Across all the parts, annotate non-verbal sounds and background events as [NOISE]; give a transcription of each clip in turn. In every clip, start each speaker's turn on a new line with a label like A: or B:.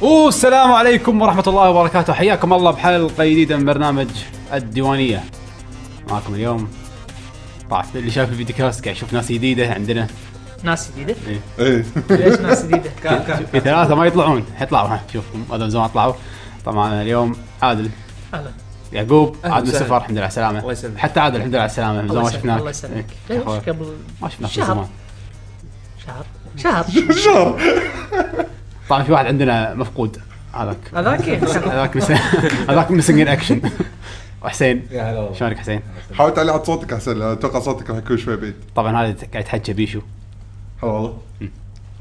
A: والسلام عليكم ورحمة الله وبركاته حياكم الله بحلقة جديدة من برنامج الديوانية معكم اليوم طاف اللي شاف الفيديو كاست قاعد يشوف ناس جديدة عندنا
B: ناس جديده
A: إيه.
C: ايه
B: ليش ناس
A: [LAUGHS]
B: جديده
A: في ثلاثة ما يطلعون حيطلعوا ها شوفكم هذول زمان طلعوا طبعا اليوم عادل
B: اهلا
A: يعقوب
D: أهلا
A: عادل
D: وسهلا.
A: السفر الحمد لله على السلامة
D: الله يسلمك.
A: حتى عادل الحمد لله على السلامة من زمان ما
B: الله يسلمك
A: شفناك
B: الله يسلمك
A: إيه،
B: ليش
A: أخوي.
B: قبل
A: ما شفناك من
B: شهر.
A: زمان
B: شهر شهر
C: شهر
A: طبعا في واحد عندنا مفقود هذاك
B: هذاك
A: [LAUGHS]
B: إيه.
A: هذاك مس- هذاك مسنج ان اكشن [LAUGHS] وحسين
D: يا هلا والله
A: شلونك حسين؟
C: حاول تعلي عاد صوتك احسن لأن اتوقع صوتك راح يكون شوي بعيد
A: طبعا هذا قاعد يتحكى بيشو
C: هلا والله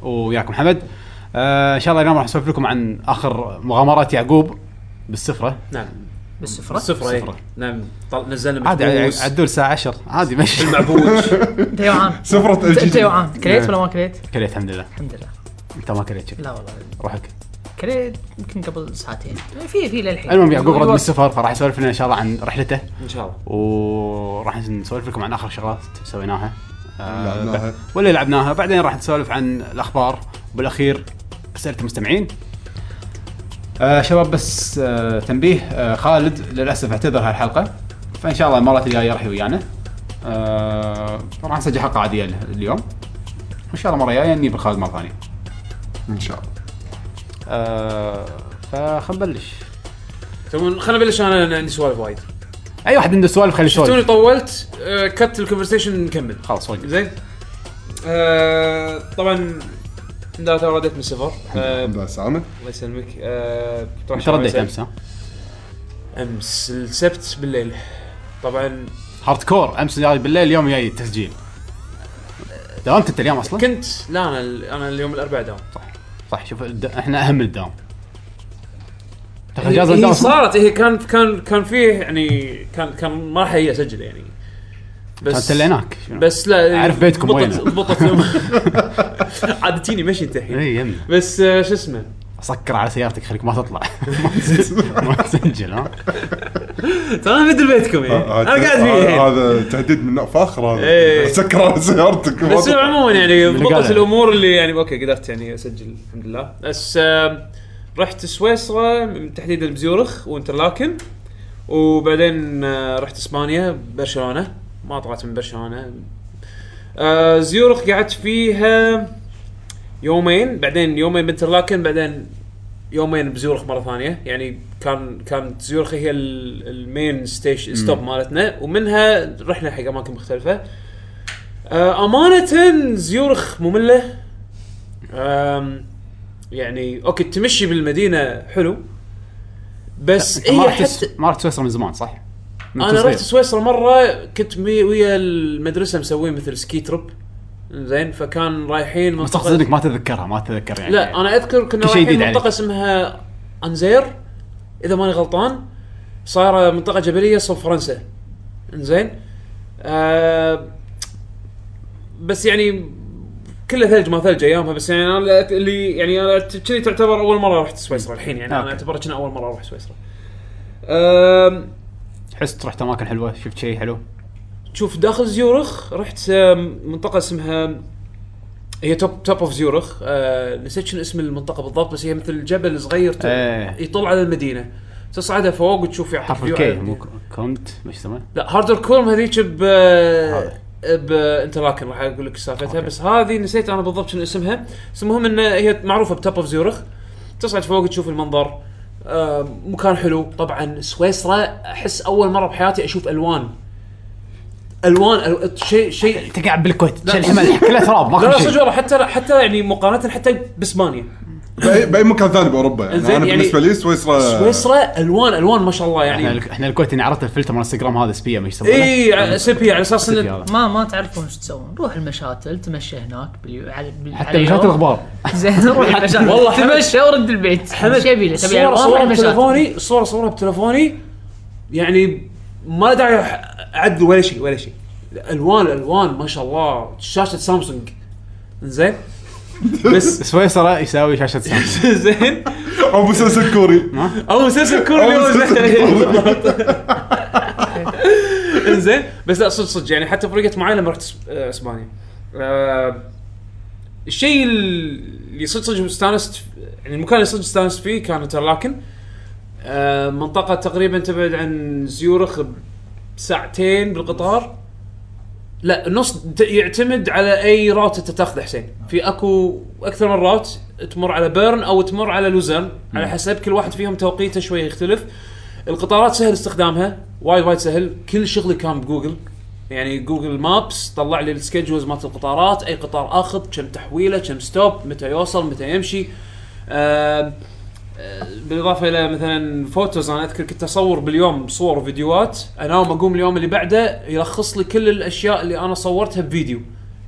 A: وياكم محمد آه ان شاء الله اليوم راح نسولف لكم عن اخر مغامرات يعقوب بالسفره
D: نعم
B: بالسفره
D: السفرة إيه.
A: السفرة.
D: نعم طل- نزلنا
A: عادي عادي،
D: مكبوس.
A: عدوا الساعه 10 عادي
D: [LAUGHS]
A: مشي
D: المعبوش
B: انت جوعان
C: [LAUGHS] سفرة
B: انت أنت
C: الجي
B: جوعان
A: إيه.
B: كليت ولا ما كليت؟
A: كليت الحمد لله
B: الحمد لله
A: انت ما كليت شيء
B: لا والله
A: روحك
B: كليت يمكن قبل ساعتين في في للحين
A: المهم يعقوب رد من
B: الوقت.
A: السفر فراح يسولف لنا ان شاء الله عن رحلته
D: ان شاء الله
A: وراح نسولف لكم عن اخر شغلات سويناها آه
C: لعبناها.
A: ب- واللي لعبناها بعدين راح نسولف عن الاخبار وبالاخير اسئله المستمعين آه شباب بس آه تنبيه آه خالد للاسف اعتذر هالحلقه فان شاء الله المرات الجايه راح يويانا آه راح نسجل حلقه عاديه ال- اليوم وان شاء الله مره جايه نجيب خالد مره ثانيه
C: ان شاء الله
A: آه فخلنا نبلش
D: تبون خلينا نبلش انا لأن عندي سوالف وايد
A: اي واحد عنده سوالف خليه
D: شفتوني
A: يسولف
D: طولت آه، كت الكونفرسيشن نكمل
A: خلاص وقف
D: زين آه، طبعا لا ترى رديت من السفر آه،
C: الحمد لله السلامة
D: الله يسلمك آه، كنت رايح
A: انت رديت
D: شمال
A: امس ها
D: امس السبت بالليل طبعا
A: هارد كور امس جاي بالليل اليوم جاي التسجيل داومت انت اليوم اصلا؟
D: كنت لا انا انا اليوم الاربعاء داوم
A: صح شوف الد... احنا اهم من الدوام تاخذ
D: هي
A: اجازه من
D: هي
A: الدوام أصلاً؟
D: صارت هي كان كان كان فيه يعني كان كان ما راح هي اسجل يعني
A: كان تليناك شنو؟
D: بس لا
A: أعرف بيتكم
D: ضبطت-
A: وينه.
D: ضبطت يوم
C: [LAUGHS]
D: عاد تجيني مشي انت
C: إيه.
D: الحين
A: اي يمي
D: بس آه، شو اسمه
A: سكر إيه، على سيارتك خليك ما تطلع [LAUGHS] ما تسجل- ما تسجل ها
D: ترى انا مدري بيتكم يعني
C: آه،
D: انا قاعد فيه
C: آه،
D: الحين
C: هذا تهديد من فاخر
D: إيه.
C: هذا سكر على سيارتك ما
D: بس
C: تطلع.
D: عموما يعني
A: اللي قالها.
D: ضبطت الامور اللي يعني اوكي قدرت يعني اسجل الحمد لله بس آه، رحت سويسرا من تحديدا بزيورخ وانترلاكن وبعدين آه، رحت اسبانيا برشلونه ما طلعت من برشلونه آه، زيورخ قعدت فيها يومين بعدين يومين بانترلاكن بعدين يومين بزيورخ مره ثانيه يعني كان كانت زيورخ هي ال- المين ستيشن ستوب مالتنا ومنها رحنا حق اماكن مختلفه آه، امانه زيورخ ممله آم، يعني اوكي تمشي بالمدينه حلو بس
A: أنت ما
D: هي
A: رحت
D: حتى
A: س- ما رحت سويسرا من زمان صح؟ من
D: انا
A: تصغير.
D: رحت سويسرا مره كنت مي- ويا المدرسه مسوين مثل سكي تريب زين فكان رايحين
A: بس اقصد انك ما تتذكرها ما تتذكر يعني
D: لا انا اذكر
A: كل
D: كنا
A: شيء
D: رايحين
A: جديد يعني.
D: منطقه
A: عليك.
D: اسمها انزير اذا ماني غلطان صايره منطقه جبليه صوب فرنسا انزين آه بس يعني كله ثلج ما ثلج ايامها بس يعني انا لا- اللي يعني انا ت- كذي تعتبر اول مره رحت سويسرا الحين يعني انا
A: أوكي.
D: اعتبر كنا اول مره اروح سويسرا. آم،
A: حست رحت اماكن حلوه شفت شيء حلو
D: شوف داخل زيورخ رحت آم، منطقه اسمها هي توب توب اوف زيورخ آه، نسيت شنو اسم المنطقه بالضبط بس هي مثل جبل صغير ت-
A: إيه.
D: يطل على المدينه تصعده فوق وتشوف يعني
A: حرف
D: فيو
A: الكي
D: على-
A: مو ك- كونت مش اسمه؟
D: لا هاردر كورم هذيك ب
A: هذا.
D: بانتراكن راح اقول لك سالفتها
A: أوكي.
D: بس هذه نسيت انا بالضبط شنو اسمها بس المهم ان هي معروفه بتوب اوف زيورخ تصعد فوق تشوف المنظر آه، مكان حلو طبعا سويسرا احس اول مره بحياتي اشوف الوان الوان ألو- شيء شيء
A: انت قاعد بالكويت
D: لا.
A: شيل حمل كله تراب
D: لا
A: ماكو
D: لا صدق
A: شيء
D: والله حتى حتى يعني مقارنه حتى باسبانيا
C: بأي- باي مكان ثاني باوروبا
D: إنزين،
C: يعني انا
D: يعني
C: بالنسبه لي
A: آه.
C: سويسرا
D: سويسرا الوان الوان ما شاء الله
A: احنا
D: يعني
A: احنا الكويت اني عرفت الفلتر مال انستغرام هذا سبيه ما يسمونه
D: اي سبي على اساس
A: سبية
D: انه
A: هذا.
B: ما ما تعرفون ايش تسوون روح المشاتل تمشى هناك باليو... على... بال- على
A: حتى مشات
B: يوم.
A: الغبار
B: [LAUGHS] زين روح المشاتل
D: والله
B: والله
D: حمد-
B: تمشى ورد البيت
D: حمد
B: ايش يبي له؟ تبي
D: صورة
B: ألوان
D: صورة
B: ولا مشاتل؟
D: بتليفوني صورة صورة بتليفوني يعني ما داعي اعدل ولا شيء ولا شيء الوان الوان ما شاء الله شاشة سامسونج زين بس [LAUGHS]
A: سويسرا يساوي شاشه [LAUGHS] سامسونج
D: زين
C: او
D: [LAUGHS]
C: مسلسل كوري
D: او مسلسل كوري
C: أو
D: اليوم
C: مسلسل
D: [LAUGHS] انزين بس لا صدق صدق يعني حتى فرقت معي لما رحت إس- آه، اسبانيا آه، الشيء ال- اللي صدق صدق استانست يعني المكان اللي صدق استانست فيه كان انترلاكن آه، منطقة تقريبا تبعد عن زيورخ بساعتين بالقطار لا النص ت- يعتمد على اي راوت انت تاخذه حسين في اكو اكثر من راوت تمر على بيرن او تمر على لوزرن على حسب كل واحد فيهم توقيته شوي يختلف القطارات سهل استخدامها وايد وايد سهل كل شغلي كان بجوجل يعني جوجل مابس طلع لي السكيدجولز مالت القطارات اي قطار اخذ كم تحويله كم ستوب متى يوصل متى يمشي آه بالاضافه الى مثلا فوتوز انا اذكر كنت اصور باليوم صور وفيديوهات انام اقوم اليوم اللي بعده يلخص لي كل الاشياء اللي انا صورتها بفيديو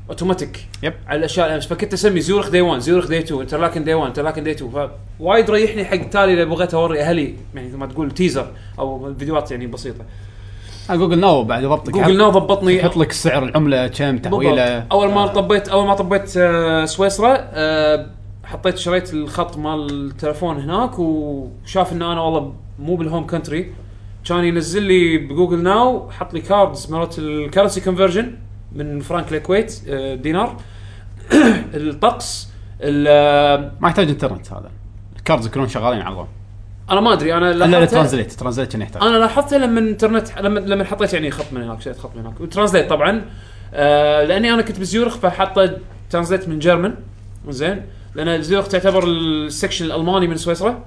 D: اوتوماتيك
A: يب.
D: على الاشياء اللي امس فكنت اسمي زيورخ دي 1 زيورخ دي 2 انترلاكن دي 1 انترلاكن دي 2 فوايد ريحني حق تالي اللي بغيت اوري اهلي يعني مثل ما تقول تيزر او فيديوهات يعني بسيطه
A: آه، جوجل ناو بعد يضبطك
D: جوجل ناو ضبطني
A: يحط لك سعر العمله كم تحويله
D: بالضبط. اول ما طبيت اول ما طبيت آه، سويسرا آه، حطيت شريت الخط مال التلفون هناك وشاف ان انا والله مو بالهوم كنتري كان ينزل لي بجوجل ناو حط لي كاردز مرات الكرنسي كونفرجن من فرانك للكويت آه، دينار [CLEARS THROAT] الطقس ال- آه،
A: ما يحتاج انترنت هذا الكاردز يكونون شغالين على الله
D: انا ما ادري انا
A: الا
D: لاحظته-
A: ترانزليت ترانزليت كان يحتاج
D: انا لاحظتها لما انترنت لما لما حطيت يعني خط من هناك شريت خط من هناك وترانزليت طبعا آه لاني انا كنت بزيورخ فحطه ترانزليت من جيرمن زين لان زيورخ تعتبر السكشن الالماني من سويسرا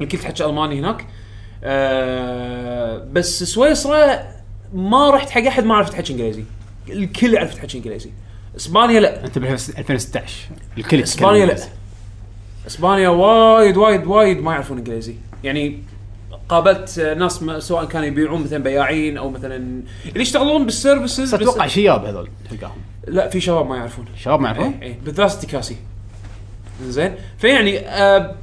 D: الكل تحكي الماني هناك آه بس سويسرا ما رحت حق احد ما عرف يتحكي انجليزي الكل يعرف يتحكي انجليزي اسبانيا لا
A: انت ب 2016 الكل يتكلم
D: اسبانيا لا
A: إنجليزي.
D: اسبانيا وايد وايد وايد ما يعرفون انجليزي يعني قابلت ناس ما سواء كانوا يبيعون مثلا بياعين او مثلا اللي يشتغلون
A: بس
D: بالسيرفيسز
A: اتوقع شياب هذول تلقاهم
D: لا في شباب ما يعرفون
A: شباب ما يعرفون
D: إيه، إيه، بالذات استكاسي زين فيعني آه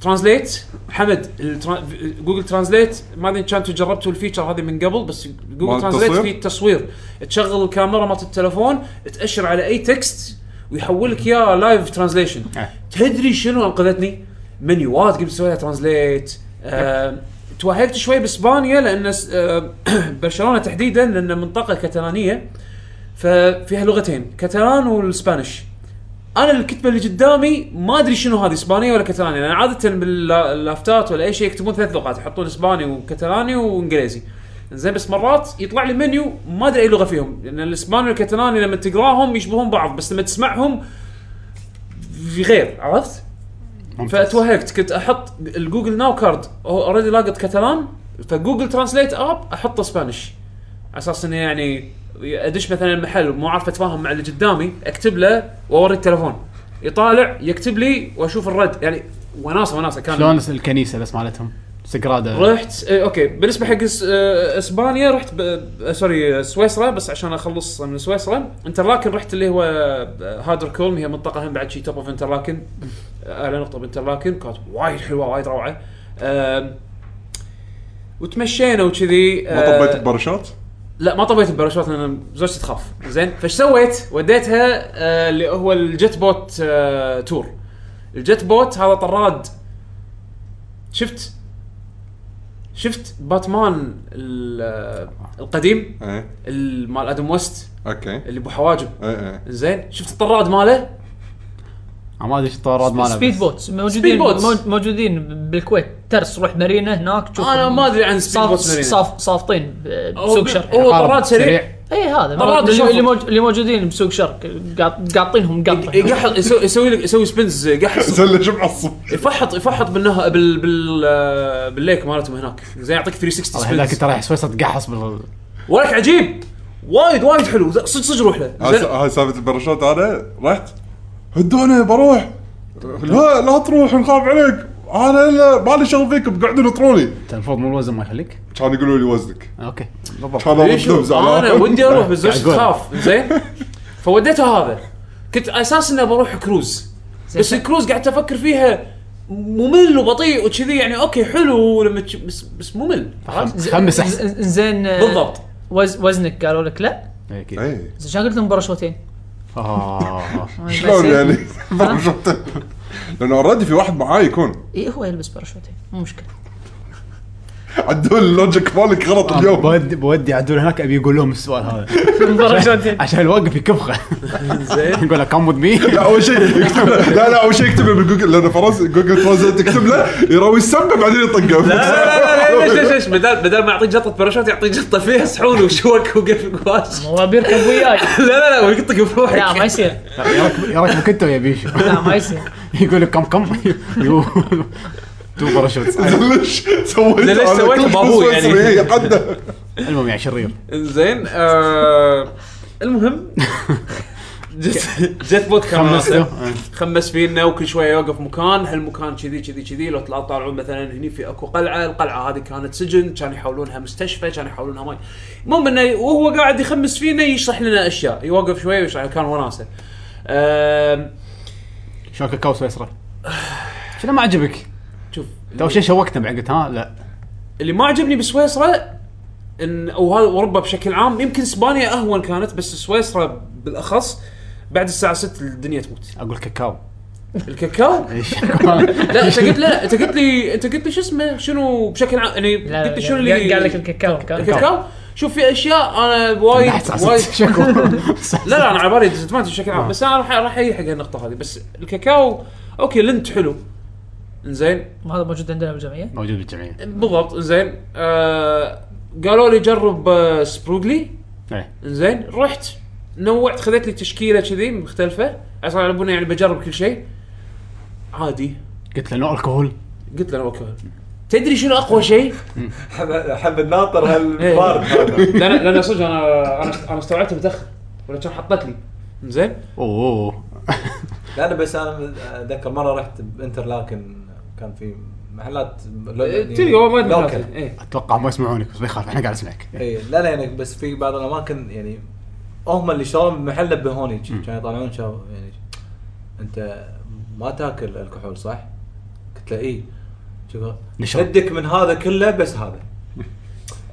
D: ترانزليت حمد الترا- جوجل ترانزليت ما ادري إن كان أنتوا جربتوا الفيتشر هذه من قبل بس جوجل
C: مال
D: ترانزليت
C: التصوير؟
D: فيه تصوير تشغل الكاميرا مالت التلفون تاشر على اي تكست ويحول لك اياه لايف ترانزليشن
A: آه.
D: تدري شنو انقذتني؟ منيوات قمت اسويها ترانزليت آه توهقت شوي باسبانيا لان س- آه [CLEARS THROAT] برشلونه تحديدا لان منطقه كتالانيه ففيها لغتين كتالان والسبانيش انا الكتبه اللي قدامي ما ادري شنو هذه اسبانيه ولا كتالاني لان عاده باللافتات ولا اي شيء يكتبون ثلاث لغات يحطون اسباني وكتالاني وانجليزي زين بس مرات يطلع لي منيو ما ادري اي لغه فيهم لان الاسباني والكتالاني لما تقراهم يشبهون بعض بس لما تسمعهم في غير عرفت؟
A: ممتاز.
D: فاتوهقت كنت احط الجوجل ناو كارد اوريدي لاقط كتالان فجوجل ترانسليت اب احطه سبانيش على اساس انه يعني ادش مثلا محل مو عارف اتفاهم مع اللي قدامي اكتب له واوري التلفون يطالع يكتب لي واشوف الرد يعني وناسه وناسه كان
A: شلون الكنيسه بس مالتهم سجرادا
D: رحت آه، اوكي بالنسبه حق إس- آه، اسبانيا رحت ب... آه، سوري آه، سويسرا بس عشان اخلص من سويسرا انترلاكن رحت اللي هو آه، هادر كولم هي منطقه هم بعد شي توب اوف انترلاكن آه، اعلى نقطه بانترلاكن كانت وايد حلوه وايد روعه آم، وتمشينا وكذي إيه،
C: ما طبيت ببرشات
D: لا ما طبيت الباراشوت لان زوجتي تخاف زين فايش سويت؟ وديتها آه، اللي هو الجت بوت آه، تور الجت بوت هذا طراد شفت شفت باتمان ال- آه، القديم
C: ايه
D: ال- مال ادم ويست
C: اوكي ايه
D: اللي بو حواجب
C: [LAUGHS] ايه
D: زين شفت الطراد ماله
A: أنا ما ادري ايش الطيران ماله
B: سبيد
A: بس.
B: بوتس موجودين
D: بوتس.
B: مو- موجودين بالكويت ترس روح مارينا هناك تشوف
D: انا ما ادري عن سبيد
B: صاف
D: بوت مارينا.
B: صاف صافطين ب- بسوق شرق
D: هو
A: عقارب
D: طراد سريع
B: اي هذا
D: طراد
B: اللي-
D: شوفوا.
B: اللي موج- اللي موجودين بسوق شرق قاط- قاطينهم قطه
D: يقحط يسوي يسوي لك يسوي سبنز قحص
C: [LAUGHS] زلش معصب
D: يفحط يفحط بالنهر بال بال آه، بالليك مالتهم هناك زين يعطيك 360
A: والله
D: spins.
A: هذاك انت رايح سويسرا تقحص بال
D: ولك عجيب وايد وايد حلو صدق صدق روح له
C: هاي س-
D: زين.
C: هاي سالفه البرشات انا رحت هدوني بروح
D: طيب.
C: لا لا تروح نخاف عليك انا لا مالي شغل فيكم قاعدين يطروني
A: أنت المفروض مو الوزن ما يخليك
C: كانوا يقولوا لي وزنك
A: اوكي
C: كان
D: إيه شوف،
C: اضربهم زعلان
D: انا ودي
C: [LAUGHS]
D: اروح بس زوجتي
A: قاعد أقول.
D: تخاف زين فوديته هذا كنت اساس اني بروح كروز بس الكروز قعدت افكر فيها ممل وبطيء وكذي يعني اوكي حلو لما تش- بس بس ممل
B: [LAUGHS]
D: عرفت؟
A: خم- خمس احسن
B: ز- زين آه،
D: بالضبط
B: وز وزنك قالوا لك لا
A: إيه، أكيد.
C: ايه
B: زين شلون قلت لهم باراشوتين؟
A: آه.
C: شلون [LAUGHS] يعني برشات لانه اوريدي في واحد معاي يكون
B: اي هو يلبس باراشوتين مو مشكله
C: عدول اللوجيك مالك غلط اليوم
A: بودي بودي عدول هناك ابي اقول لهم السؤال هذا
D: [LAUGHS] انظر شلون
A: عشان الوقف يكبخه
D: زين
A: نقول له كم وذ مي
C: لا اول شيء يكتب له لا لا اول شيء يكتب له بالجوجل لان فرنسا جوجل ترانزليت تكتب له يروي السمبه بعدين يطقه
D: لا لا لا ليش ليش ليش بدل بدل ما يعطيك جطه باراشوت يعطيك جطه فيها سحون وشوك وقف قواش
B: هو بيركب وياي
D: [LAUGHS] لا لا لا ويقطك بروحك
B: لا ما يصير
A: يراك يراك كنت ويا بيشو
B: لا ما يصير
A: [LAUGHS] يقول لك كم كم [LAUGHS] يو- تو باراشوت
C: ليش سويت
D: ليش
C: على
D: سويت
C: كل
D: بابو
C: فلوس
D: يعني؟
C: مصري هي حده
A: المهم يعني شرير
D: زين آه المهم جت جت بوت خماسه
A: خمسته.
D: خمس فينا وكل شويه يوقف مكان هالمكان كذي كذي كذي لو طلع- طالعون مثلا هني في اكو قلعه القلعه هذه كانت سجن كانوا يحولونها مستشفى كانوا يحولونها ماي المهم انه وهو قاعد يخمس فينا يشرح لنا اشياء يوقف شويه ويشرح كان وناسه آم،
A: شلون كاكاو سويسرا شنو ما عجبك؟
D: شوف
A: تو شي شوقتنا بعد قلت ها لا
D: اللي ما عجبني بسويسرا ان او هذا اوروبا بشكل عام يمكن اسبانيا اهون كانت بس سويسرا بالاخص بعد الساعه 6 الدنيا تموت
A: اقول كاكاو
B: [LAUGHS]
D: الكاكاو
A: ايش
D: [LAUGHS] لا انت قلت لا انت قلت لي انت قلت لي شو اسمه شنو بشكل عام يعني
B: لا
D: قلت لي شنو
B: لا
D: اللي
B: قال لك الكاكاو كان.
D: الكاكاو شوف في اشياء انا وايد
A: [LAUGHS]
D: وايد
A: شكو
D: [LAUGHS] لا لا انا على بالي ديزنتمانت بشكل
B: آه.
D: عام بس انا راح راح اجي حق النقطه هذه بس الكاكاو اوكي لنت حلو زين
B: هذا موجود عندنا بالجمعيه
A: موجود بالجمعيه
D: بالضبط زين آه قالوا لي جرب آه سبروغلي
A: إيه.
D: زين رحت نوعت خذيت لي تشكيله كذي مختلفه اصلا على بالنا يعني بجرب كل شيء عادي
A: قلت له نو الكحول
D: قلت له أنا اوكي تدري شنو اقوى شيء؟
E: حب الناطر هالفارد هذا
D: لان لان صدق انا انا انا استوعبته متاخر ولا كان حطت لي زين
A: اوه
E: لا انا بس انا اتذكر مره رحت بانترلاكن كان في محلات لو- يعني
D: إيه، تدري هو وايد
E: لوكال.
D: متاخر. إيه.
A: اتوقع ما يسمعونك بس ما يخالف احنا قاعد نسمعك
E: اي لا لا يعني بس في بعض الاماكن يعني هم اللي شروا محله بهوني كانوا يطالعون شافوا يعني انت ما تاكل الكحول صح؟ قلت له اي شوف
A: نشرب.
E: شدك من هذا كله بس هذا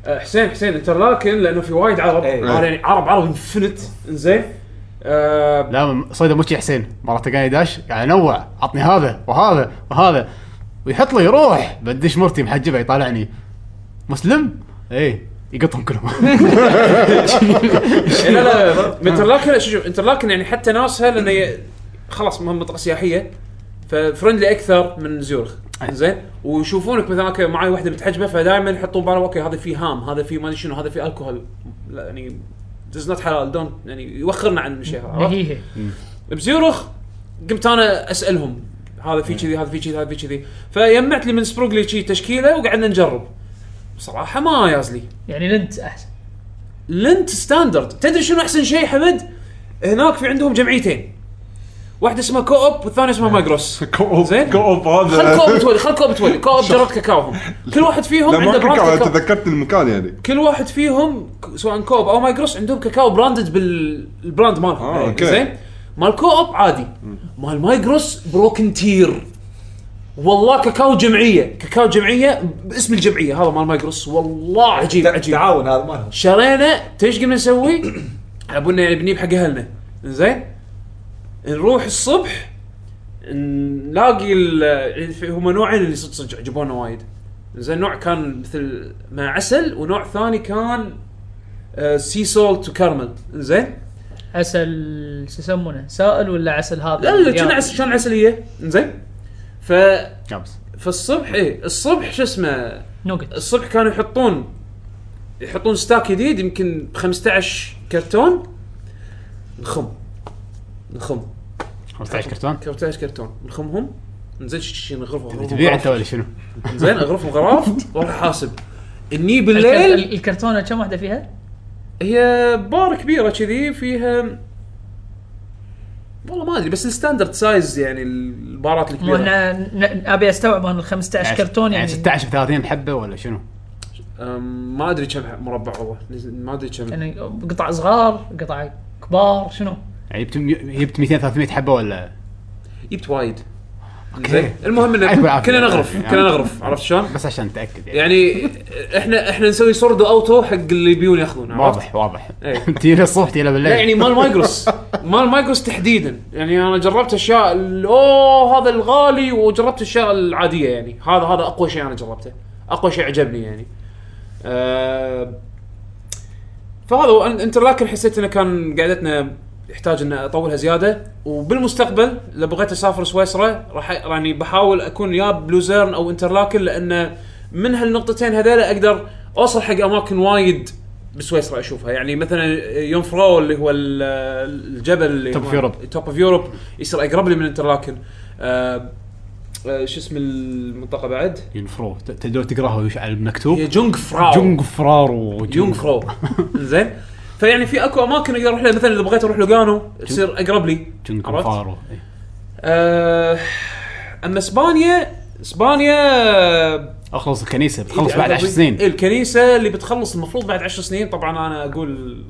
D: آه، حسين حسين انت راكن لانه في وايد عرب
E: إيه.
D: أنا يعني عرب عرب انفنت زين آه
A: لا صيدا مو شي حسين مره تلقاني داش قاعد انوع عطني هذا وهذا وهذا ويحط لي يروح بدش مرتي محجبه يطالعني مسلم؟ ايه يقطهم كلهم
D: [LAUGHS] إيه، لا لا انترلاكن شوف شوف، انترلاكن يعني حتى ناسها لان هي خلاص مهم منطقه سياحيه ففرندلي اكثر من زيورخ
A: أي.
D: زين ويشوفونك مثلا أوكي، معاي واحده متحجبه فدائما يحطون بالهم اوكي هذا فيه هام هذا فيه ما ادري شنو هذا فيه الكحول لا يعني دز نوت حلال دونت يعني يوخرنا عن الشيء هذا عرفت؟
B: نهيهي
D: بزيورخ قمت انا اسالهم هذا في كذي هذا في كذي هذا في كذي فيمعت لي من سبروغلي شي تشكيله وقعدنا نجرب صراحه ما يازلي
B: يعني انت احسن
D: لنت ستاندرد تدري شنو احسن شيء حمد هناك في عندهم جمعيتين واحده اسمها كو اوب والثانيه اسمها
C: [LAUGHS]
D: مايجروس
C: كوب
D: زين.
C: كوب
D: خل
C: هذا
D: كو اوب تولي خل كو اوب تولي كو اوب جربت كاكاوهم كل واحد فيهم
C: لا ما
D: عنده براند
C: كنت
D: كاكاو
C: تذكرت المكان يعني
D: كل واحد فيهم ك- سواء كوب او مايجروس عندهم كاكاو براندد بالبراند مالهم
C: آه، أوكي.
D: زين مال كو اوب عادي مال مايجروس بروكن تير والله كاكاو جمعيه كاكاو جمعيه باسم الجمعيه هذا مال مايجروس والله عجيب عجيب
E: التعاون هذا مالهم
D: شرينا تدري ايش قمنا نسوي؟ ابونا يعني بنجيب حق اهلنا زين نروح الصبح نلاقي ال- في- هم نوعين اللي صدق صدق عجبونا وايد زين نوع كان مثل مع عسل ونوع ثاني كان آه، سي سولت وكارمل زين
B: عسل شو يسمونه سائل ولا عسل هذا
D: لا لا كان
B: يعني-
D: عسل كان عسليه زين ف
A: جابس
D: فالصبح ايه الصبح شو اسمه
B: نوقت
D: الصبح كانوا يحطون يحطون ستاك جديد يمكن 15 كرتون نخم نخم
A: 15 كرتون
D: 15 كرتون نخمهم نزين شي- شي نغرفهم غرفهم
A: تبيع
D: غرف.
A: انت ولا شنو؟
D: زين اغرفهم
A: [LAUGHS]
D: غراف واروح احاسب اني
B: الكر-
D: بالليل
B: ال- الكرتونه كم واحده فيها؟
D: هي بار كبيره كذي فيها والله ما ادري بس الستاندرد سايز يعني البارات
B: مو
D: الكبيره
B: احنا ن- ابي استوعب انا ال 15 كرتون يعني
A: 16 في 30 حبه ولا شنو؟
D: أم، ما ادري كم مربع والله ما ادري كم
B: يعني قطع صغار قطع كبار شنو؟
A: يعني جبت جبت 200 300 حبه ولا
D: جبت وايد
A: أوكي.
D: زين المهم
A: يعطيك
D: انه
A: العافية.
D: كنا نغرف
A: يعني-
D: كنا نغرف عرفت شلون؟
A: بس عشان نتاكد يعني
D: يعني احنا احنا نسوي سورد اوتو حق اللي بيون ياخذون عرفت؟
A: واضح واضح [LAUGHS]
D: إيه.
A: تجينا الصبح تجينا بالليل
D: لا يعني مال مايكروس مال مايكروس تحديدا يعني انا جربت اشياء ال- اوه هذا الغالي وجربت اشياء العاديه يعني هذا هذا اقوى شيء انا جربته اقوى شيء عجبني يعني آه، فهذا هو أن- انترلاكن حسيت انه كان قعدتنا يحتاج ان اطولها زياده وبالمستقبل اذا بغيت اسافر سويسرا راح أ- يعني بحاول اكون يا بلوزيرن او انترلاكن لان من هالنقطتين هذيلا اقدر اوصل حق اماكن وايد بسويسرا اشوفها يعني مثلا يوم فرو اللي هو ال- الجبل اللي
A: Top of Europe.
D: توب اوف يوروب يصير اقرب لي من انترلاكن آه، آه، شو اسم المنطقه بعد؟
A: ينفرو ت- تقدر تقراها وش على المكتوب
D: هي جونغ فراو
A: جونغ فرارو
D: يونغ فرو زين فيعني في اكو اماكن اقدر اروح لها مثلا اذا بغيت اروح لوجانو تصير اقرب لي
A: جونغ
D: عرفت؟
A: فرارو إيه. إي.
D: آه، اما اسبانيا اسبانيا
A: اخلص الكنيسه بتخلص بعد
D: إيه،
A: 10 سنين
D: إيه، الكنيسه اللي بتخلص المفروض بعد 10 سنين طبعا انا اقول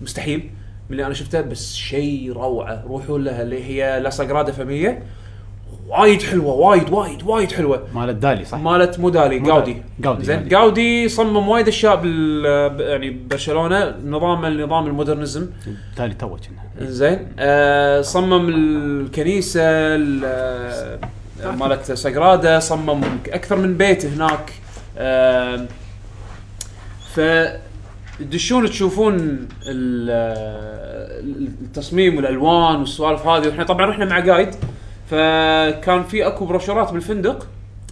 D: مستحيل من اللي انا شفته بس شيء روعه روحوا لها اللي هي لا ساجرادا فاميليا وايد حلوه وايد وايد وايد حلوه
A: مالت دالي صح؟
D: مالت مودالي
A: مودالي.
D: جاودي
A: جاودي،
D: زين
A: جاودي.
D: جاودي صمم وايد اشياء بال ب- يعني برشلونه نظام النظام المودرنزم
A: إيه. دالي تو كنا
D: زين آه صمم الكنيسه ال- آه، مالت ساجرادا صمم اكثر من بيت هناك آه ف تدشون تشوفون ال- آه، التصميم والالوان والسوالف هذه واحنا طبعا رحنا مع جايد فكان في اكو بروشورات بالفندق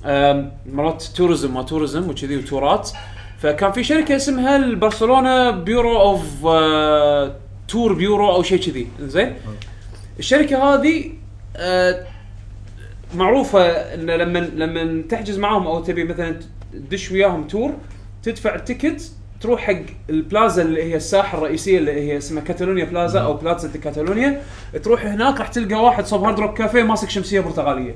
D: آم، مرات توريزم ما توريزم وكذي وتورات فكان في شركه اسمها البرشلونه بيورو اوف آه، تور بيورو او شيء كذي زين الشركه هذه آه، معروفه ان لما لما تحجز معاهم او تبي مثلا تدش وياهم تور تدفع التيكت تروح حق البلازا اللي هي الساحه الرئيسيه اللي هي اسمها كاتالونيا بلازا او بلازا دي كاتالونيا تروح هناك راح تلقى واحد صوب هارد روك كافيه ماسك شمسيه برتغاليه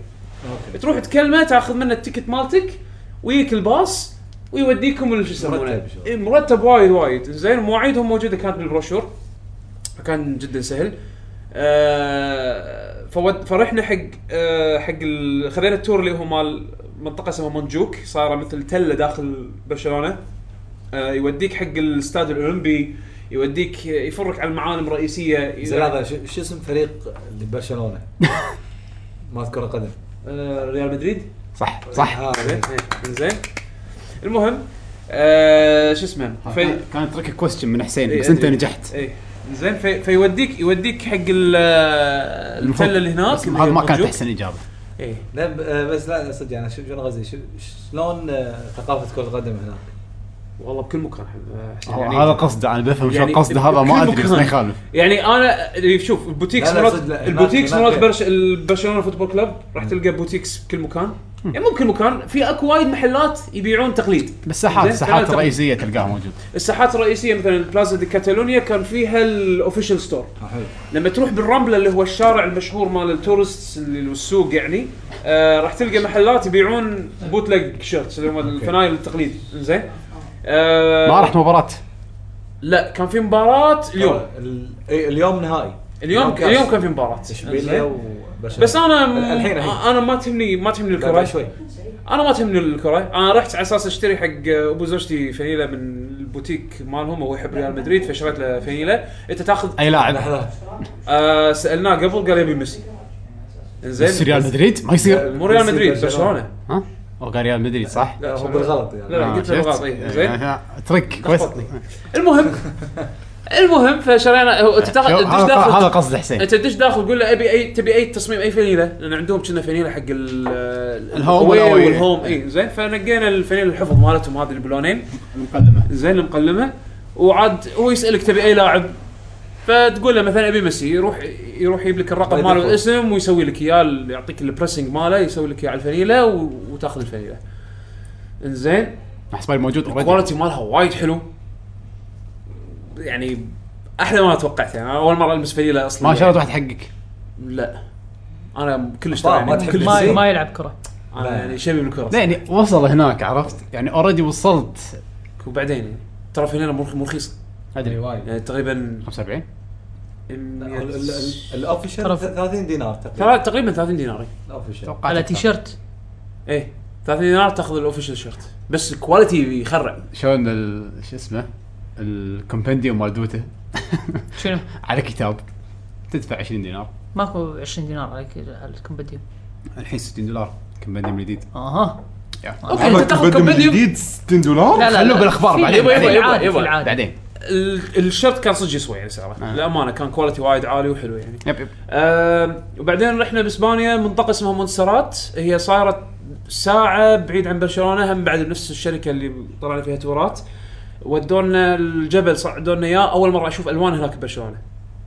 D: تروح تكلمه تاخذ منه التيكت مالتك ويك الباص ويوديكم ال- شو يسمونه
E: مرتب شو.
D: إيه، مرتب وايد وايد زين مواعيدهم موجوده كانت بالبروشور فكان جدا سهل آه فود فرحنا حق آه حق ال- خذينا التور اللي هو مال منطقه اسمها مونجوك صايره مثل تله داخل برشلونه آه يوديك حق الاستاد الاولمبي يوديك يفرك على المعالم الرئيسيه
E: زين هذا شو شو اسم فريق اللي برشلونه؟ ما كره قدم
D: آه ريال مدريد
A: صح صح
E: آه،
D: زين زين المهم آه شو اسمه في...
A: كان- كان ترك كويستشن من حسين
D: إيه،
A: بس انت
D: أدري.
A: نجحت
D: ايه زين في... فيوديك يوديك حق ال-
A: المفروض-
D: التله اللي هناك
A: بس
D: اللي
A: هذا
D: هي
A: ما كانت
D: موجود.
A: احسن اجابه
D: ايه
E: لا ب- آه، بس لا لا، صدق انا شو شنو غزي شو- شلون آه، ثقافه كره القدم هناك؟
D: والله بكل يعني مكان حب- حسين،
A: هو- آه، هذا قصده انا بفهم شو
D: يعني
A: قصده هذا ما
D: بكل
A: ادري بس ما
D: مكان.
A: يخالف
D: يعني انا اللي شوف البوتيكس
E: لا، لا،
D: مرات
E: صدق لا، هناك-
D: البوتيكس
E: هناك
D: مرات
E: غير.
D: برش البرشلونه فوتبول كلوب راح تلقى بوتيكس بكل مكان يعني مو بكل مكان في اكو وايد محلات يبيعون تقليد
A: بس الساحات
D: زين، آه. تعال
A: الساحات
D: تقليد.
A: الرئيسيه تلقاها موجود
D: الساحات الرئيسيه مثلا بلازا دي كاتالونيا كان فيها الاوفيشال ستور
E: حلو
D: لما تروح بالرمله اللي هو الشارع المشهور مال التورست اللي والسوق يعني آه راح تلقى محلات يبيعون بوتلج شيرتس اللي هم الفنايل التقليد زين آه
A: ما رحت مباراه
D: لا كان في مباراه اليوم
E: اليوم نهائي
D: اليوم
E: كاس.
D: اليوم كان في مباراه
E: اشبيليا
D: زين؟
E: وبرشلونه
D: بس انا م...
E: الحين الحين
D: انا ما تهمني ما تهمني
E: لا،
D: الكره
E: بعد شوي
D: انا ما تهمني الكره انا رحت على اساس اشتري حق ابو زوجتي فنيله من البوتيك مالهم وهو يحب ريال مدريد فشريت له فنيله انت تاخذ
A: اي لاعب
E: لحظه
D: آه سالناه قبل قال يبي ميسي
A: بس
D: انزين
A: ريال مدريد ما يصير
D: مو ريال مدريد
E: برشلونة.
D: برشلونه
A: ها هو قال ريال مدريد صح؟
D: لا
E: هو
D: برشلونة.
E: بالغلط
D: لا، لا.
E: يعني
A: آه،
D: قلت له
A: شفت؟
D: غلط، إيه، زين.
A: آه، تريك كويس
D: لخبطني. المهم المهم فشرينا هو انت تاخذ
A: هذا
D: تدش
A: هذا
D: داخل
A: قصد حسين
D: انت تدش داخل تقول له ابي اي تبي اي تصميم اي فنيله لان عندهم كنا فنيله حق ال-
A: الهوم
D: الأوي
A: والأوي.
D: والهوم اي زين فنقينا الفنيله الحفظ مالتهم هذه البلونين
A: المقدمه
D: زين المقلمه وعاد هو يسالك تبي اي لاعب فتقول له مثلا ابي ميسي يروح يروح يجيب لك الرقم
E: طيب
D: ماله
E: يقول.
D: والاسم ويسوي لك اياه يعطيك البريسنج ماله يسوي لك اياه على الفنيله و- وتاخذ الفنيله. انزين
A: احسب موجود already.
D: الكواليتي مالها وايد حلو يعني احلى ما توقعت يعني أنا اول مره المس فنيله اصلا
A: ما شريت واحد
D: يعني.
A: حقك
D: لا انا كلش
E: ما-
D: ترى
E: ما
D: يعني
E: تحب
D: كلش
E: الميسي.
B: ما
E: زين.
B: ما يلعب كره
D: انا يعني شبي بالكره
A: لا يعني وصل هناك عرفت يعني اوريدي وصلت
D: وبعدين يعني ترى فنيله مو مو رخيصه
A: ادري
E: وايد
D: يعني تقريبا
A: 75
E: الاوفشل
B: ترى-
E: 30 دينار تقريبا
D: ثلا- تقريبا 30 ديناري
E: الاوفشل
A: توقعت
B: على
A: أكثر.
B: تيشيرت
D: ايه 30 دينار تاخذ الاوفيشال شيرت بس الكواليتي يخرع
A: شلون ال- شو اسمه الكومبنديوم مال دوته
B: شنو
A: على كتاب تدفع 20 دينار
B: ماكو 20 دينار على ك- على الكومباديوم
A: الحين 60 دولار كومبنديوم جديد
B: اها اوكي انت تاخذ
C: بدهم
B: كومبيديوم
C: جديد 60 دولار
B: لا لا
A: خلوه
B: لا.
A: بالأخبار
B: في
A: بعدين،
B: العادي،
A: بعدين.
B: في العادي،
D: يبا،
B: في
D: يبا.
B: العادي.
A: بعدين
D: ال- الشرط كان صدق يسوى يعني سعره
A: آه.
D: للامانه كان كواليتي وايد عالي وحلو يعني
A: يب يب
D: آم، وبعدين رحنا باسبانيا منطقه اسمها مونسرات هي صارت ساعه بعيد عن برشلونه هم بعد بنفس الشركه اللي طلعنا فيها تورات ودونا الجبل صعدونا اياه اول مره اشوف الوان هناك ببرشلونه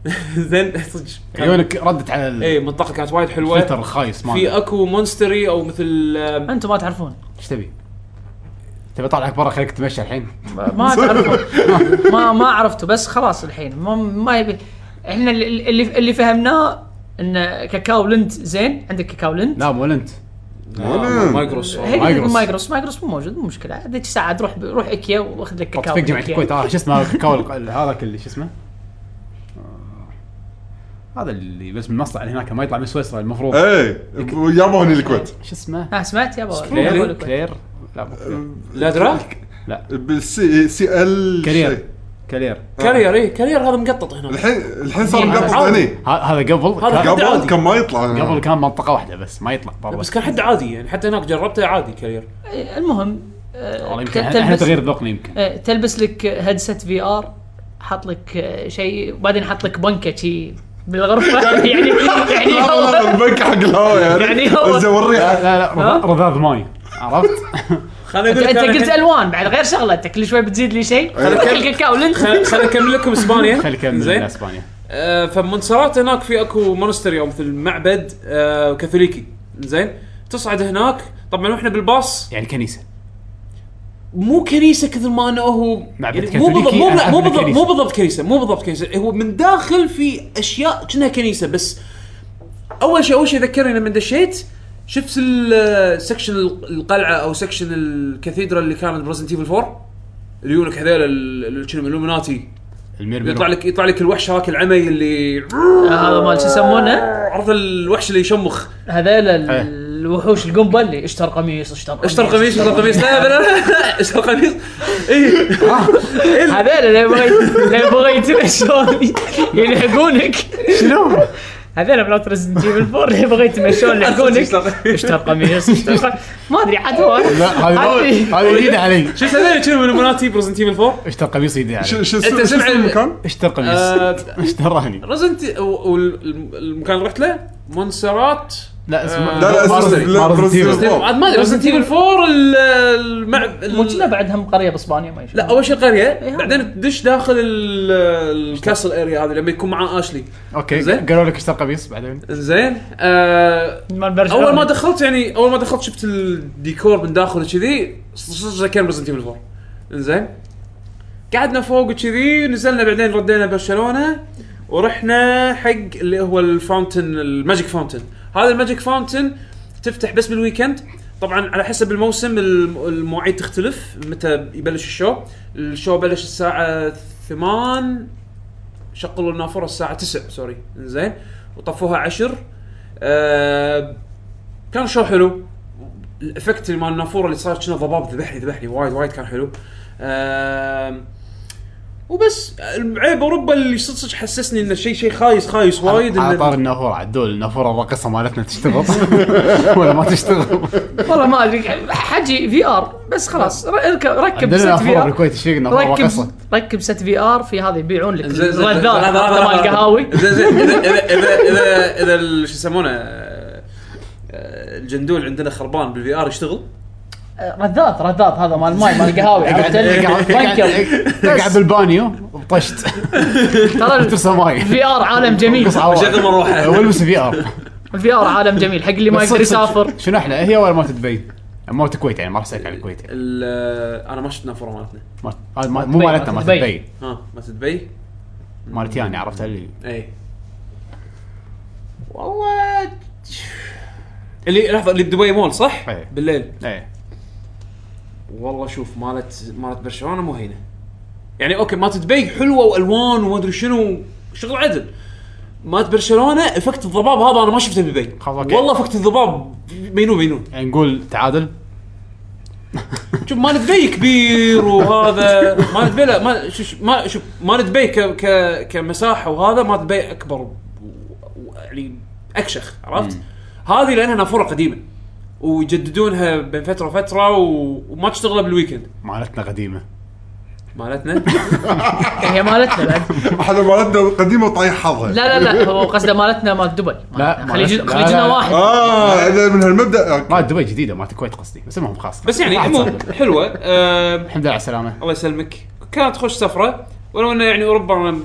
D: [LAUGHS] زين صدق كان-
A: عيونك ردت على ال-
D: اي منطقه كانت وايد حلوه
A: الفلتر الخايس
D: إيه، في
A: مالك
D: اكو مونستري او مثل آم،
B: انتم ما تعرفون
A: ايش تبي؟ تبي اطلعك برا خليك تمشى الحين
B: ما تعرفون ما ما عرفته بس خلاص الحين ما, ما يبي احنا اللي اللي- اللي فهمناه ان كاكاو لنت زين عندك كاكاو لنت
A: لا
C: نعم.
A: مو انت
D: آه، مايكروس
B: هيك
A: مايكروس.
B: مايكروس مايكروس مو موجود مو مشكله هذيك ساعه تروح روح ايكيا واخذ لك
A: طب
B: كاكاو
A: فيك
B: من
A: جمعيه
B: إيكيا.
A: الكويت اه شو اسمه الكاو الق- هذاك اللي شو اسمه؟ آه، هذا اللي بس من المصنع اللي هناك ما يطلع من سويسرا المفروض
C: اي ياباني الكويت
A: شو اسمه؟
B: ها سمعت يا بابا
D: كلير.
B: أقول لك.
A: كلير لا مو كلير
D: لا دراك
C: بالسي سي ال شيء.
A: كارير كارير
D: كارير اي كارير هذا مقطط هنا
C: الحين الحين صار
B: هذا
C: مقطع
D: عادي.
C: هني
A: ه- هذا قبل
D: هذا
A: كان-
D: قبل. عادي.
C: قبل كان ما يطلع هنا.
A: قبل كان منطقه واحده بس ما يطلع برا
D: بس كان حد عادي يعني حتى هناك جربته عادي كارير
B: إيه، المهم آه،
A: والله
B: ت-
A: يمكن احنا تغيير ذوقنا
D: [LAUGHS]
A: يمكن
B: آه، تلبس لك هيدسет في ار حط لك آه، شيء وبعدين حط لك بنكه شي بالغرفه [LAUGHS] يعني يعني
C: [LAUGHS] لا والله
B: هو-
C: البنك حق الهواء يعني
B: يعني هو-
C: بس
A: لا
C: اوريها
A: لا لا رذاذ- رذاذ ماي عرفت؟
D: [LAUGHS] خليني
B: انت أنت
D: اقول لك أنا
B: قلت
D: الحين-
B: الوان بعد غير شغله انت كل شوي بتزيد لي شيء
D: خلي-
B: روح الكاكاو لنت
D: خل- خل اكمل لكم اسبانيا
A: خلي كمل
D: زين
A: من اسبانيا
D: آه، فمنصرات هناك في اكو مونستري او مثل معبد آه، كاثوليكي زين تصعد هناك طبعا واحنا بالباص
A: يعني كنيسه
D: مو كنيسه كثر ما انه هو يعني
A: معبد
D: مو بالضبط
A: كاثوليكي
D: مو بالضبط
A: أهم
D: مو
A: من كنيسة.
D: بالضبط مو بالضبط كنيسه مو بالضبط كنيسه هو من داخل في اشياء كأنها كنيسه بس اول شيء اول شيء ذكرني لما دشيت شفت آه، السكشن القلعه او سكشن الكاثيدرال اللي كانت برزنت ايفل 4 اللي يقول لك هذول اللي كانوا الومناتي
A: الميرمير
D: يطلع لك يطلع لك الوحش هذاك العمي اللي
B: هذا مال شو يسمونه
D: عرض الوحش اللي يشمخ
B: هذيل ال-
A: إيه.
B: الوحوش القنبل اللي اشتر قميص اشتر قميص
D: اشتر قميص اشتر قميص لا لا [LAUGHS] لا اشتر قميص اي
B: هذيل اللي يبغى اللي يبغى يتبع شلون يلحقونك
A: شنو؟
B: هذول بلوت ريزنت ايفل 4 اللي بغيت
D: [LAUGHS]
B: يمشون يلحقونك اشتر قميص اشتر قميص. ما ادري عاد هو
A: لا هذه
B: هذه-
A: هذه
D: [LAUGHS]
A: جديده علي
D: شو اسمه هذول كانوا الومناتي برزنت ايفل 4
A: اشتر قميص جديد
C: شو
A: علي
C: شو
D: أنت
C: اسمه شو
D: سمع
C: اسمه
D: ال-
C: المكان؟ [LAUGHS]
A: اشتر
D: آه،
A: قميص اشتراني
D: رزنت والمكان اللي رحت له مونسرات
A: لا اسمه
D: آه،
C: لا، لا، اسمه-
A: مارزن-
C: لا،
A: مارزن
C: برزن-
A: تيبل.
C: برزن-
D: عاد ما ادري رزنت ايفل 4 ال- المع ال-
B: موجوده بعد هم قريه باسبانيا ما
D: لا اول شيء قريه بعدين تدش داخل ال- الكاسل اريا هذه لما يكون معاه اشلي
A: اوكي
D: زين.
A: قالوا لك اشتر قميص بعدين
D: زين آه، اول ما دخلت يعني اول ما دخلت شفت الديكور من داخل كذي صدق كان ريزنت ايفل 4 زين قعدنا فوق كذي نزلنا بعدين ردينا برشلونه ورحنا حق اللي هو الفاونتن الماجيك فاونتن هذا الماجيك فاونتن تفتح بس بالويكند طبعا على حسب الموسم الم- المواعيد تختلف متى يبلش الشو الشو بلش الساعه 8 شغلوا النافوره الساعه 9 سوري زين وطفوها 10 آه كان شو حلو الافكت اللي مال النافوره اللي صار كنا ضباب ذبحني ذبحني وايد وايد كان حلو آه وبس عيب اوروبا اللي صدق صدق حسسني انه شيء شيء خايس خايس وايد
A: على
D: إنه-
A: طار النافوره عدول النافوره الراقصه مالتنا تشتغل [LAUGHS] ولا ما تشتغل
B: والله ما ادري حجي في ار بس خلاص ر- ركب ركب
A: عندنا
B: ست في
A: نافوره
B: ار
A: بالكويت ايش فيك نافوره
B: ركب
A: راقصه
B: ركب ست في ار في هذا يبيعون لك
D: زين- زين-
B: الغذاء
D: لحظة- لحظة-
B: هذا
D: لحظة-
B: مال
D: لحظة.
B: قهاوي
D: زين زين اذا اذا اذا اذا, إذا ال- شو يسمونه آه، آه، الجندول عندنا خربان بالفي ار يشتغل
B: رذاذ رذاذ هذا مال ماي مال قهاوي عرفت؟
A: [LAUGHS]
B: بنكر.
A: قاعد بالبانيو وطشت
B: ترى
A: ترسم
B: [LAUGHS]
A: ماي
B: الفي ار عالم جميل
D: شغل
A: [LAUGHS]
D: مروحه
A: والبس في ار
B: الفي ار عالم جميل حق اللي ما يقدر يسافر
A: شنو احلى هي ولا مالت دبي؟ مالت الكويت يعني ما راح اسالك عن الكويت يعني.
D: ال- آه، انا ما شفت نافوره مالتنا
A: مالت- آه، ما- مو مالتنا مالت
B: دبي.
A: دبي
D: ها مالت دبي
A: مالت يعني عرفتها اللي
D: اي والله اللي لحظه اللي بدبي مول صح؟
A: إيه.
D: بالليل
A: ايه
D: والله شوف مالت مالت برشلونه مو هينه يعني اوكي مالت دبي حلوه والوان وما ادري شنو شغل عدل مالت برشلونه افكت الضباب هذا انا ما شفته بدبي
A: خلاص، أوكي.
D: والله افكت الضباب بينو بينو
A: يعني نقول تعادل
D: شوف مال دبي كبير وهذا مال دبي لا ما شوف ما شوف مال دبي ك ك كمساحه وهذا مال دبي اكبر و- و- يعني اكشخ عرفت؟ هذه لانها نافوره قديمه ويجددونها بين فتره وفتره و... وما تشتغله بالويكند
A: مالتنا قديمه
D: مالتنا
B: هي مالتنا بعد
C: احنا مالتنا القديمه طايح حظها
B: لا لا لا هو قصده مالتنا مال دبي مالتنا. خلي
A: مالتنا.
B: يجي- خلي يجينا
A: لا، لا.
B: واحد
C: اه اذا من هالمبدا
A: ما دبي جديده مالت الكويت قصدي بس المهم خلاص
D: بس يعني
A: واحد
D: عموما
A: صار.
D: حلوه آه
A: الحمد لله على السلامه
D: الله يسلمك كانت خوش سفره ولو انه يعني اوروبا أنا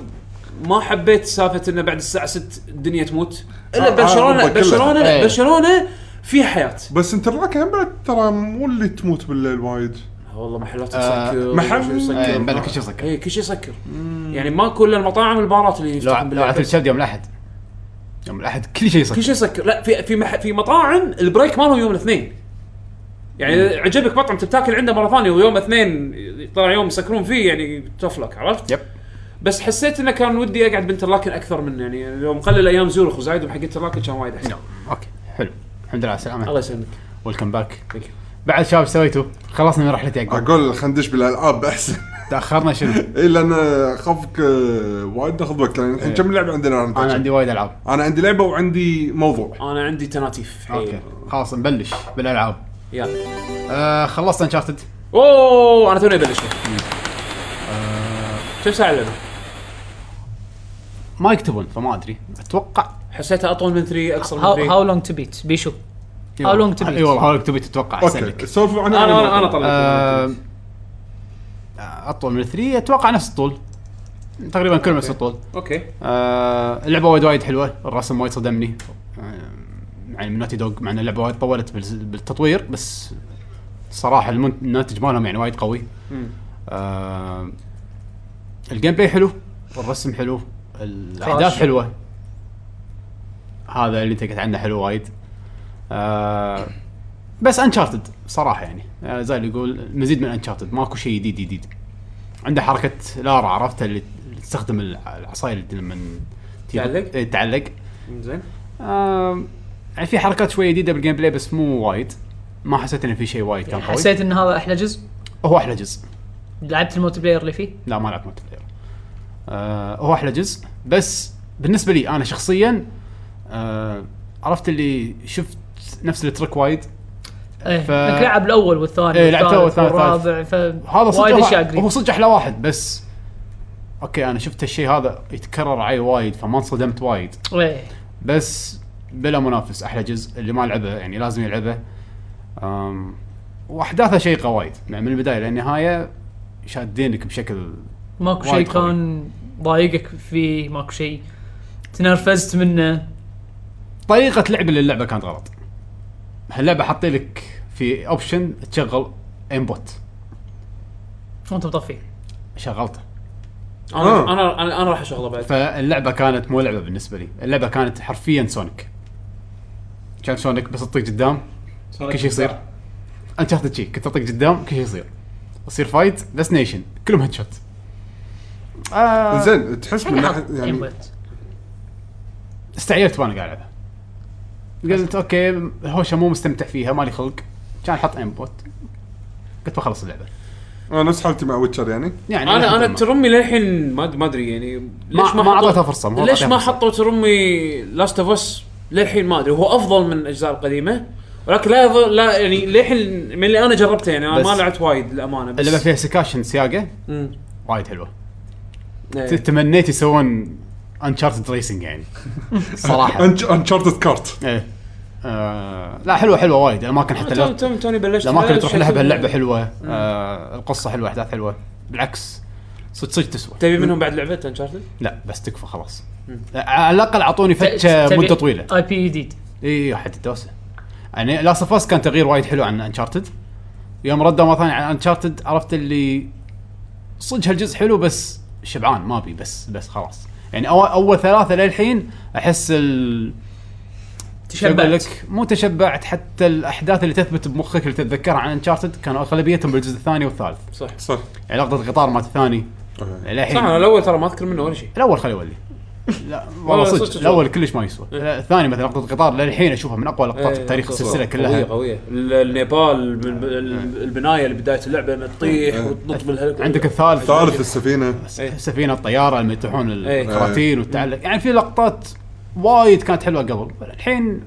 D: ما حبيت سالفه انه بعد الساعه 6 الدنيا تموت الا
C: آه، آه،
D: برشلونه
C: أوروبا كلها.
D: برشلونه
A: إيه.
D: لا، برشلونه في حياه
C: بس انت الراكب هم بعد ترى مو اللي تموت بالليل وايد
D: والله محلات
A: آه،
D: تسكر
C: محل-
D: وشي يسكر.
A: إيه، بلا كل شيء سكر
D: اي كل شيء يسكر يعني ما كل المطاعم البارات اللي
A: لو
D: يفتحون
A: لو
D: بالليل.
A: عاد الشد يوم الاحد يوم الاحد كل شيء
D: كل
A: سكر
D: شيء يسكر لا في في مح... في مطاعم البريك مالهم يوم الاثنين يعني اذا عجبك مطعم تبي تاكل عنده مره ثانيه ويوم اثنين طلع يوم يسكرون فيه يعني تفلك عرفت؟
A: يب.
D: بس حسيت انه كان ودي اقعد بنترلاكن اكثر من يعني لو مقلل ايام زورخ وزايد وحق ترلاكن كان وايد احسن
A: نعم. اوكي حلو الحمد لله على السلامه
D: الله يسلمك
A: ويلكم باك
D: Thank you.
A: بعد شباب سويتوا خلصنا من رحلتي عقب
C: اقول خلينا ندش بالالعاب [LAUGHS] احسن
A: تاخرنا شنو
C: اي لان اخافك آه، وايد ناخذ وقت لان الحين
A: إيه.
C: كم لعبه عندنا أنا,
A: انا
C: أتذكر؟
A: عندي وايد العاب
C: انا عندي لعبه وعندي موضوع
D: انا عندي تناتيف
B: إيه.
D: إيه.
A: اوكي خلاص نبلش بالالعاب
D: يلا
A: آه خلصت انشارتد
D: اوه انا توني ابلش كم ساعه اللعبه؟
A: ما يكتبون فما ادري اتوقع
D: حسيتها اطول من 3 اكثر من
B: هاو
D: 3
B: هاو لونج تو بيت بيشو How long to beat؟
A: اي إيه والله هاو لونج تو بيت اتوقع احسن لك
C: اوكي سولفوا عن
D: انا انا انا
A: آه،
D: طلعت
A: اطول من الثري اتوقع نفس الطول تقريبا كلهم نفس الطول
D: اوكي
A: آه، اللعبه وايد وايد حلوه الرسم وايد صدمني آه، يعني من نوتي دوغ مع ان اللعبه وايد طولت بالز- بالتطوير بس صراحه المن- الناتج مالهم يعني وايد قوي
D: مم.
A: آه، الجيم بلاي حلو الرسم حلو الاحداث
B: خلاص.
A: حلوه هذا اللي انت قلت عنه حلو وايد آه، بس انشارتد صراحه يعني آه، زي اللي يقول مزيد من انشارتد ماكو شيء جديد جديد عنده حركه لارا عرفتها اللي اللي تستخدم الع- العصايه اللي لما تجيب-
D: تعلق؟
A: إيه، تعلق
D: زين
A: آم، يعني في حركات شويه جديده بالجيم بلاي بس مو وايد ما حسيت ان في شيء وايد كان قوي
B: حسيت ان هذا احلى جزء
A: هو احلى جزء
B: لعبت الملتي بلاير اللي فيه
A: لا ما لعبت مالتي بلاير آه هو احلى جزء بس بالنسبه لي انا شخصيا آه عرفت اللي شفت نفس الترك وايد
B: ايه
A: ف-
B: انك لعب الاول والثاني
A: إيه، لعبت الأول
B: والثالث
A: والثالث.
B: والرابع
A: هذا
B: فهذا
A: صدق
B: وايد
A: هو-
B: اشياء
A: هو
B: قريب
A: صدق احلى واحد بس اوكي انا شفت الشيء هذا يتكرر علي وايد فما انصدمت وايد
B: إيه.
A: بس بلا منافس احلى جزء اللي ما لعبه يعني لازم يلعبه أم، واحداثه شيقه وايد يعني من البدايه للنهايه شادينك بشكل
B: ماكو
A: وايد
B: شيء
A: قوي.
B: كان ضايقك فيه ماكو شيء تنرفزت منه
A: طريقة لعب للعبة كانت غلط. هاللعبة حاطين لك في اوبشن تشغل انبوت
B: وانت مطفي
A: شغلته آه.
D: انا انا انا, أنا راح اشغله بعد
A: فاللعبة كانت مو لعبة بالنسبة لي، اللعبة كانت حرفيا سونيك. كان سونيك بس تطيق قدام كل شيء يصير. انت تاخذ شي كنت تطيق قدام كل شيء يصير. يصير فايت ديستنيشن كلهم هيد شوت. آه
C: زين تحس من ناحيه يعني
B: Aimbot.
A: استعيرت وانا قاعد العبها. قلت اوكي الهوشه مو مستمتع فيها مالي خلق كان حط انبوت. قلت بخلص اللعبة.
C: انا نفس حالتي مع ويتشر يعني
A: يعني
D: انا
A: لحد
D: انا
A: ما.
D: ترمي للحين ما ما ادري يعني ليش
A: ما
D: حطوا-
A: أعطيتها فرصة، ما
D: ليش
A: أعطيتها
D: ما
A: فرصة.
D: حطوا ترمي لاست اوف اس للحين ما ادري هو افضل من الاجزاء القديمه ولكن لا يظل لا يعني للحين من اللي انا جربته يعني انا
A: بس-
D: ما لعبت وايد للامانه بس
A: اللعبه فيها سكاشن سياقه
D: مم.
A: وايد حلوه
D: إيه.
A: تمنيت يسوون انشارتد ريسنج يعني صراحه
C: انشارتد كارت
A: ايه آه لا حلوه حلوه وايد الاماكن حتى
D: آه، تو-
A: لا
D: تو- توني بلشت
A: الاماكن اللي
D: فيها،
A: تروح لها
D: شكل-
A: بهاللعبه حلوه آه القصه حلوه احداث حلوه بالعكس صدق صدق تسوى
D: تبي منهم بعد لعبه انشارتد؟
A: لا بس تكفى خلاص آه، على الاقل اعطوني
B: ت-
A: فتشه
B: تبي E
A: مده طويله
B: اي بي جديد
A: اي اي إيه، حتى الدوسه يعني لاست اوف اس كان تغيير وايد حلو عن انشارتد يوم ردوا مره ثانيه عن انشارتد عرفت اللي صدق هالجزء حلو بس شبعان ما ابي بس بس خلاص يعني اول اول ثلاثه للحين احس ال شو أقول
B: تشبعت
A: لك مو تشبعت حتى الاحداث اللي تثبت بمخك اللي تتذكرها عن انشارتد كانوا اغلبيتهم بالجزء الثاني والثالث
D: صح
C: صح
A: يعني لقطه القطار مالت الثاني
C: آه.
D: صح انا
A: للحين
D: الاول ترى ما اذكر منه ولا شيء
A: الاول خليه يولي
D: [LAUGHS]
A: لا والله
D: صدق-
A: صدق
D: صدق.
A: الاول كلش ما يسوى لا، الثاني مثلا لقطه القطار للحين اشوفها من اقوى لقطات
D: إيه،
A: في تاريخ
D: صح.
A: السلسله كلها إيه.
D: قويه قويه ال- النيبال ال- ال- البنايه اللي بدايه اللعبه انها تطيح
C: إيه.
D: وتنط بالهليكوبتر
A: عندك الثالث
C: ثالث السفينه
A: س-
D: إيه.
A: السفينه الطياره لما يطيحون
D: إيه.
A: الكراتين والتعلق يعني في لقطات وايد كانت حلوه قبل الحين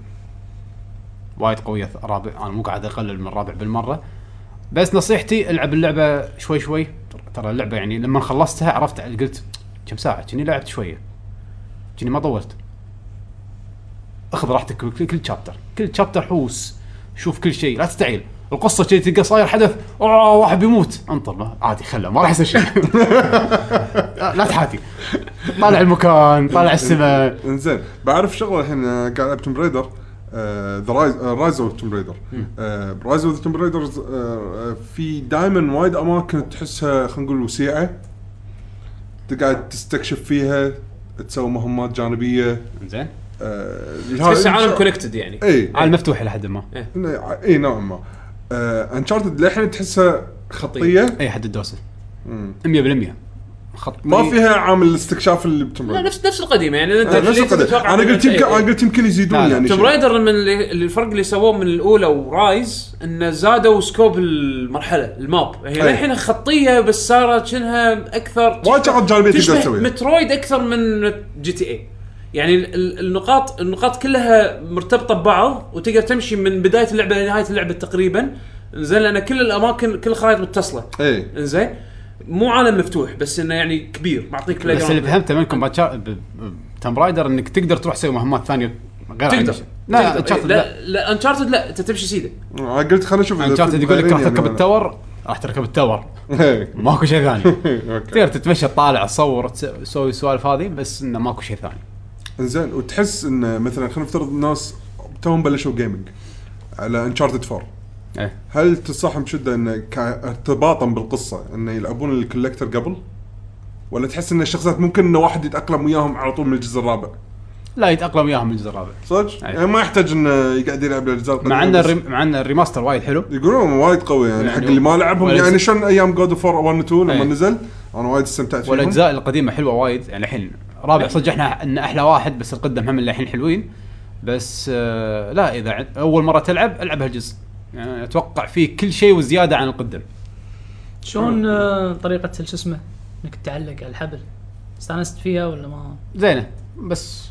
A: وايد قويه رابع انا مو قاعد اقلل من رابع بالمره بس نصيحتي العب اللعبه شوي شوي ترى اللعبه يعني لما خلصتها عرفت قلت كم ساعه كني لعبت شويه كني ما طولت اخذ راحتك بكل- كل شابتر كل شابتر حوس شوف كل شيء لا تستعيل القصه شيء تلقى صاير حدث اوه واحد بيموت انطر له عادي خله ما راح يصير شيء [LAUGHS] لا تحاتي طالع المكان طالع السماء
C: انزين بعرف شغله الحين آه، قاعد العب توم ريدر ذا رايز اوف توم ريدر رايز اوف توم ريدر آه، في دائما وايد اماكن تحسها خلينا نقول وسيعه تقعد تستكشف فيها تسوي مهمات آه، جانبيه
A: زين
D: تحس عالم كونكتد يعني
C: اي
A: عالم مفتوح الى حد ما
C: اي نوعا إيه، ما انشارتد للحين تحسها خطيه
A: اي حد الدوسه
C: طيب. مم.
A: 100% خط
C: ما فيها عامل الاستكشاف اللي بتوم
D: لا
C: ريدر
D: نفس نفس القديمه يعني انت
C: آه، نفس القدر. انا قلت يمكن انا قلت يمكن يزيدون
A: لا، لا،
C: يعني
D: توم
C: شيء.
D: رايدر من اللي- اللي الفرق اللي سووه من الاولى ورايز انه زادوا سكوب المرحله الماب هي
C: أي.
D: الحين خطيه بس صارت شنها اكثر
C: وايد شغلات جانبيه تقدر
D: تشبه
C: تسويها
D: مترويد اكثر من جي تي اي يعني ال- ال- النقاط النقاط كلها مرتبطه ببعض وتقدر تمشي من بدايه اللعبه لنهايه اللعبه تقريبا زين لان كل الاماكن كل الخرائط متصله
C: اي
D: زين مو عالم مفتوح بس انه يعني كبير معطيك بلاي
A: بس اللي فهمته منكم باتشا- ب- ب- تم رايدر انك تقدر تروح تسوي مهمات ثانيه غير عن
D: تقدر
A: الشيء. لا
D: تقدر.
A: انشارتد لا
D: لا لا انشارتد لا انت تمشي سيده
C: أنا قلت خليني اشوف إذا
A: انشارتد
C: في
A: يقول لك راح
C: مغيرين
A: تركب
C: يعني
A: التاور راح تركب التاور
C: [LAUGHS] إيه.
A: ماكو شيء ثاني
C: اوكي
A: تقدر تتمشى تطالع تصور تس- تسوي السوالف هذه بس انه ماكو شيء ثاني
C: زين وتحس ان مثلا خلينا نفترض الناس توهم بلشوا جيمنج على انشارتد 4
A: ايه
C: هل تنصحهم بشده انه كارتباطا بالقصه انه يلعبون الكولكتر قبل؟ ولا تحس ان الشخصيات ممكن انه واحد يتاقلم وياهم على طول من الجزء الرابع؟
A: لا يتاقلم وياهم من الجزء الرابع
C: صدق؟
A: أي.
C: يعني ما يحتاج انه يقعد يلعب الاجزاء القديمة
A: إيه. مع ان الري...
C: طيب، بس
A: مع ان الريماستر وايد حلو
C: يقولون وايد قوي يعني,
A: يعني إيه.
C: حق اللي ما لعبهم
A: ولا-
C: يعني شلون ايام جود اوف 1 و 2 لما
A: أي.
C: نزل انا وايد استمتعت فيهم
A: والاجزاء القديمه حلوه وايد يعني الحين رابع صدق احنا ان احلى واحد بس القدم هم اللي الحين حلوين بس آه لا اذا عن- اول مره تلعب العب هالجزء يعني اتوقع فيه كل شيء وزياده عن القدم
B: شلون آه، طريقه شو اسمه انك تعلق على الحبل استانست فيها ولا ما؟
A: زينه بس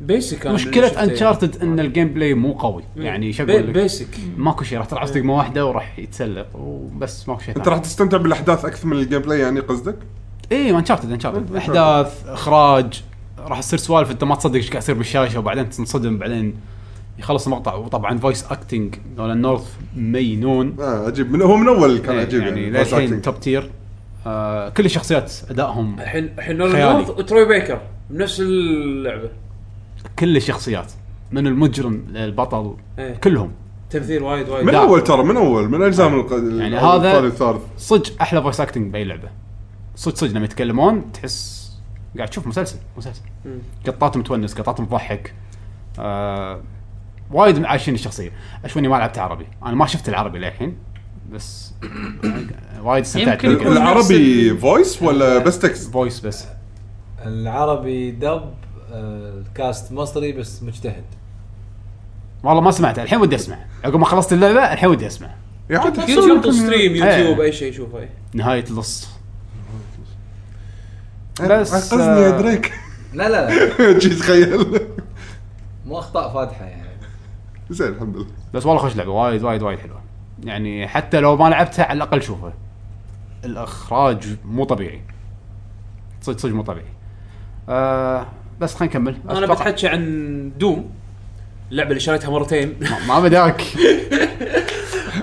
D: بيسك
A: مشكله انشارتد ان الجيم بلاي مو قوي يعني شو اقول لك
D: بيسك
A: ماكو شيء راح تلعب دقمه واحده وراح يتسلق وبس ماكو شيء
C: انت راح تستمتع بالاحداث اكثر من الجيم بلاي يعني قصدك؟
A: اي انشارتد انشارتد احداث اخراج راح تصير سوالف انت ما تصدق ايش قاعد يصير بالشاشه وبعدين تنصدم بعدين يخلص المقطع وطبعا فويس اكتنج نولان نورث مينون
C: اه عجيب من هو من اول كان
A: إيه،
C: عجيب
A: يعني
C: يعني
A: للحين
C: voice acting.
A: توب تير آه كل الشخصيات ادائهم
D: الحين الحين نولان
A: خيالي.
D: نورث وتروي بيكر بنفس اللعبه
A: كل الشخصيات من المجرم للبطل
D: إيه.
A: كلهم
D: تمثيل وايد وايد
C: من
A: لا.
C: اول ترى من اول من اجزاء من الق-
A: يعني
C: الأول،
A: هذا-
C: الثاني الثالث
A: صدق احلى فويس اكتنج باي لعبه صدق صدق لما يتكلمون تحس قاعد تشوف مسلسل مسلسل
D: مم.
A: قطات متونس قطات مضحك آه وايد عايشين الشخصيه اشوف اني ما لعبت عربي انا ما شفت العربي للحين بس وايد استمتعت
B: يمكن يكون-
A: بالجيم.
C: العربي فويس ولا بس تكست؟
A: فويس بس
E: العربي دب آه، الكاست مصري بس مجتهد
A: والله ما سمعت الحين ودي اسمع عقب ما خلصت اللعبه الحين ودي اسمع
C: يعني
D: يوتيوب ستريم
A: إيه.
D: يوتيوب اي شيء شوفه إيه.
A: نهايه اللص
C: بس
A: بس،
C: عقزني إيه، يا
A: آه،
C: دريك [LAUGHS]
E: لا لا لا
C: شي تخيل
E: مو اخطاء فادحه يعني
C: زين الحمد لله
A: بس والله خوش لعبه وايد وايد وايد حلوه يعني حتى لو ما لعبتها على الاقل شوفها الاخراج مو طبيعي صدق صدق مو طبيعي آه بس خلينا نكمل
D: انا
A: أتوقع-
D: بتحكي عن دوم اللعبه اللي شريتها مرتين
A: ما- ما بداك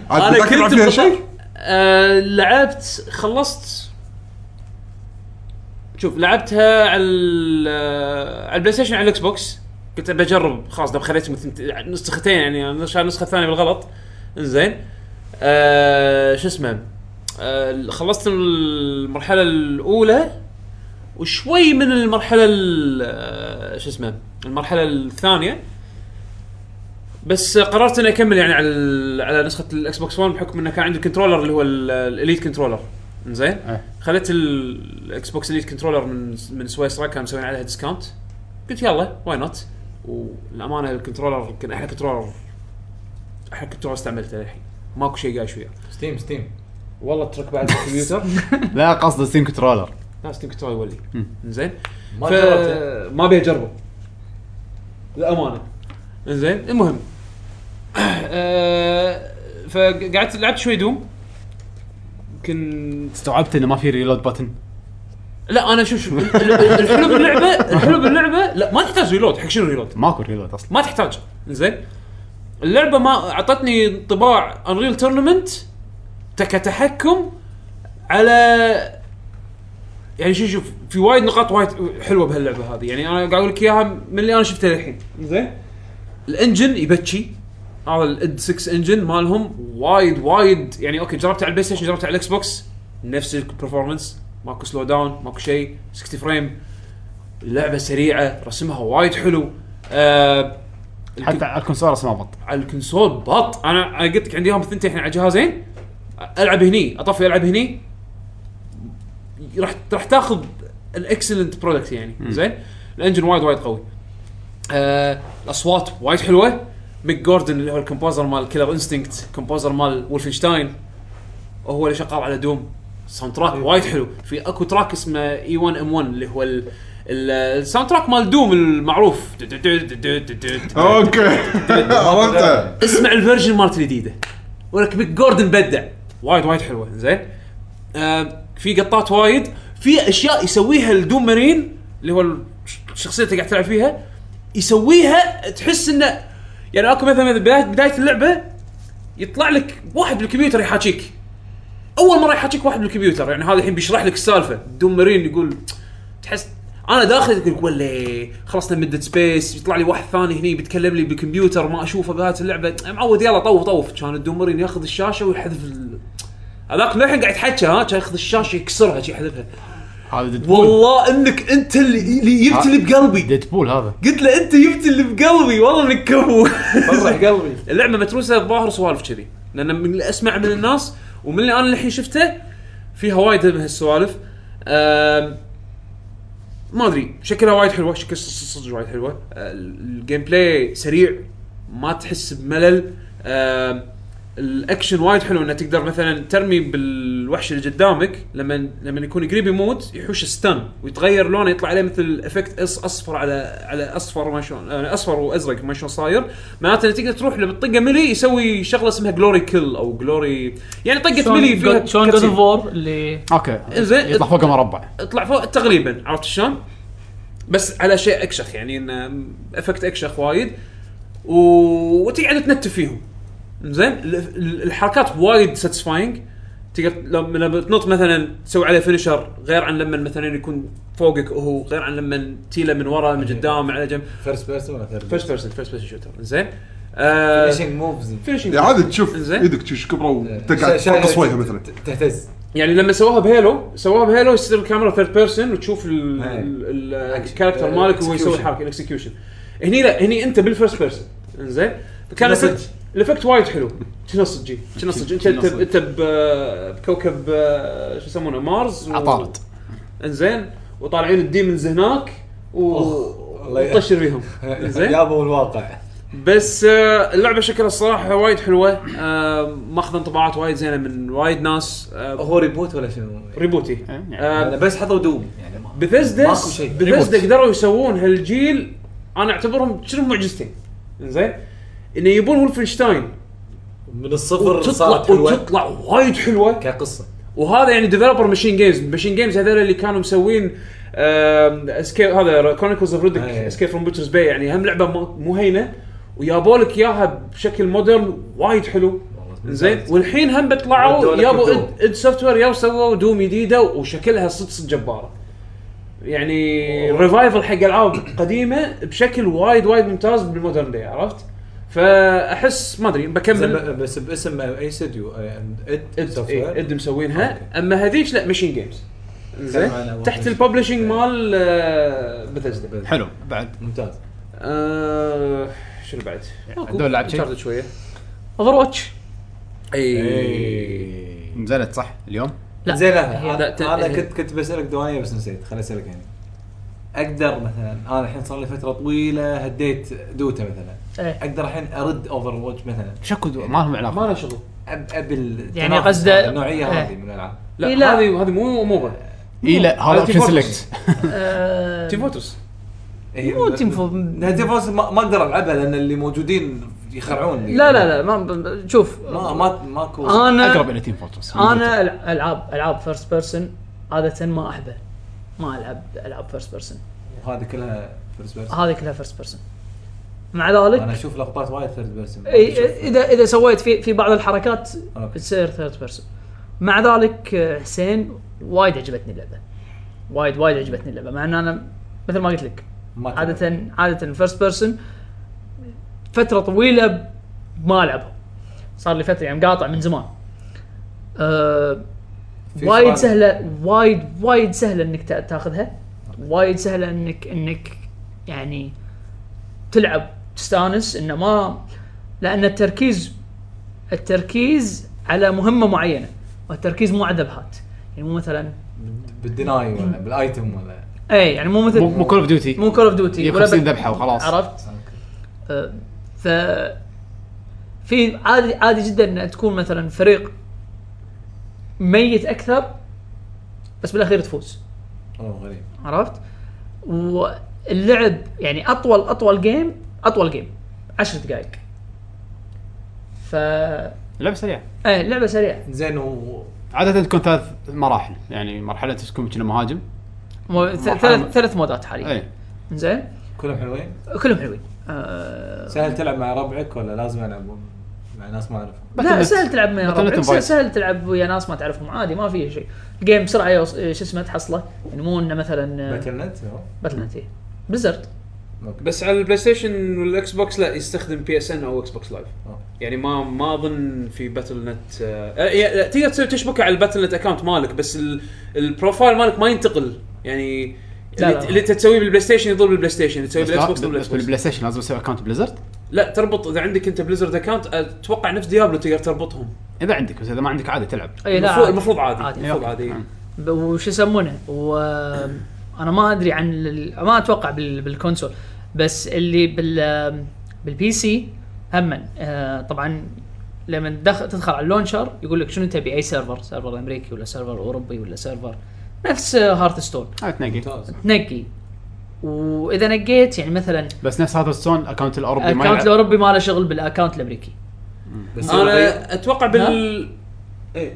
C: عاد بدك تلعب فيها
D: بط-
C: شيء؟
D: آه، لعبت خلصت شوف لعبتها على ال- آه، على البلاي ستيشن على الاكس بوكس قلت بجرب خلاص دام خليتهم ثنت- نسختين يعني أنا شايل النسخه الثانيه بالغلط انزين آه شو اسمه آه خلصت المرحله الاولى وشوي من المرحله ال- آه، شو اسمه المرحله الثانيه بس قررت اني اكمل يعني على ال- على نسخه الاكس بوكس 1 بحكم انه كان عندي الكنترولر اللي هو ال- الاليت كنترولر زين
A: إيه.
D: خليت ال- الاكس بوكس اليت كنترولر من من سويسرا كان مسوين عليها ديسكاونت قلت يلا واي نوت والامانه الكنترولر يمكن احلى كنترولر احلى كنترولر استعملته للحين ماكو شيء قايش وياه
E: ستيم ستيم
D: والله ترك بعد الكمبيوتر
A: [LAUGHS] لا قصد ستيم كنترولر
D: لا ستيم كنترول يولي زين
E: ما
D: ف-
E: جربته
D: ما ابي اجربه للامانه زين المهم [COUGHS] آه، فقعدت لعبت شوي دوم يمكن
A: استوعبت انه ما في ريلود بتن
D: لا انا شوف شوف ال- ال- الحلو باللعبه الحلو باللعبه لا ما تحتاج ريلود حق شنو ريلود
A: ماكو ريلود اصلا
D: ما تحتاج زين اللعبه ما اعطتني انطباع انريل تورنمنت كتحكم على يعني شوف شوف في وايد نقاط وايد حلوه بهاللعبه هذه يعني انا قاعد اقول لك اياها من اللي انا شفتها الحين زين الانجن يبكي هذا الاد 6 انجن مالهم وايد وايد يعني اوكي جربته على البلاي ستيشن جربته على الاكس بوكس نفس البرفورمانس ماكو سلو داون ماكو شيء 60 فريم اللعبه سريعه رسمها وايد حلو آه الك-
A: حتى على الكونسول اصلا ما بط
D: على الكونسول بط انا انا قلت لك عندي يوم ثنتين الحين على جهازين العب هني اطفي العب هني راح راح تاخذ الاكسلنت برودكت يعني زين الانجن وايد وايد قوي آه الاصوات وايد حلوه ميك جوردن اللي هو الكومبوزر مال كيلر انستنكت كومبوزر مال وولفنشتاين هو اللي شغال على دوم ساوند تراك وايد حلو في اكو تراك اسمه E اي 1 ام 1 اللي هو ال- ال- الساوند تراك مال دوم المعروف
C: اوكي [LAUGHS] عرفته
D: اسمع الفيرجن مالت الجديده ولك ميك جوردن بدع وايد وايد حلوه زين آه في قطات وايد في اشياء يسويها الدوم مارين اللي هو الش- الشخصيه اللي قاعد تلعب فيها يسويها تحس انه يعني اكو مثلا مثلا بدايه بدايه اللعبه يطلع لك واحد بالكمبيوتر يحاكيك اول مره يحاكيك واحد بالكمبيوتر يعني هذا الحين بيشرح لك السالفه دوم مارين يقول تحس انا داخل يقول ولا خلصنا مدة سبيس يطلع لي واحد ثاني هني بيتكلم لي بالكمبيوتر ما اشوفه بهات اللعبه معود يلا طوف طوف كان الدومرين ياخذ الشاشه ويحذف ال... هذاك للحين قاعد يتحكى ها كان ياخذ الشاشه يكسرها شي يحذفها
A: هذا ديدبول
D: والله انك انت اللي, اللي جبت اللي بقلبي
A: ديدبول هذا
D: قلت له انت جبت اللي بقلبي والله انك كفو [LAUGHS]
E: فرح قلبي
D: اللعبه متروسه بظاهر سوالف كذي لان من اللي اسمع من الناس ومن اللي انا الحين شفته فيها وايد من هالسوالف آم، ما ادري شكلها وايد حلوه شكل ص- صدق وايد حلوه آه، الجيم بلاي سريع ما تحس بملل آم، الاكشن وايد حلو انه تقدر مثلا ترمي بالوحش اللي قدامك لما لما يكون قريب يموت يحوش ستان ويتغير لونه يطلع عليه مثل افكت أص اصفر على على اصفر ما شلون آه، اصفر وازرق ما شلون صاير معناته إنه تقدر تروح لما تطقه ملي يسوي شغله اسمها جلوري كل او جلوري يعني طقه ملي فيها
B: شلون جود
D: cutscene.
B: اوف وور اللي
A: اوكي
D: زين.
A: يطلع فوق مربع
D: اطلع فوق تقريبا عرفت شلون؟ بس على شيء اكشخ يعني انه افكت اكشخ وايد و... وتقعد تنتف فيهم زين ال- ال- الحركات وايد ساتسفاينج تقدر لما لما تنط مثلا تسوي عليه فينشر غير عن لما مثلا يكون فوقك وهو غير عن لما تيله من ورا من قدام على جنب
E: فيرست بيرسون ولا ثيرد
D: فيرست بيرسون فيرست بيرسون شوتر زين آه
E: فينشنج موفز
D: finishing.
C: يا عادي تشوف
D: زين.
C: ايدك تشوش كبره وتقعد تفقص وجهه مثلا
E: تهتز
D: يعني لما سووها بهيلو سووها بهيلو يصير الكاميرا ثيرد بيرسون وتشوف ال-
E: أي.
D: ال- ال-
E: Action.
D: الكاركتر
E: Uh,
D: مالك وهو يسوي
E: execution.
D: الحركه الاكسكيوشن هني لا هني انت بالفيرست بيرسون انزين فكان
E: نصج.
D: الإفكت- الافكت وايد حلو كنا صجي كنا صجي انت انت انت ب- بكوكب آه، شو يسمونه مارس و-
A: عطارد
D: انزين وطالعين الديمنز هناك و-
E: أوه. الله ي-
D: وطشر
E: [LAUGHS]
D: بيهم انزين
E: جابوا الواقع
D: بس آه، اللعبه شكلها الصراحه وايد حلوه آه، ماخذ انطباعات وايد زينه من وايد ناس آه،
E: هو ريبوت ولا شنو؟
D: ريبوتي آه،
E: يعني بس حطوا دوم يعني ما-
D: بثزدا
E: ماكو شيء.
D: بثزدا
A: ريبوت.
D: قدروا يسوون هالجيل انا اعتبرهم شنو معجزتين زين انه يبون ولفنشتاين
E: من الصفر صارت
D: وتطلع
E: حلوه
D: وتطلع وايد حلوه
E: كقصه
D: وهذا يعني ديفلوبر ماشين جيمز ماشين جيمز هذول اللي كانوا مسوين اسكيب هذا كرونيكلز اوف ريدك
E: أي.
D: اسكيب فروم بوتشرز باي يعني هم لعبه مو- مو هينه ويابوا لك اياها بشكل مودرن وايد حلو زين والحين هم بيطلعوا
E: ودوا لك
D: يابوا
E: الدوم.
D: اد, اد سوفت وير يابوا سووا دوم جديده وشكلها صدق صدق جباره يعني ريفايفل حق العاب قديمه بشكل وايد وايد ممتاز بالمودرن دي عرفت؟ فاحس ما ادري بكمل
E: زين، بس باسم اي استوديو اد
D: اد
E: سوفت
D: إيه،
E: وير
D: اد مسوينها
E: أوكي.
D: اما هذيك لا ماشين جيمز زين
E: كان معنا
D: تحت
E: One
D: الببلشنج
E: Piece.
D: مال آه، بثزدا
A: حلو بعد
E: ممتاز
D: آه، شنو بعد؟
E: يعني
A: عدول لعب شيء؟
D: Uncharted إيه. شويه
B: اوفر واتش
E: إيه.
D: اي
A: نزلت صح اليوم
B: لا.
E: زين
B: هي-
E: لا
D: لا،
E: أنا- انا
D: هي-
E: كنت كنت بسالك دوانيه بس نسيت خليني اسالك يعني اقدر مثلا انا الحين صار لي فتره طويله هديت دوتا مثلا
B: إيه.
E: اقدر الحين ارد اوفر واتش مثلا
A: شكو ما لهم علاقه
D: ما له شغل
E: أب أب التنافس
B: يعني
E: هذا،
B: قصده-
E: النوعيه هذه
B: إيه.
E: من الالعاب
D: لا
B: إي لا.
D: هذه هذه مو موبا
A: اي إيه، لا هذا
D: هذا
A: اوبشن
D: Team Fortress.
A: سيلكت
B: آه،
D: تيم فورترس
E: هي
B: مو
E: ب-
B: تيم فو-
E: إيه، لا، تيم فورس ما ما اقدر العبها لان اللي موجودين يخرعون
B: لا لا لا ما ب- شوف
E: ما ما ماكو
A: اقرب
B: انا
A: الى تيم فورترس
B: انا ألع- العاب العاب فيرست بيرسون عاده ما احبه ما العب العاب فيرست بيرسون
E: وهذه كلها فيرست بيرسون
B: هذه كلها فيرست بيرسون مع ذلك
E: انا اشوف لقطات وايد ثيرد بيرسون
B: إي- اذا اذا سويت في في بعض الحركات
E: أوكي.
B: تصير ثيرد بيرسون مع ذلك آه، حسين وايد عجبتني اللعبه وايد وايد عجبتني اللعبه مع ان انا مثل ما قلت لك
E: ما تلعب.
B: عاده عاده الفيرست بيرسون فتره طويله ما العبها صار لي فتره يعني مقاطع من زمان أه
E: في
B: وايد
E: سؤال.
B: سهله وايد وايد سهله انك تا- تاخذها وايد سهله انك انك يعني تلعب تستانس انه ما لان التركيز التركيز على مهمه معينه والتركيز مو على ذبحات يعني مو مثلا
E: بالديناي ولا بالايتم ولا
B: اي يعني مو مثل
A: مو مو كول اوف ديوتي
B: مو كول اوف ديوتي
A: هي 50 ذبحة وخلاص.
B: عرفت؟ آه، ف في عادي عادي جدا ان تكون مثلا فريق ميت اكثر بس بالاخير تفوز
E: اوه غريب
B: عرفت؟ واللعب يعني اطول اطول جيم اطول جيم 10 دقائق ف
A: لعبه سريعه
B: ايه لعبه سريعه
E: زين و
A: عاده تكون ثلاث مراحل يعني مرحله تكون كنا مهاجم
B: مو- ث-
A: محامي.
B: ثلاث ثلاث مودات حاليا
A: اي
B: زين
E: كلهم حلوين
B: كلهم حلوين آه،
E: سهل تلعب مع ربعك ولا لازم العب مع ناس ما اعرفهم
B: لا
A: بتنت-
B: سهل تلعب مع
A: بتنت
B: ربعك
A: موبايل.
B: سهل, سهل تلعب ويا ناس ما تعرفهم عادي ما في شيء الجيم بسرعه يوص... شو اسمه تحصله يعني مو انه مثلا
E: باتل نت أو؟
B: باتل بليزرد
E: أوكي.
D: بس على البلاي ستيشن والاكس بوكس لا يستخدم بي اس ان او اكس بوكس لايف
A: آه.
E: أوه.
D: يعني ما ما اظن في باتل نت آه آه، يعني لا، تقدر تسوي تشبكه على الباتل نت اكونت مالك بس ال- البروفايل مالك ما ينتقل يعني
B: لا،
D: اللي
B: لا.
D: اللي انت تسويه بالبلاي ستيشن يضل بالبلاي ستيشن اللي تسويه
A: بس
D: بالاكس
A: لا-
D: بوكس يضل
A: بس
D: بالاكس بوكس
A: بالبلاي ستيشن لازم اسوي اكونت بليزرد
D: لا تربط اذا عندك انت بليزرد اكونت اتوقع نفس ديابلو تقدر تربطهم
A: اذا عندك بس اذا ما عندك عادي تلعب
B: اي لا عادي.
D: المفروض المفروض عادي
B: عادي.
D: المفروض
A: إيه، أوكي.
D: عادي
A: آه.
B: ب- وش يسمونه و انا ما ادري عن ال... ما اتوقع بال... بالكونسول بس اللي بال بالبي سي هما آه طبعا لما تدخل تدخل على اللونشر يقول لك شنو تبي اي سيرفر سيرفر امريكي ولا سيرفر اوروبي ولا سيرفر نفس هارت ستون
A: آه،
B: طيب.
A: تنقي
E: ممتاز
B: تنقي واذا نقيت يعني مثلا
A: بس نفس هذا السون اكونت الاوروبي يعني ما
B: الاكونت
A: يلعب
B: الاوروبي ما له شغل بالاكونت الامريكي
E: بس انا
D: انا اتوقع بال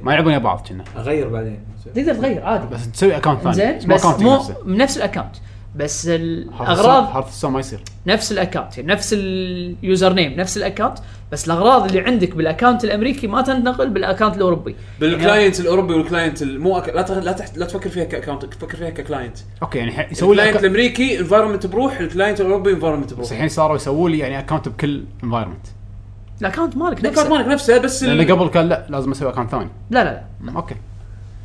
A: ما يلعبون يا بعض كنا
E: اغير بعدين
B: تقدر تغير عادي
A: بس تسوي اكونت ثاني
B: زين
A: ما
B: بس
A: اكونت
B: مو
A: نفسه
B: نفس الاكونت بس الاغراض
A: هارت ستون ما يصير
B: نفس الاكونت يعني نفس اليوزر نيم نفس الاكونت بس الاغراض اللي عندك بالاكونت الامريكي ما تنتقل بالاكونت الاوروبي
D: بالكلاينت الاوروبي والكلاينت ال- مو أك... لا تغ... لا تحت... لا تفكر فيها كاكونت تفكر فيها ككلاينت
A: اوكي يعني الحين يسوي لي
D: الكلاينت
A: أك-
D: الامريكي انفايرمنت بروح الكلاينت الاوروبي انفايرمنت
A: بس
D: بروح
A: الحين صاروا يسووا لي يعني اكونت بكل انفايرمنت
B: الاكونت مالك
D: الاكونت
B: نفسه
D: مالك نفسه بس ال-
A: لان قبل كان لا لازم اسوي اكونت ثاني
B: لا لا لا
A: مم، اوكي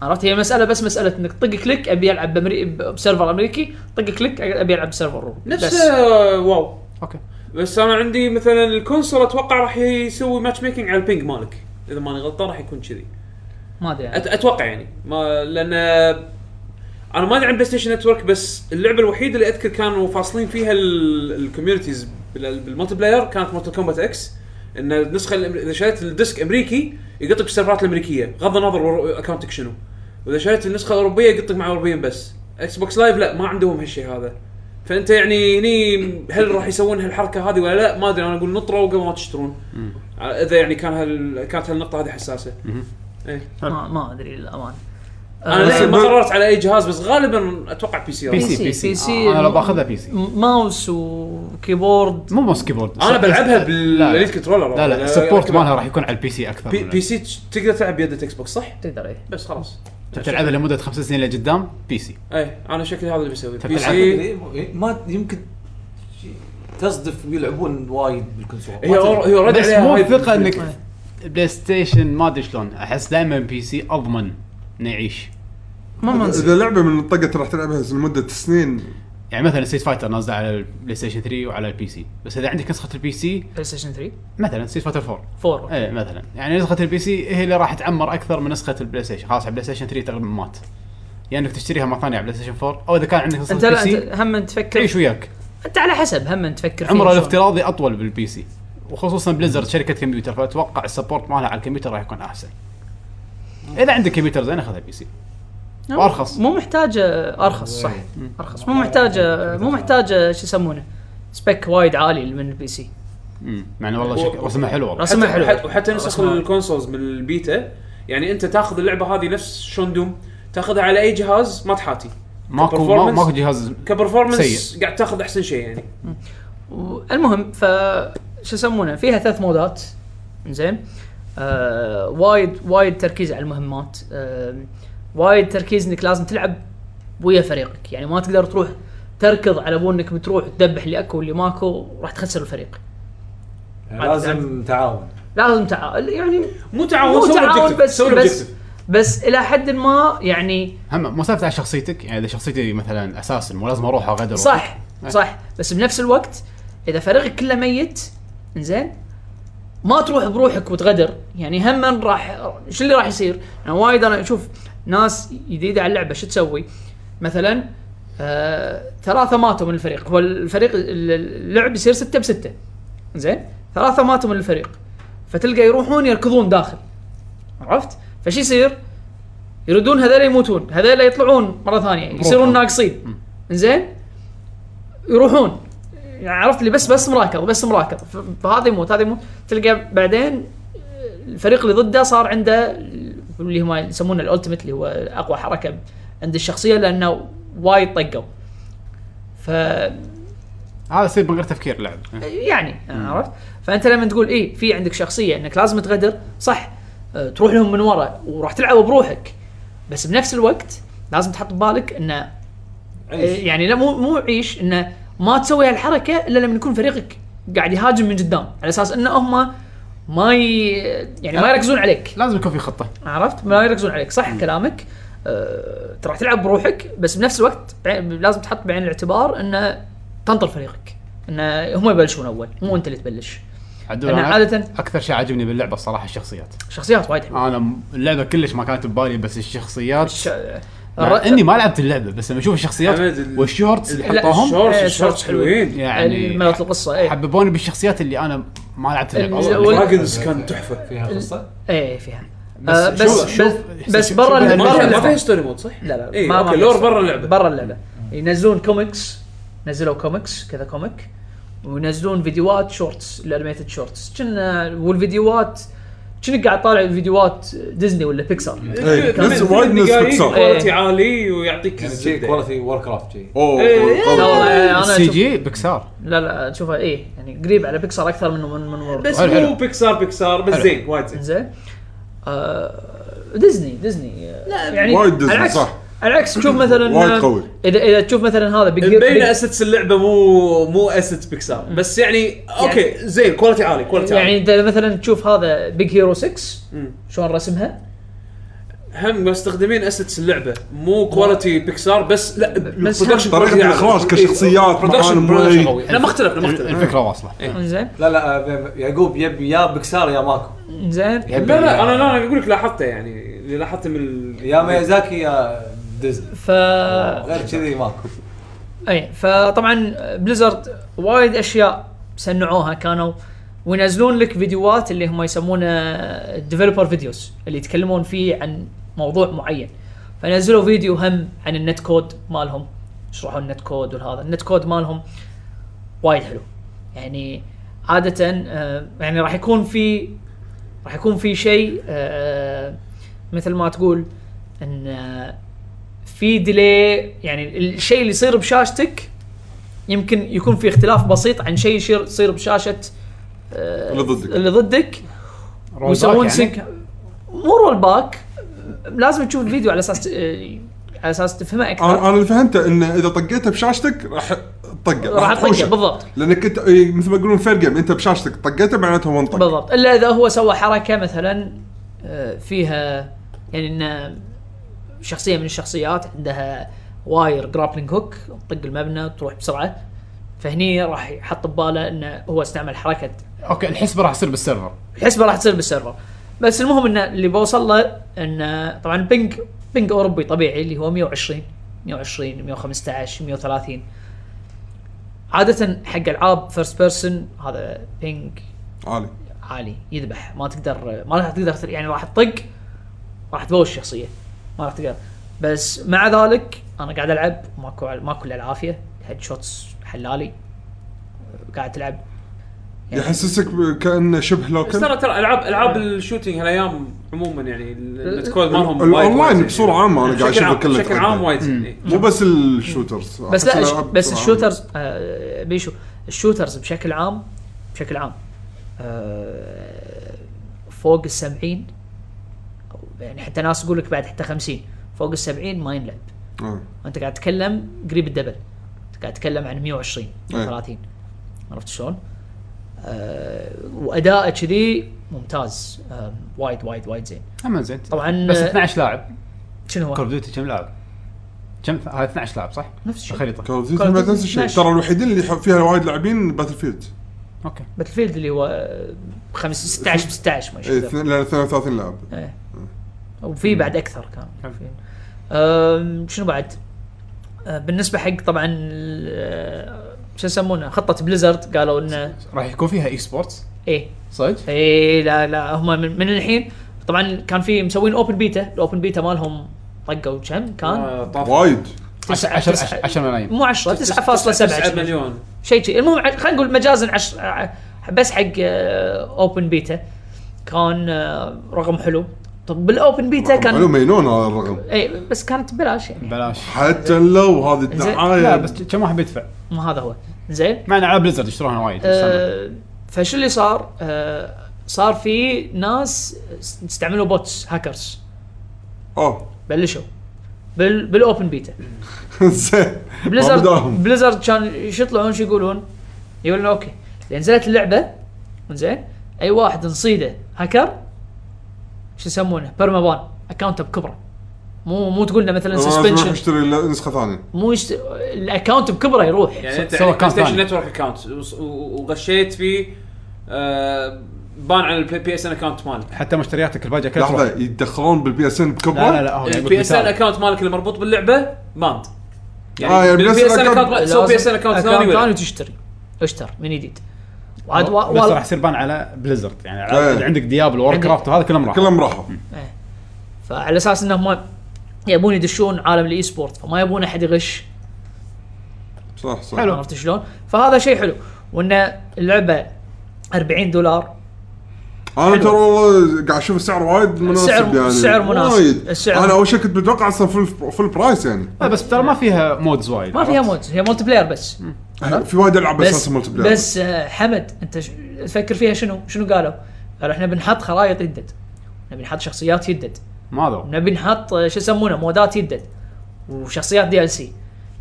B: عرفت هي مساله بس مساله انك طق كليك ابي العب بأمري... بسيرفر امريكي طق كليك ابي العب بسيرفر اوروبي
D: نفس
B: بس.
D: آه، واو
A: اوكي
D: بس انا عندي مثلا الكونسول اتوقع راح يسوي ماتش ميكنج على البينج مالك اذا ماني غلطان راح يكون كذي
B: ما ادري يعني.
D: أت... اتوقع يعني ما لان آه، انا ما ادري عن بلاي ستيشن نتورك بس اللعبه الوحيده اللي اذكر كانوا فاصلين فيها ال- الكوميونيتيز بال- بالملتي بلاير كانت مورتال كومبات اكس ان النسخه الأمر- اذا شريت الديسك امريكي يقطك بالسيرفرات الامريكيه بغض النظر اكونتك شنو واذا شريت النسخه الاوروبيه يقطك مع الاوروبيين بس اكس بوكس لايف لا ما عندهم هالشيء هذا فانت يعني هني هل راح يسوون هالحركه هذه ولا لا ما ادري انا اقول نطروا قبل ما تشترون اذا يعني كان هال... كانت هالنقطه هذه إيه. حساسه
B: ما, ما ادري للامانه
D: انا
B: آه،
D: للحين ما
C: ما-
D: قررت على اي جهاز بس غالبا اتوقع بي سي
A: بي
D: راح.
A: سي بي
B: PC.
A: سي آه، انا لو باخذها بي سي
B: م- ماوس وكيبورد
A: مو موس كيبورد
D: انا بلعبها
A: لا،
D: بالاليت
A: لا.
D: كنترولر
A: لا لا السبورت مالها راح يكون على البي سي اكثر
D: بي,
A: من-
D: بي سي ت- تقدر تلعب بيد اكس بوكس صح؟
B: تقدر ايه
D: بس خلاص
A: تلعبها لمده خمس سنين لقدام بي سي
D: اي انا شكلي هذا اللي بسويه
A: تبي
D: بي
A: تلعب؟
D: سي
E: تدري، إيه. ما يمكن شي- تصدف يلعبون وايد بالكونسول
D: هي أور- هي اوريدي
A: بس مو
D: هايب.
A: ثقه انك بلاي ستيشن ما ادري شلون احس دائما بي سي اضمن انه يعيش
B: ما منزل
C: اذا لعبه من منطقه راح تلعبها لمده سنين
A: يعني مثلا ستيت فايتر نازله على البلاي ستيشن 3 وعلى البي سي بس اذا عندك نسخه البي سي
B: بلاي ستيشن 3
A: مثلا ستيت فايتر 4
B: 4
A: ايه مثلا يعني نسخه البي سي هي اللي راح تعمر اكثر من نسخه البلاي ستيشن خلاص على البلاي ستيشن 3 تقريبا مات يا انك تشتريها مره ثانيه على بلاي ستيشن 4 او اذا كان عندك
B: انت
A: نسخه البي
B: لا انت
A: سي
B: هم تفكر
A: تعيش وياك
B: انت على حسب هم تفكر فيه
A: عمره
B: شلون.
A: الافتراضي اطول بالبي سي وخصوصا بليزرد شركه كمبيوتر فاتوقع السبورت مالها على الكمبيوتر راح يكون احسن اذا عندك كمبيوتر زين اخذها بي سي وأرخص.
B: نعم. مو محتاجه ارخص صح آه، ارخص مو محتاجه مو محتاجه شو يسمونه سبيك وايد عالي من البي سي
A: مم. مع انه والله شك...
D: و-
A: رسمه حلو والله
B: رسمها
D: حتى-
B: حلوة.
D: حت- وحتى نسخ
B: رسمها-
D: الكونسولز من البيتا يعني انت تاخذ اللعبه هذه نفس شون دوم تاخذها على اي جهاز ما تحاتي
A: ماكو ما-
D: كبرفورمانس-
A: ماكو جهاز
D: كبرفورمنس
A: سيء.
D: قاعد تاخذ احسن شيء يعني
B: المهم ف شو يسمونه فيها ثلاث مودات زين آه وايد وايد تركيز على المهمات آه وايد تركيز انك لازم تلعب ويا فريقك يعني ما تقدر تروح تركض على بو انك بتروح تذبح اللي اكو واللي ماكو راح تخسر الفريق
E: يعني لازم تعاون
B: لازم تعاون يعني
D: مو
B: مو
D: تعاون آه، سوي
B: تعاون
D: objective،
B: بس
D: سوي
B: بس
D: objective.
B: بس الى حد ما يعني
A: هم مسافة على شخصيتك يعني اذا شخصيتي مثلا اساسا مو لازم اروح اغدر
B: صح صح بس بنفس الوقت اذا فريقك كله ميت زين ما تروح بروحك وتغدر يعني هم راح شو اللي راح يصير؟ انا وايد انا اشوف ناس جديده على اللعبه شو تسوي؟ مثلا آه ثلاثه ماتوا من الفريق هو الفريق اللعب يصير سته بسته زين ثلاثه ماتوا من الفريق فتلقى يروحون يركضون داخل عرفت؟ فشو يصير؟ يردون هذول يموتون هذول يطلعون مره ثانيه يصيرون ناقصين زين يروحون يعني عرفت اللي بس بس مراكض بس مراكض ف- فهذا يموت هذا يموت تلقى بعدين الفريق اللي ضده صار عنده اللي هم يسمونه الالتيميت اللي هو اقوى حركه عند الشخصيه لانه وايد طقوا ف
A: هذا يصير من غير تفكير لعب
B: يعني عرفت فانت لما تقول ايه في عندك شخصيه انك لازم تغدر صح آه، تروح لهم من ورا وراح تلعب بروحك بس بنفس الوقت لازم تحط ببالك انه
D: عيش.
B: يعني لا مو مو عيش انه ما تسوي هالحركه الا لما يكون فريقك قاعد يهاجم من قدام على اساس انه هم ما ي... يعني ما يركزون عليك
A: لازم يكون في خطه
B: عرفت ما يركزون عليك صح كلامك آه، ترى راح تلعب بروحك بس بنفس الوقت بع- لازم تحط بعين الاعتبار انه تنطر فريقك انه هم يبلشون اول مو انت اللي تبلش
A: عدول
B: أنا عادة-
A: اكثر شيء عجبني باللعبه الصراحه الشخصيات
B: شخصيات وايد
D: آه.
B: حلوه
A: انا م- اللعبه كلش ما كانت ببالي بس الشخصيات
B: ش...
A: مع
B: الر-
A: اني ما لعبت اللعبه بس لما اشوف الشخصيات
D: حمد، ال-
A: والشورتس اللي
B: لا،
A: حطوهم
D: الشورتس
B: إيه،
D: الشورتس حلوين
A: يعني
B: ملت القصه ايه
A: حببوني بالشخصيات اللي انا ما لعبت
B: ال-
A: اللعبه
B: وال-
D: دراجونز كان تحفه
E: فيها قصه
B: ايه فيها
A: بس
B: آه،
A: شوف-
B: بس
A: شوف-
B: بس- بس
A: شوف-
B: برا
A: شوف-
B: ال-
A: ما
B: برا
A: فيها-
D: ما
B: اللعبة.
D: فيها ستوري مود صح؟
B: لا لا
D: إيه،
B: ما
D: أوكي،
B: ما
D: لور
B: يصير.
D: برا اللعبة.
B: برا اللعبه ينزلون كوميكس نزلوا كوميكس كذا كوميك وينزلون فيديوهات شورتس الانيميتد شورتس كنا والفيديوهات كنك قاعد طالع فيديوهات ديزني ولا بيكسار
C: إيه،
D: كمان
C: نزل وايد
D: ثمان
C: نزل
D: دقايق،
C: بيكسر.
D: كواليتي
B: إيه.
D: عالي ويعطيك
E: يعني شي
D: الزبدة.
E: كواليتي وور كرافت شي
C: اوه
D: إيه.
B: لا
C: والله.
B: والله انا
A: السي
B: أشوف
A: جي بيكسار
B: لا لا تشوفها ايه يعني قريب على بيكسار اكثر من من من وورد.
D: بس
A: حلو،
D: مو
A: حلو.
D: بيكسار بيكسار بس
A: حلو.
D: زين وايد زين
B: زين آه ديزني ديزني لا يعني
C: وايد ديزني،
B: على العكس-
C: صح.
B: على العكس
C: [CLEARS THROAT]
B: تشوف مثلا
C: وايد قوي.
B: اذا اذا تشوف مثلا هذا بيج
D: مبين اسيتس اللعبه مو مو اسيتس بيكسار بس يعني اوكي زين كواليتي عالي كواليتي
B: يعني
D: عالي
B: انت مثلا تشوف هذا بيج هيرو 6 شلون رسمها
D: هم مستخدمين اسيتس اللعبه مو كواليتي بيكسار بس لا
B: بس
D: production
B: هم-
D: quality
C: طريقه الاخراج
D: عالي.
C: كشخصيات
D: إيه، production-
C: معالم
D: production
C: وايد.
D: قوي. احنا ما اختلفنا ما
A: [LAUGHS]
D: اختلفنا
A: الفكره واصله
B: زين
E: لا لا آه، يعقوب يبي يا بكسار يا ماكو
B: زين
E: يبي
D: لا لا انا لا انا اقول لك لاحظته يعني اللي لاحظته من ال-
E: يا ميازاكي يا ديزني
B: ف آه.
E: غير كذي ماكو
B: اي فطبعا بليزرد وايد اشياء سنعوها كانوا وينزلون لك فيديوهات اللي هم يسمونه ديفلوبر فيديوز اللي يتكلمون فيه عن موضوع معين فنزلوا فيديو هم عن النت كود مالهم يشرحوا النت كود والهذا النت كود مالهم وايد حلو يعني عادة آه، يعني راح يكون في راح يكون في شيء آه، مثل ما تقول ان آه، في ديلي يعني الشيء اللي يصير بشاشتك يمكن يكون في اختلاف بسيط عن شيء يصير يصير بشاشة آه،
C: اللي ضدك.
B: اللي ضدك
A: رول
B: ويسوون
A: باك يعني.
B: سينك مو رول باك لازم تشوف الفيديو على اساس آه، على اساس تفهمه
C: انا
B: اكثر
C: أنا اللي فهمته انه اذا طقيته بشاشتك راح تطقه
B: راح تطقه
C: تحوشه.
B: بالضبط
C: لانك انت إيه، مثل ما يقولون فير جيم انت بشاشتك طقيته معناته هو انطق
B: بالضبط الا اذا هو سوى حركه مثلا آه، فيها يعني ان شخصيه من الشخصيات عندها واير جرابلينج هوك تطق المبنى تروح بسرعه فهني راح يحط بباله انه هو استعمل حركه
A: اوكي الحسبه راح تصير بالسيرفر
B: الحسبه راح تصير بالسيرفر بس المهم انه اللي بوصل له انه طبعا بينج بينج اوروبي طبيعي اللي هو 120 120 115 130 عاده حق العاب فيرست بيرسون هذا بينج
C: عالي
B: عالي يذبح ما تقدر ما راح تقدر تر- يعني راح تطق راح تبوش الشخصيه ما راح تقدر بس مع ذلك انا قاعد العب ماكو ماكو الا العافيه هيد شوتس حلالي قاعد تلعب يعني
C: يحسسك ب- كانه شبه
D: بس ترى
C: لوكل
D: ترى العاب العاب الشوتنج هالايام عموما يعني السكواد مالهم
C: ال-
D: وايد
C: الأونلاين
D: وايد
C: بصورة
D: يعني.
C: عامة أنا قاعد
D: بشكل
C: أشوفه
D: عام-
C: كله
D: بشكل
C: يتقدم.
D: عام وايد يعني.
C: مو بس الشوترز
B: بس
C: أحس
B: لا ش-
C: الألعاب
B: بس
C: بصورة
B: الشوترز آه، بيشو الشوترز بشكل عام بشكل عام آه، فوق ال 70 أو يعني حتى ناس يقول لك بعد حتى 50 فوق ال 70 ما ينلعب
C: عامة.
B: وانت قاعد تتكلم قريب الدبل انت قاعد تتكلم عن 120
C: إيه.
B: 30 عرفت شلون؟ آه واداءه كذي ممتاز آه وايد وايد وايد زين
A: هم زين
B: طبعا
A: بس
B: آه،
A: 12 لاعب
B: شنو
A: كول
B: هو؟
A: اوف ديوتي كم لاعب؟ كم هذا 12 لاعب صح؟
B: نفس الشيء
A: الخريطه
C: كول اوف ديوتي
B: Call of
C: ما
B: Duty
C: تنسى شيء
B: Smash.
C: ترى الوحيدين اللي يح- فيها وايد لاعبين إيه، باتل فيلد
A: اوكي
B: باتل فيلد اللي هو آه، خمس 16 ب 16 ما
C: إيه،
B: شاء الله
C: اثنين- لان 32 لاعب
B: إيه. وفي بعد اكثر كان في. آم، شنو بعد؟ آه بالنسبه حق طبعا آه، شو يسمونه خطه بليزرد قالوا انه
A: راح يكون فيها اي سبورتس
B: ايه
A: صدق؟
B: اي إيه، لا لا هم من, من الحين طبعا كان في مسوين اوبن بيتا الاوبن بيتا مالهم طقوا كم كان؟
D: آه، طاف.
C: وايد
A: 10
B: تسعة-
A: 10
B: تسعة-
A: 10 ملايين
B: مو 10
D: 9
B: 9.7
D: مليون
B: شيء شيء المهم ع- خلينا نقول مجازا عش... ع- بس حق اوبن بيتا كان آه، رقم حلو طب بالاوبن بيتا
C: حلو
B: كان
C: مينون هذا الرقم
B: اي بس كانت ببلاش يعني
A: بلاش
C: حتى لو هذه الدعايه
A: لا بس كم واحد بيدفع؟
B: ما هذا هو زين
A: مع ان العاب بليزرد يشتروها وايد
B: آه، فشو اللي صار؟ آه، صار في ناس استعملوا بوتس هاكرز
C: اوه
B: بلشوا بال بالاوبن بيتا
C: زين
B: بليزرد [LAUGHS]
C: بداهم
B: بليزرد كان شو يطلعون شو يقولون؟ يقولون اوكي اذا نزلت اللعبه زين اي واحد نصيده هاكر شو يسمونه؟ بيرما بان اكونته بكبره مو مو تقول لنا مثلا
C: سسبنشن
B: سسبنشن
C: اشتري ل- نسخه ثانيه
B: مو يشت... الاكونت بكبره يروح
D: يعني انت
A: سوى
D: عندك بلاي
A: account
D: ستيشن
A: ثاني.
D: نتورك اكونت وغشيت فيه آه، بان على البي بي اس ان اكونت مالك
A: حتى مشترياتك الباجة كلها
C: لحظه
A: تروح.
C: يدخلون بالبي اس ان بكبره
A: لا لا لا هو
B: إيه،
A: يقول
D: البي اس ان
A: يعني مثال.
D: اكونت مالك اللي مربوط باللعبه باند
C: آه، يعني
D: بالبي
C: بس
D: اس ان
C: account-
D: اكونت سو بي اس ان اكونت ثاني
B: ثاني
D: ولا-
B: وتشتري اشتر من جديد وعاد وا-
A: بس
B: وال-
A: راح يصير بان على بليزرد يعني
C: إيه.
A: عاد عندك ديابل وور
B: عندك-
A: كرافت وهذا كلهم راح
C: كلهم راحوا
B: فعلى اساس انهم يبون يدشون عالم الاي سبورت فما يبون احد يغش
C: صح صح
A: حلو.
B: عرفت شلون؟ فهذا شيء حلو وان اللعبه 40 دولار
C: انا
B: حلو.
C: ترى والله قاعد اشوف السعر وايد مناسب
B: السعر-
C: يعني
B: السعر مناسب.
C: وايد.
B: السعر-
C: انا اول شيء كنت متوقع اصلا فل فل برايس يعني
A: آه، بس ترى ما فيها مودز وايد
B: ما فيها
A: عرفت؟
B: مودز هي ملتي بلاير بس
C: في وايد العاب
B: بس
C: اساسا ملتي بلاير
B: بس آه، حمد انت ش- تفكر فيها شنو؟ شنو قالوا؟ قالوا احنا بنحط خرائط يدد نبي نحط شخصيات يدد
A: ما هذا
B: نبي نحط آه، شو يسمونه مودات يدد وشخصيات دي ال سي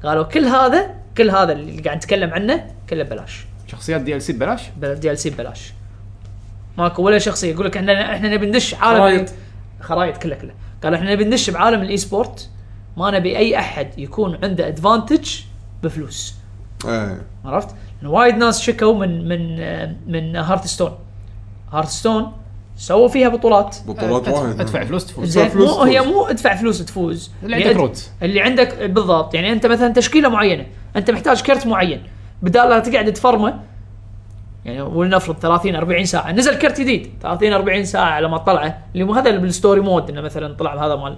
B: قالوا كل هذا كل هذا اللي قاعد نتكلم عنه كله ببلاش
A: شخصيات دي ال سي ببلاش
B: دي ال سي ببلاش ماكو ولا شخصيه يقول لك احنا احنا نبي ندش عالم
D: خرايط.
B: خرايط كلها كلها قال احنا نبي ندش بعالم الاي سبورت ما نبي اي احد يكون عنده ادفانتج بفلوس
C: ايه
B: عرفت؟ لأن وايد ناس شكوا من من آه، من هارتستون هارتستون سووا فيها بطولات
C: بطولات
A: أدفع-
C: وايد
A: ادفع فلوس تفوز
B: زين
C: فلوس
B: مو هي
C: تفوز.
B: مو ادفع فلوس تفوز
A: اللي عندك
B: أد-
A: روت.
B: اللي عندك بالضبط يعني انت مثلا تشكيله معينه انت محتاج كرت معين بدال لا تقعد تفرمه يعني ولنفرض 30 40 ساعه نزل كرت جديد 30 40 ساعه على ما طلعه اللي مو هذا اللي بالستوري مود انه مثلا طلع هذا مال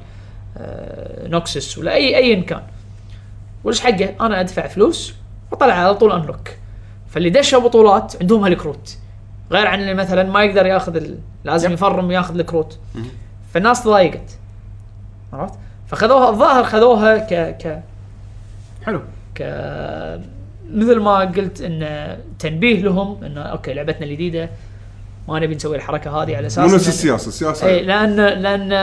B: آه، نوكسس ولا اي ايا كان وش حقه انا ادفع فلوس وطلع على طول انلوك فاللي دشوا بطولات عندهم هالكروت غير عن اللي مثلا ما يقدر ياخذ ال... لازم يفرم ياخذ الكروت فالناس تضايقت عرفت فخذوها الظاهر خذوها ك ك
A: حلو
B: ك مثل ما قلت ان تنبيه لهم انه اوكي لعبتنا الجديده ما نبي نسوي الحركه هذه على
C: مو
B: اساس
C: نفس
B: إن-
C: السياسه السياسه
B: اي لان لان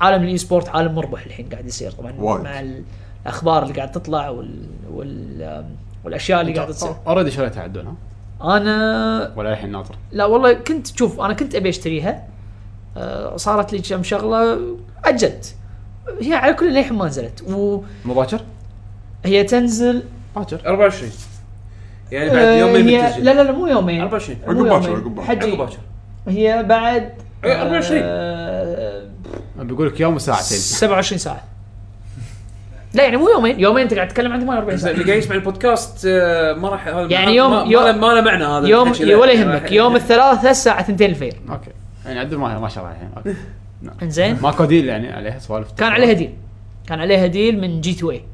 B: عالم الاي سبورت عالم مربح الحين قاعد يصير طبعا
C: وايد.
B: مع ال- الاخبار اللي قاعد تطلع وال, وال والاشياء اللي قاعده تصير
A: اوريدي شريتها عدول ها
B: انا
A: ولا الحين ناطر
B: لا والله كنت شوف انا كنت ابي اشتريها آه، صارت لي كم شغله اجلت هي على كل للحين ما نزلت وهي
A: مو باكر؟
B: تنزل
A: باكر
D: 24 يعني
B: آه،
D: بعد يومين
B: هي-
D: بتنزل
B: لا لا لا مو يومين
D: 24
B: مو
C: عقب باكر،
B: يومين.
C: عقب باكر.
B: حجي.
D: عقب باكر.
B: هي بعد
D: إيه، 24.
B: آه،
A: بيقول لك يوم وساعتين
B: 27 ساعه لا يعني مو يومين يومين انت قاعد تتكلم عن 48
D: بس
B: ساعه
D: اللي قاعد يسمع البودكاست آه، ما راح هذا
B: يعني
D: ما-
B: يوم-
D: ما-
B: يوم-
D: ما له- ما له معنى هذا
B: يوم
D: الحكي ذا.
B: ولا
D: يعني راح-
B: يهمك يوم الثلاثاء الساعه 2 الفجر
A: اوكي يعني عدول ما ما شاء الله الحين
B: [LAUGHS]
A: أوكي.
B: انزين
A: ماكو ديل يعني عليها سوالف
B: كان عليها إيه. ديل كان عليها ديل من جي 2 اي
E: جي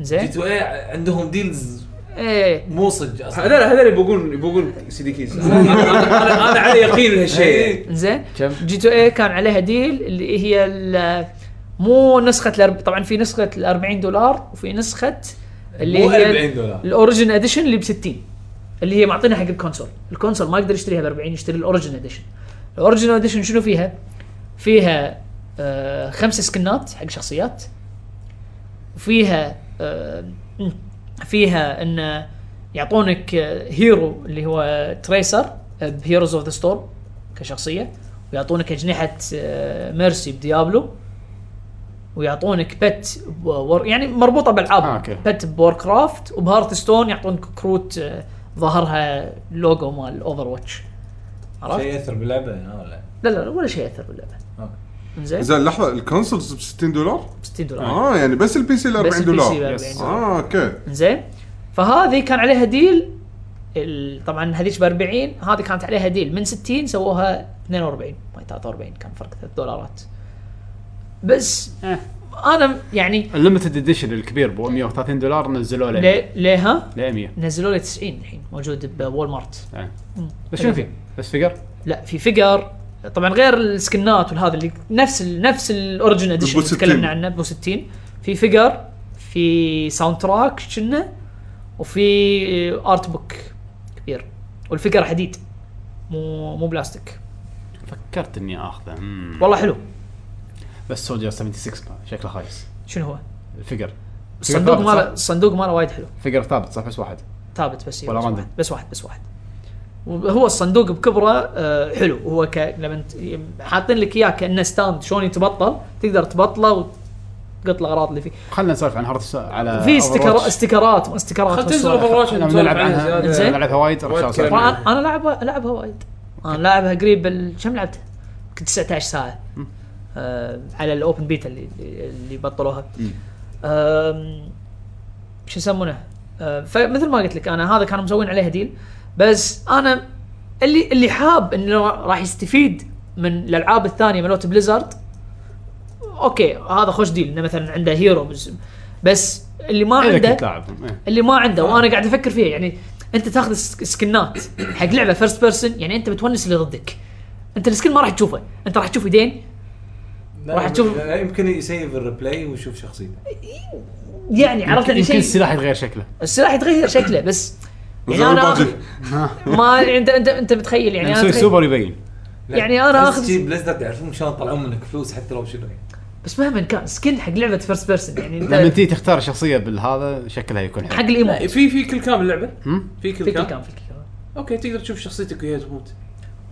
B: زين
E: تو اي عندهم ديلز
B: ايه
E: مو صدق
D: هذول
E: اصلا
D: هذول يبوقون يبوقون سي دي [LAUGHS] كيز انا أنا- أنا علي يقين بهالشيء
B: زين
F: كم؟
B: جي تو اي كان عليها ديل اللي هي ال- مو نسخه الأرب... طبعا في نسخه ال 40 دولار وفي نسخه اللي
E: مو
B: هي
E: 40 دولار.
B: الاوريجن اديشن اللي ب 60 اللي هي معطينا حق الكونسول الكونسول ما يقدر يشتريها ب 40 يشتري الاوريجن اديشن الاوريجن اديشن شنو فيها فيها آه خمس سكنات حق شخصيات وفيها آه فيها ان يعطونك آه، هيرو اللي هو آه، تريسر بهيروز اوف ذا ستورم كشخصيه ويعطونك اجنحه آه، ميرسي بديابلو ويعطونك بت بور يعني مربوطه بالعاب
A: آه، أوكي.
B: بت بور كرافت وبهارت ستون يعطونك كروت آه، ظهرها لوجو مال اوفر واتش عرفت؟
E: شيء ياثر باللعبه هنا ولا
B: لا لا لا، ولا شيء ياثر باللعبه
E: أوكي.
B: زين
C: زين لحظه الكونسولز ب 60 دولار؟
B: 60
A: آه،
B: دولار
C: اه يعني بس البي سي ال
B: بس
C: 40
B: البي سي ب
C: دولار
B: 40 دولار
C: اه اوكي
B: زين فهذه كان عليها ديل ال- طبعا هذيك ب 40 هذه كانت عليها ديل من 60 سووها 42 ما 43 كان فرق 3 دولارات بس
A: إيه.
B: انا يعني
A: الليمتد اديشن الكبير ب 130 دولار نزلوه له
B: ليه ليه ها
A: ل 100
B: نزلوا لي 90 الحين موجود بول مارت
A: إيه. بس شنو في؟ بس فيجر؟
B: لا في فيجر طبعا غير السكنات والهذا اللي نفس ال نفس الاوريجن اديشن اللي
C: 60.
B: تكلمنا عنه بو 60 في فيجر في ساوند تراك كنا وفي ارت بوك كبير والفيجر حديد مو مو بلاستيك
A: فكرت اني اخذه مم.
B: والله حلو
A: بس سولجر 76 ما- شكله خايس
B: شنو هو؟
A: الفيجر
B: الصندوق
A: ثابت،
B: ماله
A: صح؟
B: الصندوق ماله وايد حلو
A: فيجر ثابت صح بس واحد
B: ثابت بس
A: ولا
B: بس
A: راندوم.
B: واحد بس واحد بس واحد وهو الصندوق بكبره آه، حلو هو ك... لما انت- حاطين لك اياه كانه ستاند شلون يتبطل تقدر تبطله وتقط الاغراض اللي فيه
A: خلينا نسولف عن هارت على
B: في
A: Overwatch.
B: استكرا... استكرات ما
D: خلنا
B: استكرات
D: تنزل
B: والسوالف.
D: اوفر واتش
A: احنا بنلعب عنها
B: زين.
A: بنلعبها وايد
D: وايد
A: راح
D: كلام.
A: أسولف.
B: طبعاً انا لعبها لعبها وايد انا لعبها قريب بال... كم لعبتها؟ يمكن 19 ساعه آه على الاوبن بيتا اللي اللي بطلوها آم، شو يسمونه؟ آه فمثل ما قلت لك انا هذا كانوا مسوين عليها ديل بس انا اللي اللي حاب انه راح يستفيد من الالعاب الثانيه مالوت بليزرد اوكي هذا خوش ديل انه مثلا عنده هيرو بس- بس اللي ما
A: اذا
B: عنده
A: كنت لاعب إيه.
B: اللي ما عنده وانا قاعد افكر فيها يعني انت تاخذ سك- سكنات حق لعبه فيرست بيرسون يعني انت بتونس اللي ضدك انت السكن ما راح تشوفه انت راح تشوف يدين راح تشوف-
E: يمكن يسيف الريبلاي ويشوف شخصيته
B: يعني عرفت
A: يمكن
B: يعني
A: يمكن
B: شيء
A: السلاح يتغير شكله
B: السلاح يتغير شكله بس يعني
C: زين
B: انا [LAUGHS] آخذ-
C: الباجي
B: ما انت انت انت متخيل يعني
A: يعني
B: انا
A: نسوي
B: أتخيل-
A: سوبر يبين
B: يعني أنا آخذ-
E: تجيب بليزرد يعرفون شلون يطلعون منك فلوس حتى لو شنو يعني.
B: بس مهما كان سكن حق لعبه فيرست بيرسون يعني
A: لما
B: انت
A: تيجي تختار شخصيه بالهذا شكلها يكون
B: حق
A: حلو
D: لا،
B: الايموت
D: في في كل كام اللعبه
A: هم؟
D: في كل
B: في كل
D: كام
B: كان في كل كان
D: اوكي تقدر تشوف شخصيتك وهي تموت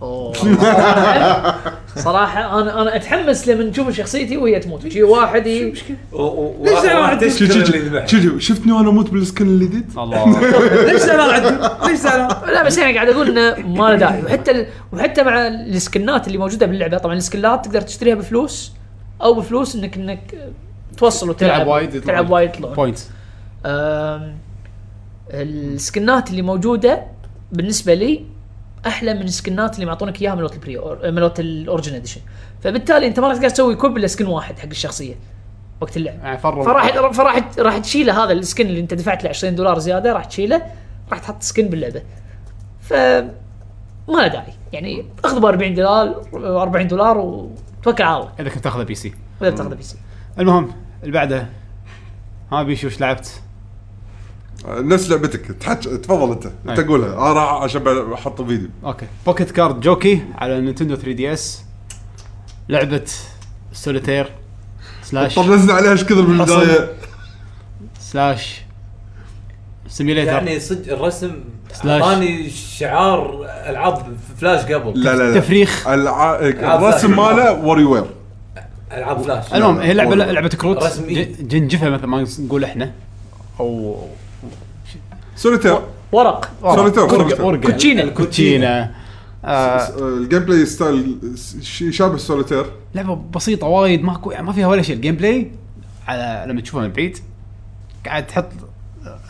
B: أوه، صراحة- صراحه انا انا اتحمس لما نشوف شخصيتي وهي تموت شي واحد ي-
E: و- و-
D: ليش زعلان
E: وراح
D: عندك؟
C: شو- شو-
E: تشكر اللي
C: شو-
E: [LAUGHS] ذبح
C: شو- شفتني وانا اموت بالسكن الجديد؟
A: [LAUGHS] الله
D: ليش زعلان عدل؟ ليش زعلان؟
B: لا بس انا قاعد اقول انه ما له داعي وحتى ال... وحتى مع السكنات اللي موجوده باللعبه طبعا السكنات تقدر تشتريها بفلوس او بفلوس انك انك توصل وتلعب
A: تلعب وايد يطلع
B: تلعب
A: لك.
B: وايد يطلعون
A: بوينت
B: أم، السكنات اللي موجوده بالنسبه لي احلى من السكنات اللي معطونك اياها من لوت البري أور- من لوت الاوريجن اديشن فبالتالي انت ما راح تقدر تسوي كوب الا سكن واحد حق الشخصيه وقت اللعب
A: يعني فروا
B: فراح فراح راح تشيله هذا السكن اللي انت دفعت له 20 دولار زياده راح تشيله راح تحط سكن باللعبه ف ما له داعي يعني اخذ ب 40 دولار 40 دولار وتوكل على الله
A: اذا كنت تاخذه بي سي
B: اذا بتاخذه بي سي
A: المهم اللي بعده ها بيشو ايش لعبت؟
C: آه، نفس لعبتك تحج... تفضل انت انت
A: أي.
C: قولها انا راح اشبع احط الفيديو
A: اوكي بوكيت كارد جوكي على نينتندو 3 دي اس لعبه سوليتير سلاش
C: طرزنا عليها ايش كثر من
A: حصل.
C: البدايه
A: سلاش سيميليتر
E: يعني صدق الرسم
A: سلاش.
E: اعطاني شعار العاب فلاش قبل
C: لا لا لا
A: تفريخ.
C: الع...
E: ألعاب
C: الرسم
E: فلاش.
C: ماله وري وير
E: العاب فلاش
A: المهم هي لعبه
C: والله.
A: لعبه كروت
E: رسمية.
A: ج- جنجفه مثل ما نقول احنا او
C: سوليتير
B: ورق
C: سوليتير،
A: ورقه
C: سوليتير.
A: ورقه
B: كوتشينة.
A: كوتشينه آه،
C: س- الجيم بلاي ستايل ش- شابه سوليتير
A: لعبه بسيطه وايد ماكو يعني ما فيها ولا شيء الجيم بلاي على لما تشوفها من بعيد قاعد تحط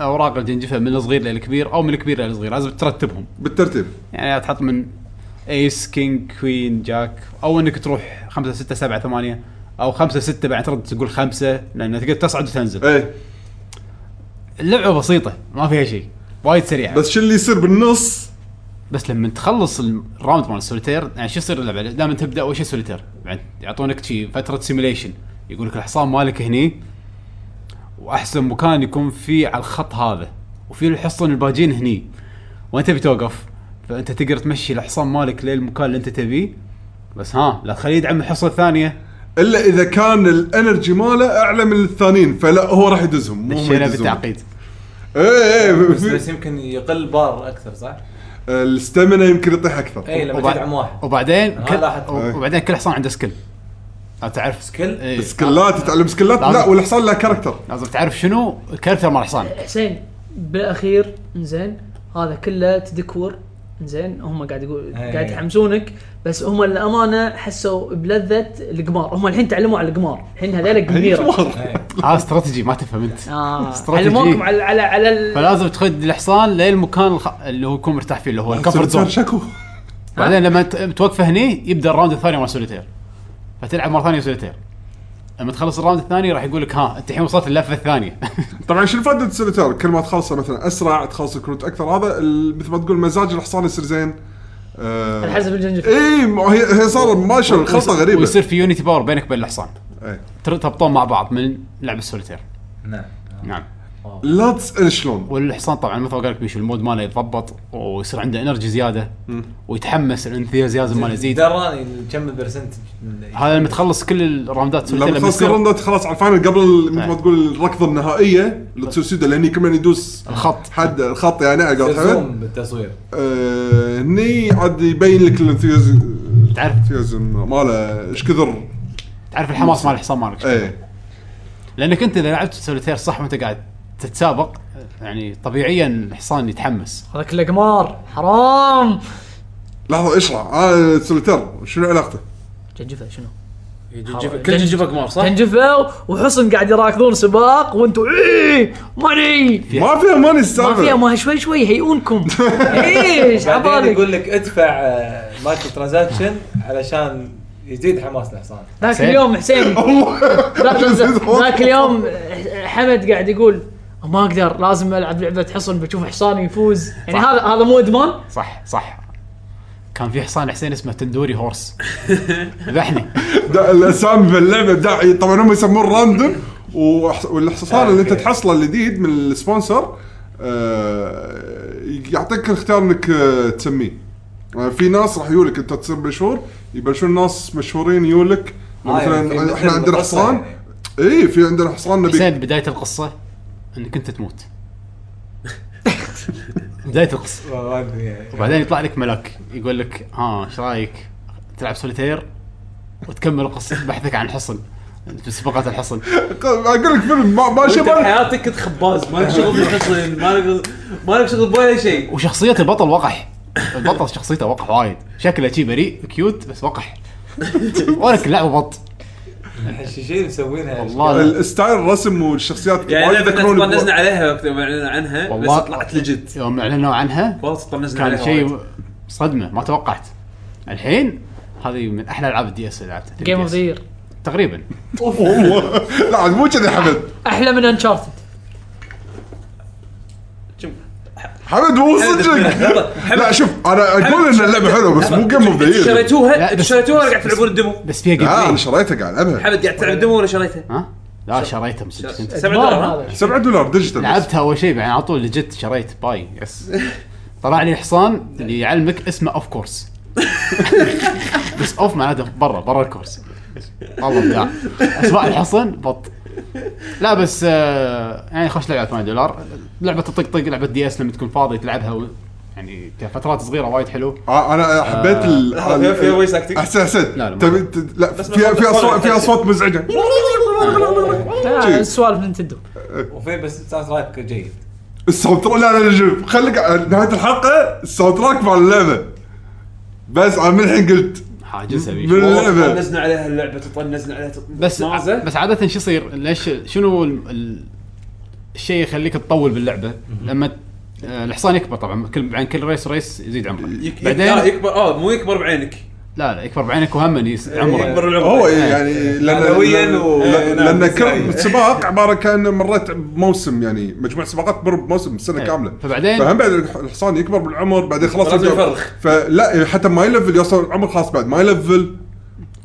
A: اوراق الجنجفه من الصغير للكبير او من الكبير للصغير لازم ترتبهم
C: بالترتيب
A: يعني تحط من ايس كينج كوين جاك او انك تروح خمسة ستة سبعة ثمانية او خمسة ستة بعد ترد تقول خمسة لان تقدر تصعد وتنزل
C: ايه
A: اللعبة بسيطة ما فيها شيء وايد سريعه
C: بس شو اللي يصير بالنص
A: بس لما تخلص الراوند مال السوليتير يعني شو يصير اللعبه دائما تبدا اول شيء سوليتير بعدين يعطونك شي فتره سيميليشن يقول لك الحصان مالك هني واحسن مكان يكون فيه على الخط هذا وفي الحصن الباجين هني وانت بتوقف فانت تقدر تمشي الحصان مالك للمكان اللي انت تبيه بس ها لا تخليه يدعم الحصه الثانيه
C: الا اذا كان الانرجي ماله اعلى من الثانيين فلا هو راح يدزهم مو هم
A: دشينا
C: يدزون.
A: بالتعقيد
C: ايه ايه
E: بس, آه،
C: [LAUGHS]
E: بس
C: في-
E: يمكن يقل بار اكثر صح؟
C: الستامينا يمكن يطيح اكثر
E: اي إيه، لما
A: وبعد-
E: تدعم واحد
A: وبعدين كل
E: لاحظت.
A: وبعدين كل حصان عنده سكيل لا تعرف
E: سكيل؟
A: إيه.
C: سكلات يتعلم سكلات لا
A: لازم.
C: والحصان له كاركتر
A: لازم تعرف شنو الكاركتر مال الحصان
B: حسين بالاخير زين هذا كله تدكور زين هم قاعد يقول
E: إيه.
B: قاعد يحمسونك بس هم الامانه حسوا بلذه القمار هم الحين تعلموا على القمار الحين هذول قميره
E: إيه.
A: هذا استراتيجي ما تفهم انت
B: آه.
A: استراتيجي.
B: علموكم على على على ال...
A: فلازم تخد الحصان للمكان الخ... اللي هو يكون مرتاح فيه اللي هو الكفر
C: صار
A: زون
C: شكو
A: بعدين لما ت- توقفه هني يبدا الراوند الثاني مال سوليتير فتلعب مره ثانيه سوليتير لما تخلص الراوند الثاني راح يقول لك ها انت الحين وصلت اللفه الثانيه
C: طبعا شو الفائده السوليتير كل ما تخلصه مثلا اسرع تخلص الكروت اكثر هذا ال- مثل ما تقول مزاج الحصان يصير زين آه،
B: على حسب الجنجفيل
C: اي ما هي هي صار ماشي
A: [LAUGHS]
C: الخلطه غريبه
A: ويصير في يونيتي باور بينك وبين الحصان
C: إيه.
A: تر- تربطون مع بعض من لعب السوليتير
E: نعم
A: نعم
C: لا تسال شلون
A: والحصان طبعا مثل ما قال لك بيشو المود ماله يتضبط ويصير عنده انرجي زياده ويتحمس الانثيازيازم ماله يزيد
E: دراني كم البرسنتج من-
A: هذا لما تخلص كل الراوندات سوليتير
C: لما تخلص
A: يصير
C: الرندات خلاص على الفاينل قبل ال- مثل
A: إيه.
C: ما تقول الركضه النهائيه لتسوسيدا لان كمان يدوس
A: الخط.
C: حد الخط يعني على قولة حمد.
E: زوم بالتصوير
C: آه، هني عاد يبين لك الانثيوزم
A: تعرف
C: ماله ايش كثر
A: تعرف الحماس مال الحصان مالك
C: ايه
A: لانك انت اذا لعبت سوليتير صح وانت قاعد تتسابق يعني طبيعيا الحصان يتحمس
B: هذا كله قمار حرام
C: لحظه اشرح آه سوليتير شنو علاقته؟
B: جنجفه شنو؟
D: جنجفة- إيه، كل جنجفه قمار صح؟
B: جنجفه وحسن قاعد يراكضون سباق وانتم ايه ماني
C: ما فيها ماني
B: ما فيها
C: السالفه
B: ما شوي شوي
D: [LAUGHS]
B: هيئونكم ايش
E: بعدين
B: عبالك
E: يقول لك ادفع آه، مايكرو ترانزاكشن علشان يزيد حماس الحصان
B: ذاك
A: حسين.
B: اليوم
D: [LAUGHS]
B: حسين ذاك- ذاك اليوم حمد قاعد يقول ما اقدر لازم العب لعبه حصن بشوف حصاني يفوز يعني
A: صح.
B: هذا هذا مو ادمان
A: صح صح كان في حصان حسين اسمه تندوري [LAUGHS] هورس ذبحني
C: [LAUGHS] دا- الاسامي في اللعبه ابداع طبعا هم يسمون راندوم وحص- والحصان اللي انت
E: أوكي.
C: تحصله الجديد من السبونسر آه، يعطيك الاختيار انك آه، تسميه آه، في ناس راح يقولك انت تصير مشهور يبلشون ناس مشهورين يقولك
E: آه، يعني في
C: مثلا
E: مثل
C: احنا عندنا
E: القصة
C: حصان
E: يعني.
C: اي في عندنا حصان نبي [LAUGHS]
A: حسين بدايه القصه انك انت [LAUGHS] تموت بدايه القصه
E: ما- ما أدري يعني.
A: وبعدين يطلع لك ملاك يقول لك ها ايش رايك تلعب سوليتير وتكمل قصه بحثك عن الحصن في سباقات الحصن
C: اقول لك فيلم ما ما
D: انت
C: شباب
D: بحياتك كنت خباز مالك شغل بالحصن مالك مالك شغل باي شيء
A: وشخصيه البطل وقح البطل شخصيته وقح وايد شكله شي بريء كيوت بس وقح ولك لعبه بط
E: الحشيشين مسوينها
A: والله
C: [LAUGHS] الستايل الرسم والشخصيات
D: يعني
C: وايد
D: لعبه
C: يذكروني
D: كنا طنزنا
C: بوقت.
D: عليها وقت ما اعلنا عنها بس
A: والله.
D: طلعت لجد
A: يوم اعلنوا عنها
D: والله طنزنا عليها
A: كان شيء
D: وايد.
A: صدمه ما توقعت الحين هذه من احلى العاب الدي اس اللي لعبتها
B: جيم اوف ذا يير
A: تقريبا
C: والله. [LAUGHS] لا عاد مو كذي حمد
B: احلى من انشارتد
C: حمد مو صدق
D: لحظة،
C: لا شوف انا اقول ان اللعبه حلوه بس مو جيم اوف ذا يير
A: لا،
D: شريتوها
A: بس-
D: انتوا شريتوها ولا قاعد تلعبون الديمو؟
A: بس فيها جيم
C: لا انا
A: بلاي
C: آه، شريتها قاعد العبها
D: حمد قاعد تلعب الديمو ولا شريتها؟
A: ها لا شريتها مصدق انت
D: 7 دولار ها؟
B: هذا
C: 7 دولار ديجيتال بس.
A: لعبتها اول شيء بعدين على طول لجت شريت باي يس طلع لي حصان اللي يعلمك اسمه اوف كورس بس اوف معناته برا برا الكورس والله بلا اسماء الحصن بط لا بس آه يعني خوش لعبه 8 دولار لعبه الطقطق لعبه دي اس لما تكون فاضي تلعبها و... يعني كفترات صغيره وايد حلو
C: آه، انا حبيت ال
D: لحظة، فيها- فيها voice acting؟
C: احسن احسن
A: لا، لا، ما
C: تبي ت- لا
D: بس
C: فيها
D: بس
C: فيها
D: بس
C: اصوات
D: بس
C: فيها
D: بس.
C: اصوات مزعجه
B: آه، سوالف نينتندو
E: وفي بس ساوند تراك جيد
C: الساوند تراك لا لا لا شوف خليك على نهايه الحلقه الساوند تراك مال اللعبه بس انا من الحين قلت
A: حاجزها بيش.
C: من
D: والله
C: اللعبه
D: طنزنا عليها اللعبه تطنزنا عليها تطنزنا
A: بس
D: مازة.
A: بس عاده شو يصير ليش شنو ال- ال- الشيء يخليك تطول باللعبه لما ت- آه، الحصان يكبر طبعا كل عن كل ريس ريس يزيد عمره
D: يك- يك- لا،
A: بعدين
D: يكبر اه آه، مو يكبر بعينك
A: لا لا يكبر بعينك وهم يس-
D: يكبر
A: عمره
D: العمر
C: هو إيه يعني لان
E: معنوياً
C: لأن-
E: و-
C: لأن-
E: نعم،
C: لان
E: صحيح.
C: كل سباق عباره كان مريت بموسم يعني مجموعه سباقات مر بموسم سنه
A: إيه.
C: كامله
A: فبعدين-
C: فهم بعد الح- الحصان يكبر بالعمر بعدين خلاص
E: لازم
C: يبدأ-
E: يفرخ.
C: فلا يعني حتى ما يلفل يوصل العمر خلاص بعد ما يلفل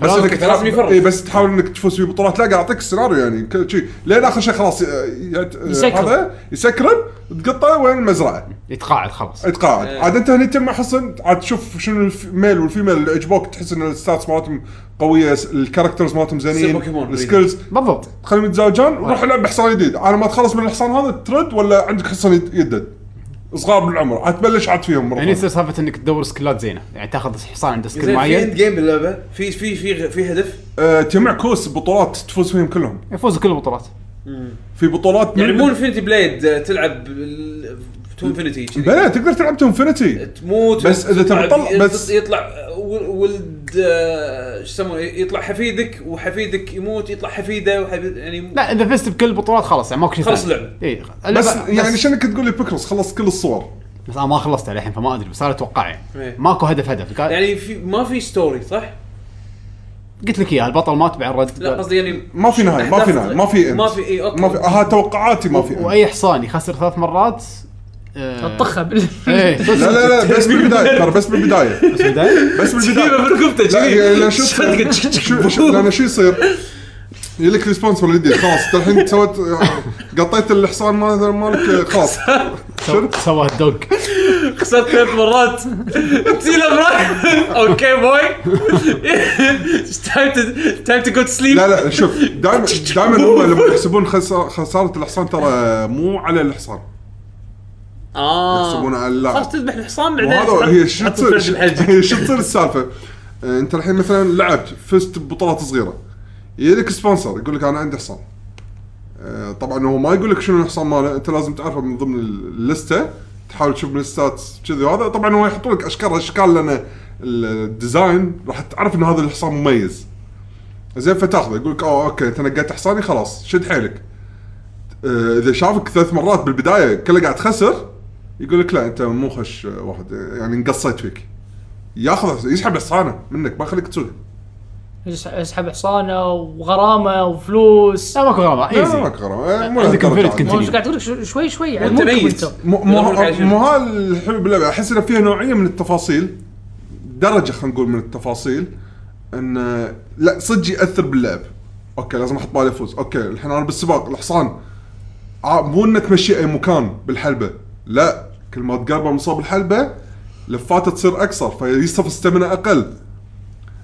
C: بس
A: فلازم-
C: انك
D: فلازم
C: تحاول-
D: يفرخ.
C: إيه بس تحاول انك تفوز في بطولات لا قاعد اعطيك السيناريو يعني كل شيء لين اخر شيء خلاص ي- يت-
B: يسكرب.
C: هذا يسكرب تقطه وين المزرعه
A: يتقاعد خلاص
C: اتقاعد عاد انت هني تجمع حصن عاد تشوف شنو الميل والفيميل اللي عجبوك تحس ان الستاتس مالتهم قويه س- الكاركترز مالتهم
D: يصير
C: زينين
D: بوكيمون
C: السكيلز
A: بالضبط
C: تخليهم يتزاوجون وروح العب بحصان جديد على ما تخلص من الحصان هذا ترد ولا عندك حصان يد- يدد صغار بالعمر عاد تبلش عاد فيهم مره
A: يعني
C: ثانية.
A: يصير سالفه انك تدور سكلات زينه يعني تاخذ حصان عنده سكيل
D: زين في اند
A: معين
D: جيم باللعبه في في في في هدف
C: أه، تجمع كوس بطولات تفوز فيهم كلهم
A: يفوز كل البطولات
C: في بطولات
D: يعني
C: من-
D: مو انفنتي بليد تلعب بال- تو انفنتي
C: بلا تقدر تلعب تو انفنتي
D: تموت
C: بس إذا
D: تلعب-
C: تبطل- بس-
D: يطلع ول- ولد آه، شو يسمونه يطلع حفيدك وحفيدك يموت يطلع حفيده وحفيد يعني
A: لا اذا فزت بكل البطولات خلاص يعني ماكو شيء
D: خلص
A: ثاني.
D: اللعبة.
A: اي
C: بس
A: اللعبة-
C: يعني شنك تقول لي بيكروس خلص كل الصور
A: بس انا ما خلصت الحين فما ادري بس انا اتوقع
D: إيه.
A: يعني ماكو هدف هدف قال-
D: يعني في ما في ستوري صح؟
A: قلت لك اياها البطل مات بعد رد
D: لا قصدي يعني
C: ما في نهايه ما في نهايه ما في end.
D: ما في اي اوكي
C: ما في ها توقعاتي ما في end.
A: واي حصان يخسر ثلاث مرات آه،
B: طخه [LAUGHS] بال
A: ايه صدق.
C: لا لا لا بس بالبدايه ترى بس بالبدايه
A: بس
C: [LAUGHS]
A: بداية.
C: بس
D: تجيبه
C: بالبدايه
D: بالركبته
C: لا يعني
D: كذي
C: لأن شو تصير؟ شو- [LAUGHS] شو- لان شو يصير؟ يلك ريسبونسبل جديد خلاص انت الحين سويت قطيت الحصان مال- مالك خلاص شنو؟
A: سوى الدوق
D: خسرت ثلاث مرات تسيل امرك اوكي [LAUGHS] بوي تايم تو تايم تو جو تو سليب
C: لا لا شوف دائما [LAUGHS] دائما هم لما يحسبون خسا- خساره الحصان ترى مو على الحصان
D: اه
C: يحسبون على
D: خلاص
C: اللاعب
D: تذبح الحصان
C: وهذا هي شو
D: تحط الفرش
C: تصير
D: بحجك
C: هي شو تصير السالفه؟ آه، انت الحين مثلا لعبت فزت ببطولات صغيره يجيك سبونسر يقول لك انا عندي حصان آه، طبعا هو ما يقول لك شنو الحصان ماله انت لازم تعرفه من ضمن اللسته تحاول تشوف من الستات كذي وهذا طبعا هو يحط لك اشكال اشكال لان الديزاين راح تعرف ان هذا الحصان مميز زين فتاخذه يقول لك اه اوكي انت نقيت حصاني خلاص شد حيلك آه، اذا شافك ثلاث مرات بالبدايه كله قاعد خسر يقول لك لا انت مو خش واحد يعني انقصيت فيك ياخذ يسحب حصانه منك ما يخليك تسوق
B: يس- يسحب حصانه وغرامه وفلوس
A: لا ماكو غرامة
C: لا ما
A: ايزي
C: كرم مو
A: عندك
C: لهالدرجة
A: infinite
C: عاد.
A: continue.
B: مو إيش قاعد اقول لك شو- شوي شوي يعني
D: وأنت
B: مو
D: ميت.
B: كنتم.
C: مو مو
D: نروح على شنو؟
C: مو هالحلو باللعبه احس انه فيها نوعيه من التفاصيل درجه خلينا نقول من التفاصيل انه لا صدق ياثر باللعب اوكي لازم احط بالي افوز اوكي الحين انا بالسباق الحصان ع- مو انه تمشي اي مكان بالحلبه لا كل ما تقربه من صوب الحلبه لفاته تصير اقصر فيصرف استمنة اقل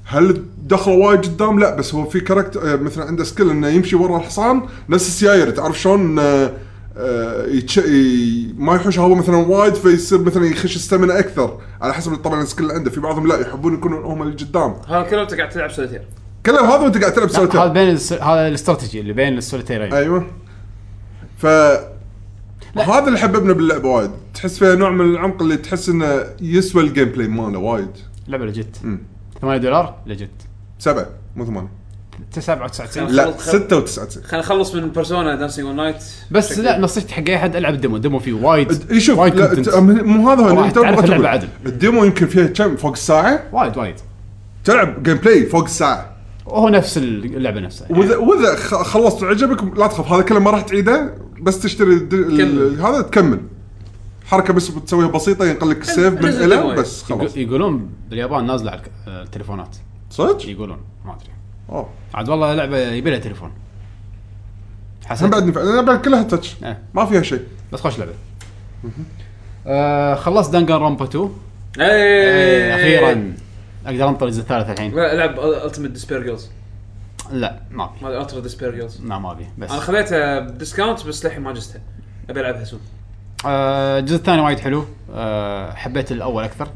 C: هل دخله وايد قدام؟ لا بس هو في كاركتر آه، مثلا عنده سكيل انه يمشي ورا الحصان نفس السيايير تعرف شلون آه، آه، يتش... ي- ما يحوش هواء مثلا وايد فيصير مثلا يخش استمنة اكثر على حسب طبعا السكيل اللي عنده في بعضهم لا يحبون يكونون هم اللي قدام
D: ها كلهم انت قاعد تلعب سوليتير
C: كلام هذا وانت قاعد تلعب
A: هذا
C: سولتير
A: بين الس- هذا الاستراتيجي اللي بين السوليتيرين
C: ايوه ف هذا اللي حببنا باللعبه وايد تحس فيها نوع من العمق اللي تحس انه يسوى الجيم بلاي ماله وايد
A: لعبة لجت
C: مم.
A: 8 دولار لجت
C: سبعه مو ثمانيه
A: 97
C: لا
D: خلص- خلص.
C: 96
D: خلينا نخلص من بيرسونا دانسينج اون نايت
A: بس لا نصيحتي حق اي احد العب الديمو الديمو فيه وايد
C: اي شوف
A: وايد
C: لا،
A: كونتنت
C: ت- مو هذا هو
A: راح
C: أنت بغيت
A: تعرف اللعبة
C: تقول.
A: عدل.
C: الديمو يمكن فيها كم فوق الساعه
A: وايد وايد
C: تلعب جيم بلاي فوق الساعه
A: وهو نفس اللعبة نفسها يعني.
C: واذا واذا خ- خلصت وعجبك لا تخاف هذا كله ما راح تعيده بس تشتري الد- ال-
D: كمل.
C: هذا تكمل حركه بس بتسويها بسيطه ينقل لك السيف من
D: نزل
C: الى
D: ديمو.
C: بس خلاص
A: يعني يقو- يقولون باليابان نازلة على الك- آه، التليفونات
C: صدق؟
A: يقولون ما ادري
C: اه
A: عاد والله لعبة يبي لها تليفون
C: انا
A: حسن
C: بعدني فعلا انا بعد كلها تاتش
A: إيه.
C: ما فيها شيء
A: بس خوش لعبة آه، خلصت دانجان رامبا 2 إيه،
D: ايه
A: اخيرا اقدر انطر الجزء الثالث الحين
D: لا، العب التيمت ديسبير جيرلز
A: لا ما ابي
D: ما الترا ديسبير جيرلز
A: لا ما ابي بس
D: انا خذيتها بديسكاونت بس للحين ما جستها ابي العبها سون
A: آه، الجزء الثاني وايد حلو آه، حبيت الاول اكثر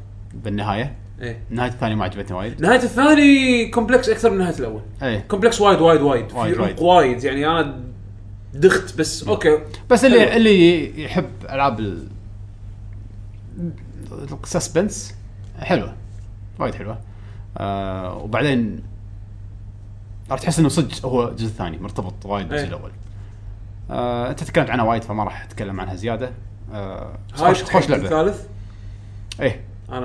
A: بالنهايه
D: ايه
A: نهايه الثاني ما عجبتني وايد
D: نهايه الثاني كومبلكس اكثر من نهايه الاول
A: ايه
D: كومبلكس وايد وايد وايد في
A: وايد
D: عمق
A: وايد.
D: وايد يعني انا دخت بس اوكي
A: بس
D: حلو.
A: اللي اللي يحب العاب ال السسبنس حلوه وايد حلوه آه وبعدين راح تحس انه صدق هو الجزء الثاني مرتبط وايد بالجزء
D: إيه.
A: الاول آه انت تكلمت عنها وايد فما راح اتكلم عنها زياده آه بس
D: هاي
A: خوش خوش
D: حق
A: لعبه
D: الثالث
A: ايه
D: انا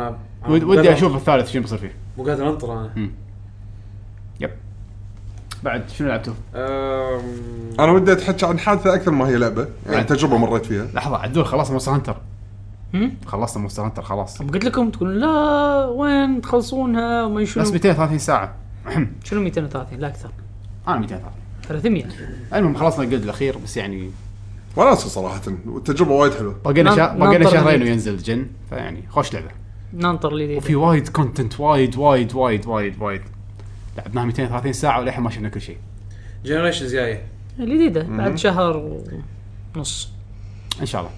D: أنا
A: ود- ودي
D: بدأ-
A: اشوف الثالث شنو بيصير فيه
D: مو قادر انطر انا
A: مم. يب بعد شنو لعبتوا؟
D: أم،
C: انا ودي اتحكي عن حادثه اكثر ما هي لعبه يعني تجربه مريت فيها
A: لحظه عدول خلصنا مونستر هانتر
B: هم؟
A: خلصنا مونستر هانتر خلاص
B: طب قلت لكم تقولون لا وين تخلصونها وما شنو
A: بس 230 ساعه
B: شنو 230 لا اكثر
A: انا 230
B: 300
A: المهم خلصنا الجلد الاخير بس يعني
C: وناسه صراحه والتجربه وايد حلوه
A: باقي شا...
B: نن-
A: باقي لنا
B: ننطر
A: شهرين
B: الجديد.
A: وينزل الجن فيعني خوش لعبه
B: ننطر لي
A: وفي وايد كونتنت وايد وايد وايد وايد وايد لعبناها 230 ساعه وللحين ما شفنا كل شيء
D: جنريشنز جايه
B: الجديده بعد شهر ونص
A: ان شاء الله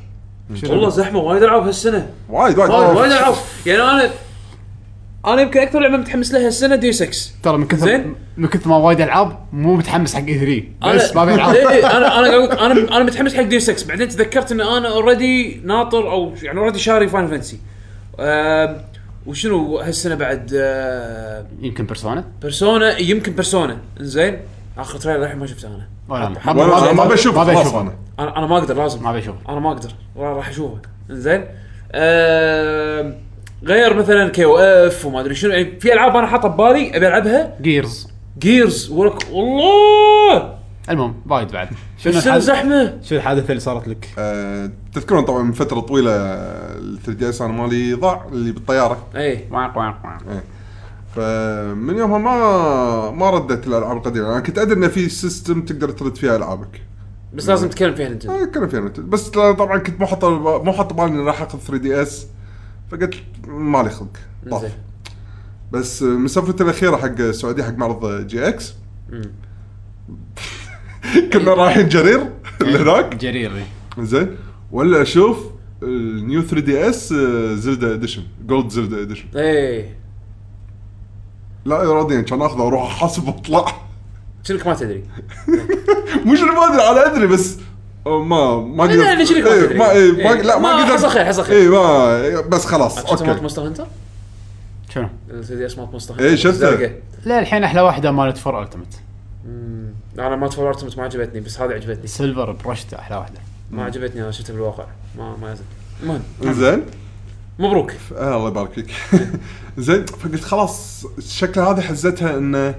D: والله زحمه وايد العاب هالسنه
C: وايد وايد
D: وايد وايد
C: وايد.
D: العاب يعني انا انا يمكن اكثر لعبه متحمس لها هالسنه ديو 6
A: ترى من كثر
D: زين.
A: من كثر ما وايد العاب مو متحمس حق اي 3
D: أنا-
A: بس ما في
D: إيه [LAUGHS]
A: العاب
D: إيه، انا انا قاعد أقول- انا انا متحمس حق ديو 6 بعدين تذكرت ان انا اوريدي ناطر او يعني اوريدي شاري فاين فانسي وشنو هالسنه بعد آه،
A: يمكن [LAUGHS] بيرسونا
D: بيرسونا يمكن بيرسونا زين اخر تريلر للحين ما شفته انا
A: ولا أنا.
C: وانا أنا ما بشوف
A: ما
C: خلاص
A: بشوف
C: انا
D: انا انا ما اقدر لازم
A: ما بشوفه.
D: انا ما اقدر را- راح اشوفه زين آه، غير مثلا كي او اف وما ادري شنو يعني في العاب انا حاطه ببالي ابي العبها
A: جيرز
D: جيرز ورك والله
A: المهم وايد [LAUGHS] بعد
C: طيب،
A: شنو
D: السنه
A: الحادث-
D: زحمه
A: شنو الحادثه اللي صارت لك؟
C: أه تذكرون طبعا من فتره طويله ال 3 دي اس انا مالي ضاع اللي بالطياره
D: اي
A: واق واق واق.
C: فمن يومها ما ما ردت الالعاب القديمه انا كنت ادري ان في سيستم تقدر ترد فيها العابك
D: بس لازم نتكلم فيها نتندو
C: آه، كان فيها نت- بس طبعا كنت مو حاط مو حاط بالي اني راح اخذ 3 دي اس فقلت مالي خلق طاف.
D: زين
C: بس مسافرتي الاخيره حق السعوديه حق معرض جي اكس [LAUGHS] كنا رايحين جرير [LAUGHS] لهناك
A: جرير
C: زين ولا اشوف النيو 3 دي اس زلدا اديشن جولد زلدا اديشن
D: ايه
C: لا اراديا كان اخذه واروح احاسب واطلع
D: شنك ما تدري
C: مش إني ما ادري انا ادري بس ما ما
D: لا، لا، شنو ما
C: إيه،
D: تدري.
C: ما إيه، ما
D: إيه.
C: لا ما
D: ما
C: قدرت
D: حصل خير، حصل خير.
C: اي ما بس خلاص
D: شفت مالت
C: اوكي
D: مونستر هانتر؟
A: شنو؟
D: دي اس مالت مونستر هانتر
C: إيه، شفته.
D: زرقاء.
A: لا الحين احلى واحده مالت فور التمت
D: أمم، انا مالت فور أرتمت ما عجبتني بس هذه عجبتني
A: سيلفر برشته احلى واحده
D: ما عجبتني انا شفتها بالواقع ما ما يزن المهم
C: زين
D: مبروك
C: آه الله يبارك فيك [LAUGHS] زين فقلت خلاص شكلها هذه حزتها انه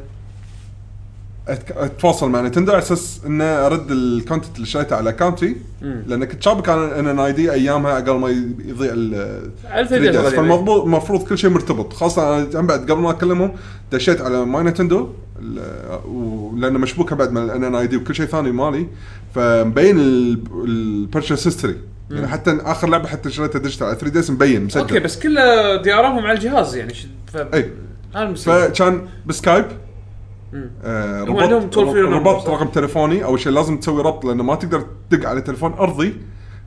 C: أتك- اتواصل مع نتندو على اساس انه ارد الكونتنت اللي شريته على اكونتي
D: مم.
C: لان كنت شابك انا ان ان اي دي ايامها قبل ما يضيع ال
D: على 3DS
C: 3DS.
D: القديم.
C: فالمفروض المفروض كل شيء مرتبط خاصه انا هم بعد قبل ما اكلمهم دشيت على ماي نتندو ال- ولانه مشبوكه بعد من الان ان اي دي وكل شيء ثاني مالي فمبين البرشس هيستوري يعني حتى اخر لعبه حتى شريتها ديجيتال على 3 دي اس مبين مسجل
D: اوكي بس كله دي ارامهم على الجهاز يعني ش... ف...
C: اي
D: انا مسوي
C: إيه. فكان بسكايب
D: مم.
C: آه
D: هم عندهم
C: ربط,
D: toll free number،
C: ربط
D: صح؟
C: رقم تليفوني اول شيء لازم تسوي ربط لانه ما تقدر تدق على تليفون ارضي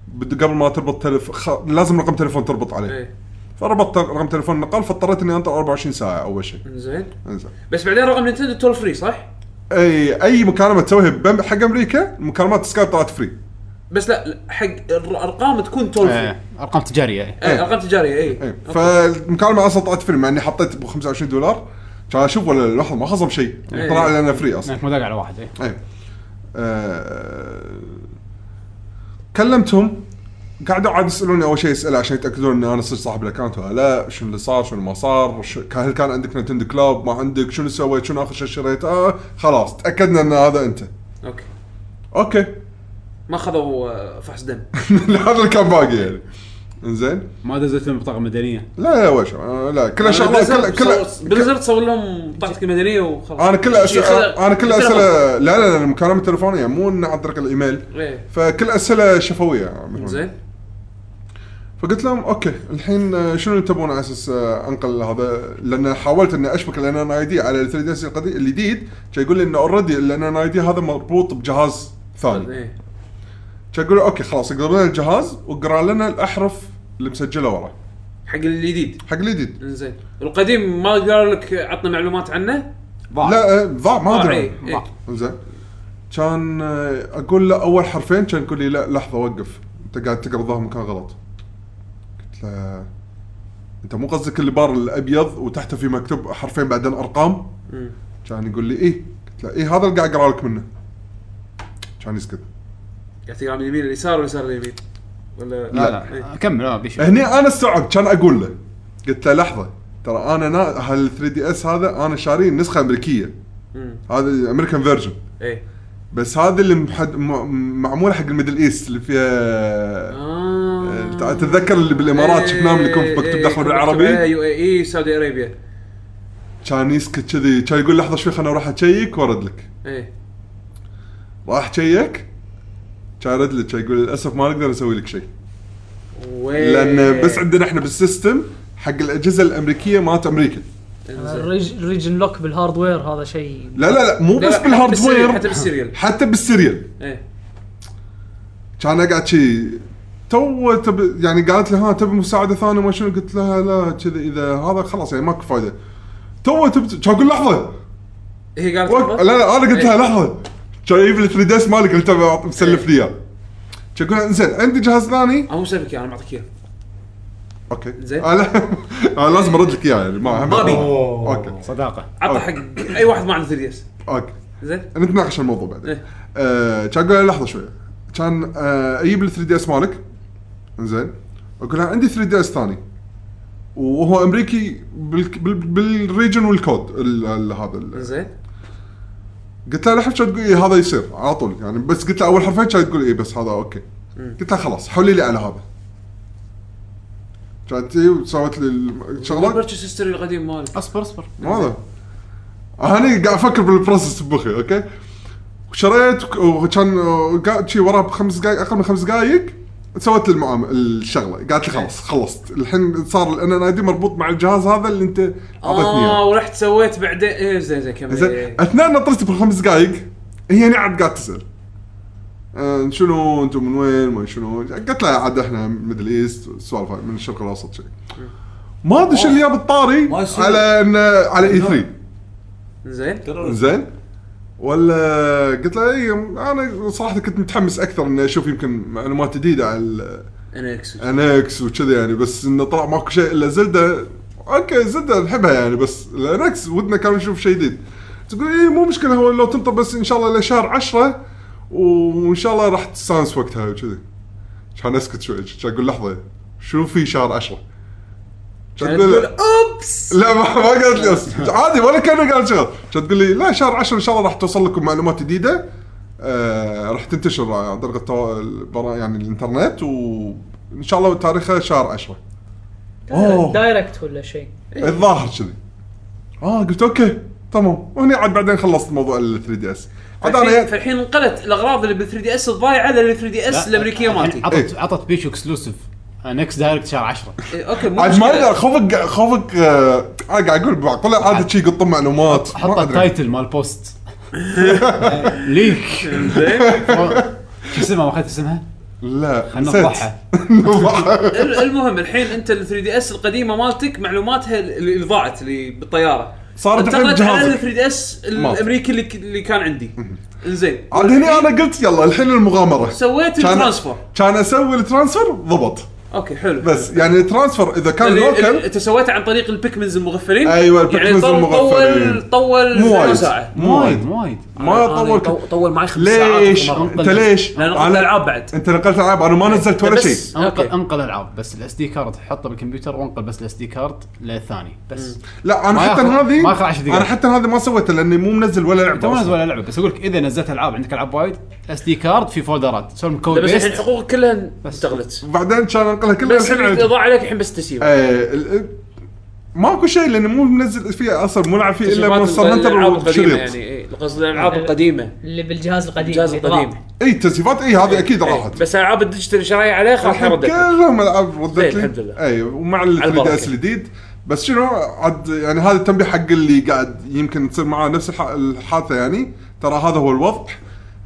C: بد- قبل ما تربط تلف... خ... لازم رقم تليفون تربط عليه
D: إيه.
C: فربطت رقم تليفون نقال فاضطريت اني انطر 24 ساعه اول شيء
D: زين
C: انزين
D: بس بعدين رقم نتندو تول فري صح؟
C: اي اي مكالمه تسويها بم- حق امريكا مكالمات سكايب طلعت فري
D: بس لا لا، حق الر- ارقام تكون تول فري
A: آه، ارقام تجاريه إيه.
D: اي ارقام تجاريه اي
C: اي فالمكالمه اصلا طلعت فري مع اني حطيت ب 25 دولار كان اشوف ولا لحظه ما خصم شيء
D: إيه.
C: طلع لي انه فري اصلا
A: انك مو داق على واحد إيه.
C: ايه آه، كلمتهم قعدوا عاد يسالوني اول شيء اسئله عشان يتاكدون ان انا صدق صاحب الاكونت ولا لا شنو اللي صار شنو ما صار ش- كان- هل كان عندك نتندو كلاب ما عندك شنو سويت شنو اخر شيء شريت آه خلاص تاكدنا ان هذا انت
D: اوكي
C: [LAUGHS] اوكي
D: ما خذوا آه، فحص دم
C: هذا اللي كان باقي يعني انزين
A: ما دزتهم بطاقه مدنيه
C: لا لا وش آه، لا كل شغله كل كل
D: بليزرد سووا لهم بطاقه المدنيه وخلاص
C: انا كل
D: شي خلق-
C: اسئله انا كل
D: شي خلق.
C: اسئله لا لا لا المكالمه التليفونيه مو إنه عن طريق الايميل
D: ايه
C: فكل اسئله شفويه منهم.
D: زين
C: فقلت لهم اوكي الحين آه، شنو اللي تبون على اساس آه، انقل هذا لان حاولت اني اشبك الان ان اي دي على ال 3 دي اس القديم الجديد كان يقول لي انه اوريدي الان ان اي دي هذا مربوط بجهاز ثاني
D: ايه
C: كان يقول لي اوكي خلاص اقرا لنا الجهاز واقرا لنا الاحرف اللي مسجله وراه
D: حق الجديد
C: حق الجديد
D: زين القديم ما قالوا لك عطنا معلومات عنه
C: لا آه، ضاع ما
D: ضاع،
C: ادري
D: إيه، إيه.
C: زين كان آه، اقول له اول حرفين كان يقول لي لا لحظه وقف انت قاعد تقرا ظهر مكان غلط قلت له انت مو قصدك البار الابيض وتحته في مكتوب حرفين بعدين ارقام
D: مم.
C: كان يقول لي ايه قلت له ايه هذا اللي قاعد اقرا لك منه كان يسكت
D: قاعد تقرا من اليمين لليسار واليسار لليمين ولا
A: لا لا
D: إيه.
A: كمل آه، ما بيشوف
C: هني انا استوعبت كان اقول له قلت له لحظه ترى انا نا... هال 3 دي اس هذا انا شاريه نسخه امريكيه
D: مم.
C: هذا امريكان فيرجن
D: ايه
C: بس هذا اللي محد... م... معمول حق الميدل ايست اللي فيها
D: آه.
C: تتذكر اللي بالامارات شفناهم اللي يكون
D: إيه،
C: مكتوب
D: إيه،
C: داخل
D: يكون
C: بالعربي؟
D: مكتوب يو اي اي سعودي ارابيا
C: كان يسكت كذي كان يقول لحظه شوي خليني اروح اشيك وارد لك
D: ايه
C: راح شيك كان يرد لك كان يقول للاسف ما نقدر نسوي لك شيء
D: وين؟
C: لان بس عندنا احنا بالسيستم حق الاجهزه الامريكيه مالت امريكا
D: انزين.
B: الريجن لوك بالهاردوير هذا شيء
C: لا لا لا مو
D: لا،
C: بس
D: لا، حتى بالسيريال، حتى
C: بالهاردوير
D: بالسيريال
C: حتى بالسيريال
D: ايه
C: كان اقعد شي تو تب يعني قالت لي ها تبي مساعده ثانيه ما شنو قلت لها لا كذا اذا هذا خلاص يعني ماكو فايده تو تب كان اقول لحظه
D: هي قالت
C: وقف- لا لا انا قلت
D: إيه.
C: لها لحظه كان يجيب لي 3 دي اس مالك قلت له أعط- مسلف لي اياه كان اقول لها، زين عندي جهاز ثاني
D: انا مو مسلفك اياه، انا معطيك اياه
C: اوكي
D: زين.
C: آه، لا [LAUGHS] آه، لازم ارد لك اياه يعني ما
E: ما أبي.
C: اوكي
A: صداقه
D: عطى
C: أوكي.
D: حق اي واحد ما عنده 3 دي اس
C: اوكي
D: زين
C: نتناقش الموضوع بعدين
D: إيه.
C: آه، كان اقول لها لحظه شويه كان آه، اجيب لي 3 دي اس مالك زين اقول لها عندي 3 دي اس ثاني وهو امريكي بال- بال- بالريجن والكود ال- ال- هذا ال-
D: زين
C: قلت لها لحظه تقول إيه هذا يصير على طول يعني بس قلت لها اول حرفين كانت تقول اي بس هذا اوكي قلت لها خلاص حولي لي على هذا كانت تجي وسوت لي الشغلات
D: البيرتشس هيستوري القديم مالك
A: اصبر اصبر
C: هذا هني قاعد افكر بالبروسس بمخي اوكي شريت وكان قاعد شي وراها بخمس دقائق اقل من خمس دقائق سويت لي المعامله الشغله قالت لي خلاص خلصت الحين صار الان ان اي دي مربوط مع الجهاز هذا اللي انت اعطيتني
D: اه
C: اياه
D: ورحت سويت بعدين ايه زين زين كمل
C: زين
D: إيه.
C: اثناء نطرت بالخمس دقائق هي يعني قاعد قاعد تسال آه، شنو انتم من وين ما شنو قلت لها عاد احنا ميدل ايست سوالف هاي، من الشرق الاوسط شيء ما ادري شو اللي جاب الطاري
E: ما يصير.
C: على ان على اي 3
D: زين
C: زين ولا قلت لها اي انا صراحه كنت متحمس اكثر اني اشوف يمكن معلومات جديده على
D: انا اكس
C: الانكس وكذا يعني بس انه طلع ماكو شيء الا زلده اوكي زلده نحبها يعني بس الانكس ودنا كان نشوف شيء جديد تقول ايه مو مشكله هو لو تنطر بس ان شاء الله لشهر 10 وان شاء الله راح تستانس وقتها وكذي كان اسكت شوي كان اقول لحظه شو في شهر 10
D: يعني
C: كان تقول لي-
D: اوبس
C: لا ما ما قالت لي أصلاً. عادي ولا كانه قال شغل كانت تقول لي لا شهر 10 ان شاء الله راح توصل لكم معلومات جديده آه راح تنتشر عن طريق التو... البرا- يعني الانترنت وان شاء الله تاريخها شهر 10 أوه.
B: دايركت ولا شيء
C: الظاهر كذي اه قلت اوكي تمام وهنا عاد بعدين خلصت موضوع ال 3 دي اس عاد انا
D: فالحين انقلت الاغراض اللي بال 3 دي اس الضايعه لل 3 دي اس الامريكيه مالتي
A: عطت عطت بيشو اكسلوسيف نكس دايركت شهر 10
D: إيه، اوكي مو
C: عاد ما
D: مشكلة.
C: اقدر خوفك خوفك آه انا قاعد اقول بعض طلع عاده شي يقطون معلومات ما
A: حط
C: أدري.
A: التايتل مال بوست ليك شو اسمها ما اخذت اسمها؟
C: لا
A: خلنا
C: نسيت.
A: نفضحها
C: نفضحها.
D: ال- المهم الحين انت ال 3 دي اس القديمه مالتك معلوماتها اللي اللي ضاعت اللي بالطياره
C: صارت الحين
D: انتقلت على ال
C: بجهازك
D: 3 دي اس الامريكي اللي, اللي كان عندي انزين
C: عاد هنا انا قلت يلا الحين المغامره
D: سويت
C: كان-
D: الترانسفور
C: كان اسوي الترانسفر ضبط
D: اوكي حلو
C: بس يعني الترانسفر اذا كان
D: اللي- اللي
C: لوكل
D: انت سويته عن طريق البيكمنز المغفلين يعني
C: أيوة، البيكمنز
D: طول-
C: المغفلين.
D: طول طول
C: مو
D: زي
C: وايد.
D: ساعه
A: مو وايد مو وايد
C: ما
D: أنا- أنا
C: طولت
E: طو- طول معي خمس ساعات
C: ليش؟
E: مرة.
A: مرة.
C: انت ليش؟
D: لان اخذت الالعاب بعد
C: انت نقلت العاب انا ما نزلت ولا
D: بس-
C: شيء
A: انقل
D: أوكي.
A: انقل العاب بس الاس دي كارد حطه بالكمبيوتر وانقل بس الاس دي كارد للثاني بس
C: لا انا
A: ما
C: حتى
A: ياخذ-
C: هذه
A: ما ياخذ عشر دقائق.
C: انا حتى هذه ما سويتها لاني مو منزل ولا
A: انت ما نزل
C: لعبه
A: ولا لعبه بس اقول لك اذا نزلت العاب عندك العاب وايد اس دي كارد في فولدرات تسوي لهم كود
D: لا، بس الحين
A: بيست
D: حقوقك كلها
A: بس.
D: انتقلت
C: وبعدين كان انقلها كلها
D: بس
C: الحين
D: اللي
C: عندي.
D: ضاع عليك الحين بس تسيب
C: ايه، ال- ماكو شيء لاني مو منزل فيها اصلا مو لعب فيه الا مونستر هانتر
D: القديمه
C: والشريط
D: يعني إيه، قصدي الالعاب القديمه
B: اللي بالجهاز القديم
D: الجهاز
B: اللي طلع.
D: القديم
C: اي تسييفات اي إيه، هذه اكيد
D: إيه،
C: راحت
D: بس الالعاب الديجيتال شرايه عليه خلاص
C: الحين
D: حردت
C: كلهم العاب
D: زين،
C: ردت
D: الحمد
C: لي
D: لله.
C: اي أيوة، ومع ال
D: على
C: 3 دي
D: البركة.
C: اس الجديد بس شنو عاد يعني هذا التنبيه حق اللي قاعد يمكن تصير معاه نفس الح- الحادثه يعني ترى هذا هو الوضع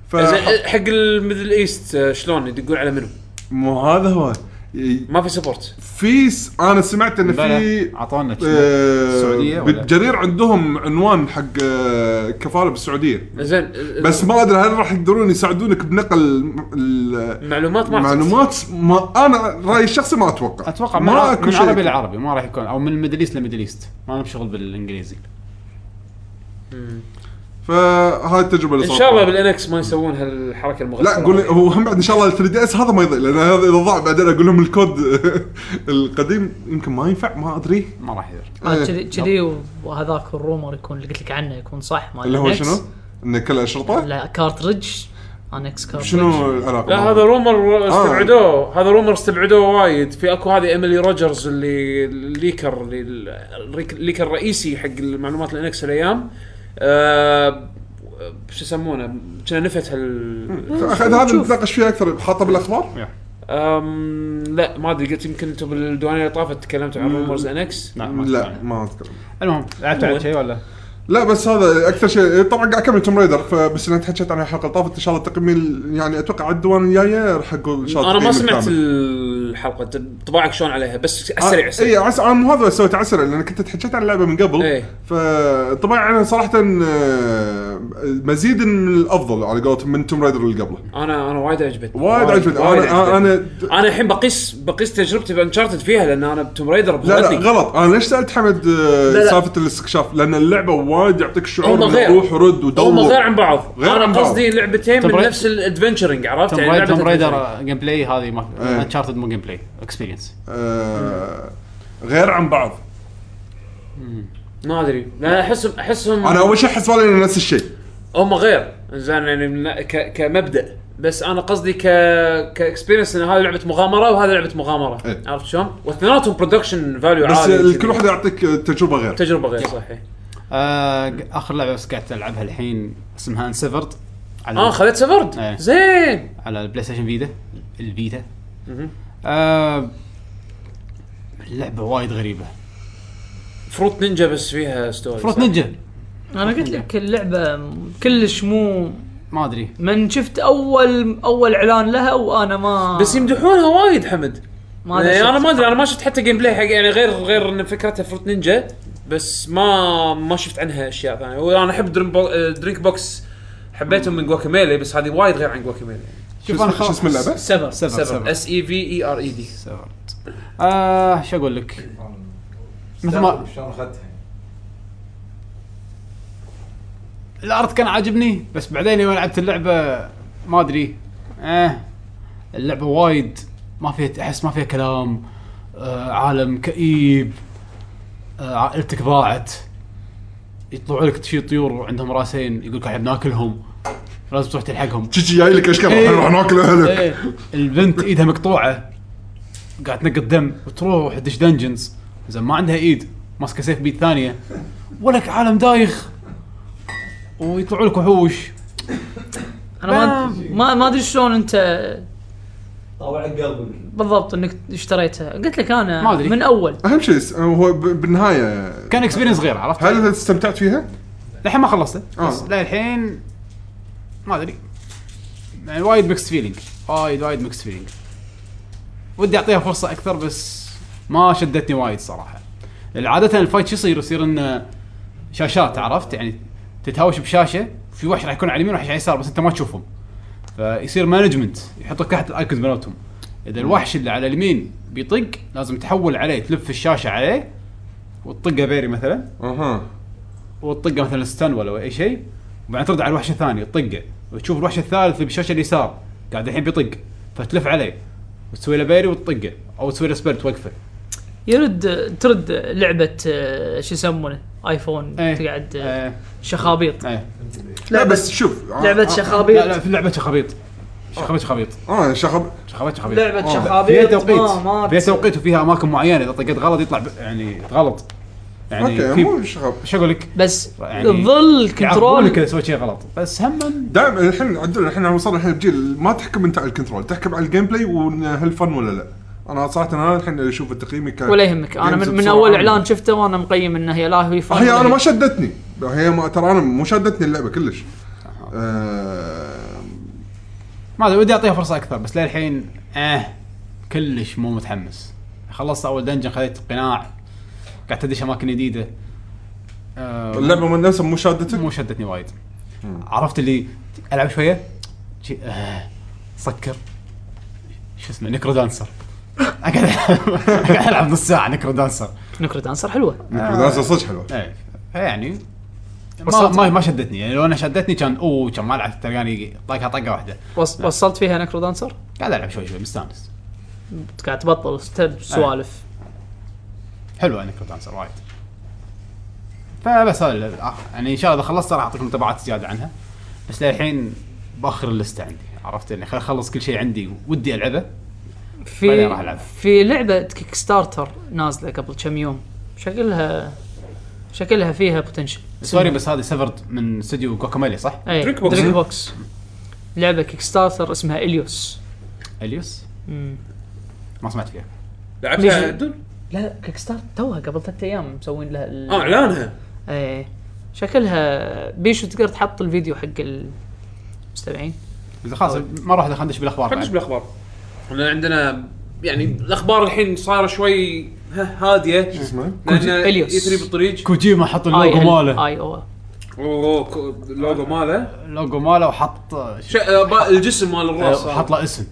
C: ف
D: زين، حق الميدل ايست آه، شلون يدقون على منو؟
C: مو هذا هو ي-
D: ما في سبورت
C: في س- انا سمعت ان في
A: اعطونا
C: آه،
A: السعوديه ولا
C: بالجرير عندهم عنوان حق آه، كفاله بالسعوديه
D: زين
C: بس ما ادري هل راح يقدرون يساعدونك بنقل الم- ال-
D: المعلومات ما
C: معلومات ما انا رايي الشخصي ما اتوقع
A: اتوقع من,
C: ما
A: عربي
C: اكو
A: من
C: شيء
A: عربي لعربي ما راح يكون او من ميدل ايست لميدل ايست ما لهم شغل بالانجليزي
C: فهاي التجربه اللي
D: ان
C: صارت
D: شاء الله
C: معي.
D: بالانكس ما يسوون هالحركه
C: لا
D: المغلقه
C: قول لي- هو هم بعد ان شاء الله ال 3 دي اس هذا ما يضيع لان هذا اذا ضاع بعدين اقول لهم الكود [LAUGHS] القديم يمكن ما ينفع ما إيه، ادري
A: ما راح يصير
B: آه، كذي كذي وهذاك الرومر يكون اللي قلت لك عنه يكون صح ما
C: اللي هو شنو؟ ان كل الشرطه؟
B: لا كارترج انكس كارترج
C: شنو العلاقه؟
D: لا
C: معه؟
D: هذا رومر استبعدوه
C: آه.
D: هذا رومر استبعدوه وايد في اكو هذه ايميلي روجرز اللي الليكر اللي الريك- الليكر الرئيسي حق المعلومات الانكس الايام آه، شو يسمونه كنا نفت هال
C: اخي هذا نتناقش فيه اكثر حاطه بالاخبار؟
D: أم، لا ما ادري قلت يمكن انتم بالديوانيه اللي طافت تكلمتوا عن رومرز انكس
A: نعم ما
C: لا
A: أتكلم.
C: ما اذكر
A: المهم لعبت على شيء ولا؟
C: لا بس هذا اكثر شيء طبعا قاعد اكمل توم رايدر فبس انا حكيت عن الحلقه اللي طافت ان شاء الله التقييم يعني اتوقع على الديوان الجايه راح اقول ان شاء الله
D: انا ما
C: التقييم
D: سمعت
C: الكامل.
D: الحلقه طباعك شلون عليها بس على السريع
C: اي
D: السريع
C: عس... انا يعني مو هذا سويت على السريع لان كنت حكيت عن اللعبه من قبل
D: إيه.
C: فطبعا انا صراحه آه، مزيد من الافضل على قولتهم من توم رايدر اللي قبله
D: انا انا وايد عجبتني
C: وايد عجبتني.
D: وايد
C: أنا-
D: عجبتني.
C: أنا-
D: انا الحين بقيس بقيس تجربتي بانشارتد فيها لان انا بتوم رايدر
C: لا لا
D: بغضني.
C: غلط انا ليش سالت حمد آه،
D: لا، لا.
C: سالفه الاستكشاف لان اللعبه وايد يعطيك شعور
D: هم
C: من
D: غير.
C: روح ورد ودور
D: هم غير عن بعض
C: غير عن
D: انا
C: بعض.
D: قصدي لعبتين
A: توم
D: من
A: رايدر-
D: نفس الادفنشرنج عرفت يعني
A: توم رايدر
D: لعبة
A: توم
D: adventuring.
A: رايدر جيم بلاي هذه ما
C: إيه.
A: انشارتد مو جيم بلاي اكسبيرينس
C: آه، غير عن بعض
D: ما ادري لا احسهم احسهم
C: انا اول شيء حسبالي انه نفس الشيء
D: هم غير زين يعني من- ك... كمبدا بس انا قصدي ك كاكسبيرينس ان هذه لعبه مغامره وهذه لعبه مغامره
C: إيه.
D: عرفت شلون؟ واثنيناتهم برودكشن فاليو
C: بس
D: عالي
C: آه،
D: وكذي.
C: كل واحده يعطيك آه، تجربه غير
D: تجربه غير صحيح
A: آه اخر لعبه بس قاعد العبها الحين اسمها انسيفرد على
D: اه خذت سفرد
A: إيه.
D: زين
A: على البلاي ستيشن فيتا الفيتا
D: مهم.
A: آه اللعبه وايد غريبه
D: فروت نينجا بس فيها ستوري
A: فروت
D: صح؟
A: نينجا
B: انا قلت لك اللعبه كلش مو
A: ما ادري
B: من شفت اول اول اعلان لها وانا ما
D: بس يمدحونها وايد حمد
B: ما
A: إيه،
D: يعني
B: دشت.
D: انا ما ادري انا ما شفت حتى جيم بلاي حق يعني غير غير ان فكرتها فروت نينجا بس ما ما شفت عنها اشياء ثانيه وانا احب دريم بو... آه، درينك بوكس حبيتهم من جواكاميلي بس هذه وايد غير عن جواكاميلي
C: شو اسم- شو اسم اللعبه؟
D: سفر
A: سفر،
D: سفر
A: سفر.
D: اس اي في اي ار اي دي
A: انسيفرد آه شو اقول لك مثل ما-
E: شلون اخذتها؟
A: الارت كان عاجبني بس بعدين يوم لعبت اللعبه ما ادري اه اللعبه وايد ما فيها احس ما فيها كلام آه عالم كئيب آه عائلتك ضاعت يطلعوا لك شي طيور عندهم راسين يقول لك احنا بناكلهم لازم تروح تلحقهم
C: تجي جاي لك اشكال
A: إيه.
C: الحين راح ناكل اهلك
A: إيه، البنت ايدها مقطوعه قاعد تنقط دم وتروح تدش دنجنز زين ما عندها ايد ماسكه سيف بيد ثانيه ولك عالم دايخ ويطلعوا لك وحوش
B: انا ما ما ما ادري شلون انت
E: طوعك قلبك
B: بالضبط انك اشتريتها قلت لك انا
A: ما أدري.
B: من اول
C: اهم شيء س- هو ب- بالنهايه
A: كان اكسبيرينس غير عرفت؟
C: هل استمتعت فيها؟
A: للحين ما خلصته بس
C: آه.
A: للحين ما ادري يعني وايد ميكس فيلينج وايد وايد ميكس فيلينج ودي اعطيها فرصه اكثر بس ما شدتني وايد صراحه عاده الفايت شو يصير يصير انه شاشات عرفت يعني تتهاوش بشاشه في وحش راح يكون على اليمين وحش على اليسار بس انت ما تشوفهم فيصير مانجمنت يحط لك تحت الايكونز مالتهم اذا الوحش اللي على اليمين بيطق لازم تحول عليه تلف الشاشه عليه وتطقه بيري مثلا
C: اها
A: وتطقه مثلا ستان ولا اي شيء وبعدين ترد على الوحش الثاني تطقه وتشوف الوحش الثالث اللي بالشاشه اليسار قاعد الحين بيطق فتلف عليه وتسوي له بيري وتطقه او تسوي له سبير توقفه
B: يرد ترد لعبه آه، شو يسمونه ايفون
A: إيه.
B: تقعد آه،
A: ايه
B: شخابيط
A: ايه
C: لا بس شوف آه،
B: لعبه
A: لا آه، لا
B: شخابيط
A: في لعبه شخابيط شخابيط شخابيط
C: اه شخب
A: شخابيط شخابيط
B: لعبه
C: آه.
A: فيها
B: شخابيط
A: توقيت
B: ما ما
A: فيها توقيت وفيها اماكن معينه اذا طقت غلط يطلع ب- يعني غلط
C: اوكي
A: يعني
C: مو
A: في
C: شخب
A: شو اقول لك؟
B: بس
A: يعني
B: الظل
A: يعاقبونك
B: كنترول
A: اذا سويت شيء غلط بس هم
C: دائما الحين عندنا الحين وصلنا الحين بجيل ما تحكم انت على الكنترول تحكم على الجيم بلاي وإن هل فن ولا لا انا صراحه انا الحين اشوف تقييمي ك
B: ولا يهمك انا
C: جيمز
B: من, من
C: بسرعة
B: اول
C: عامة.
B: اعلان شفته وانا مقيم انها هي لا هي فاهم
C: آه، هي انا ما شدتني هي ما ترى انا مو شدتني اللعبه كلش آه،
A: ما ادري ودي اعطيها فرصه اكثر بس للحين اه كلش مو متحمس خلصت اول دنجن خذيت قناع قعدت ادش اماكن جديده آه
C: اللعبه من نفسها مو شادتك
A: مو شدتني وايد عرفت اللي العب شويه شي- آه سكر شو اسمه نيكرو دانسر اقعد ألعب- أقعد العب نص ساعه نيكرو دانسر
B: نكرة دانسر حلوه
C: نيكلودانسر صدق حلوه
A: ايه فيعني بس إيه، ما ما شدتني يعني لو انا شدتني كان اوه كان ما لعبت تلقاني طاقها طقه واحده
B: وص- وصلت فيها نكرو دانسر
A: قاعد العب شوي شوي مستانس
B: قاعد تبطل
A: إيه.
B: ست- سوالف
A: حلوه انك دانسر وايد فبس هذا اللي- آه، يعني ان شاء الله اذا خلصت راح اعطيكم انطباعات زياده عنها بس للحين باخر اللسته عندي عرفت اني خل- اخلص كل شيء عندي ودي العبه بعدين راح
B: في
A: ألعب.
B: في لعبه كيك ستارتر نازله قبل كم يوم شكلها شكلها فيها بوتنشل
A: سوري بس هذه سفرد من استوديو كوكاميلي صح؟
B: اي
D: دريك بوكس.
B: دريك بوكس لعبه كيك ستارتر اسمها اليوس
A: اليوس
B: مم.
A: ما سمعت فيها
D: لعبتها
B: ليش؟
D: عدل؟
B: لا كيك ستارت توها قبل ثلاث ايام مسوين لها ال...
D: اه
A: آه،
D: اعلانها
B: ايه شكلها بيشو تقدر تحط الفيديو حق المستمعين
A: اذا خلاص ما راح خلينا ندش بالاخبار
D: خلينا
A: بعد.
D: ندش بالاخبار احنا عندنا يعني الاخبار الحين صايره شوي ها- هاديه شو
C: اسمه؟
B: إليوس.
D: يثري بالطريق
A: كوجيما حط اللوجو
B: ال-
A: ماله
B: اي او
D: أوه، كو- اللوجو ماله
A: اللوجو ماله وحط
D: ش- آه، با- الجسم مال الراس
A: آه، حط له اسم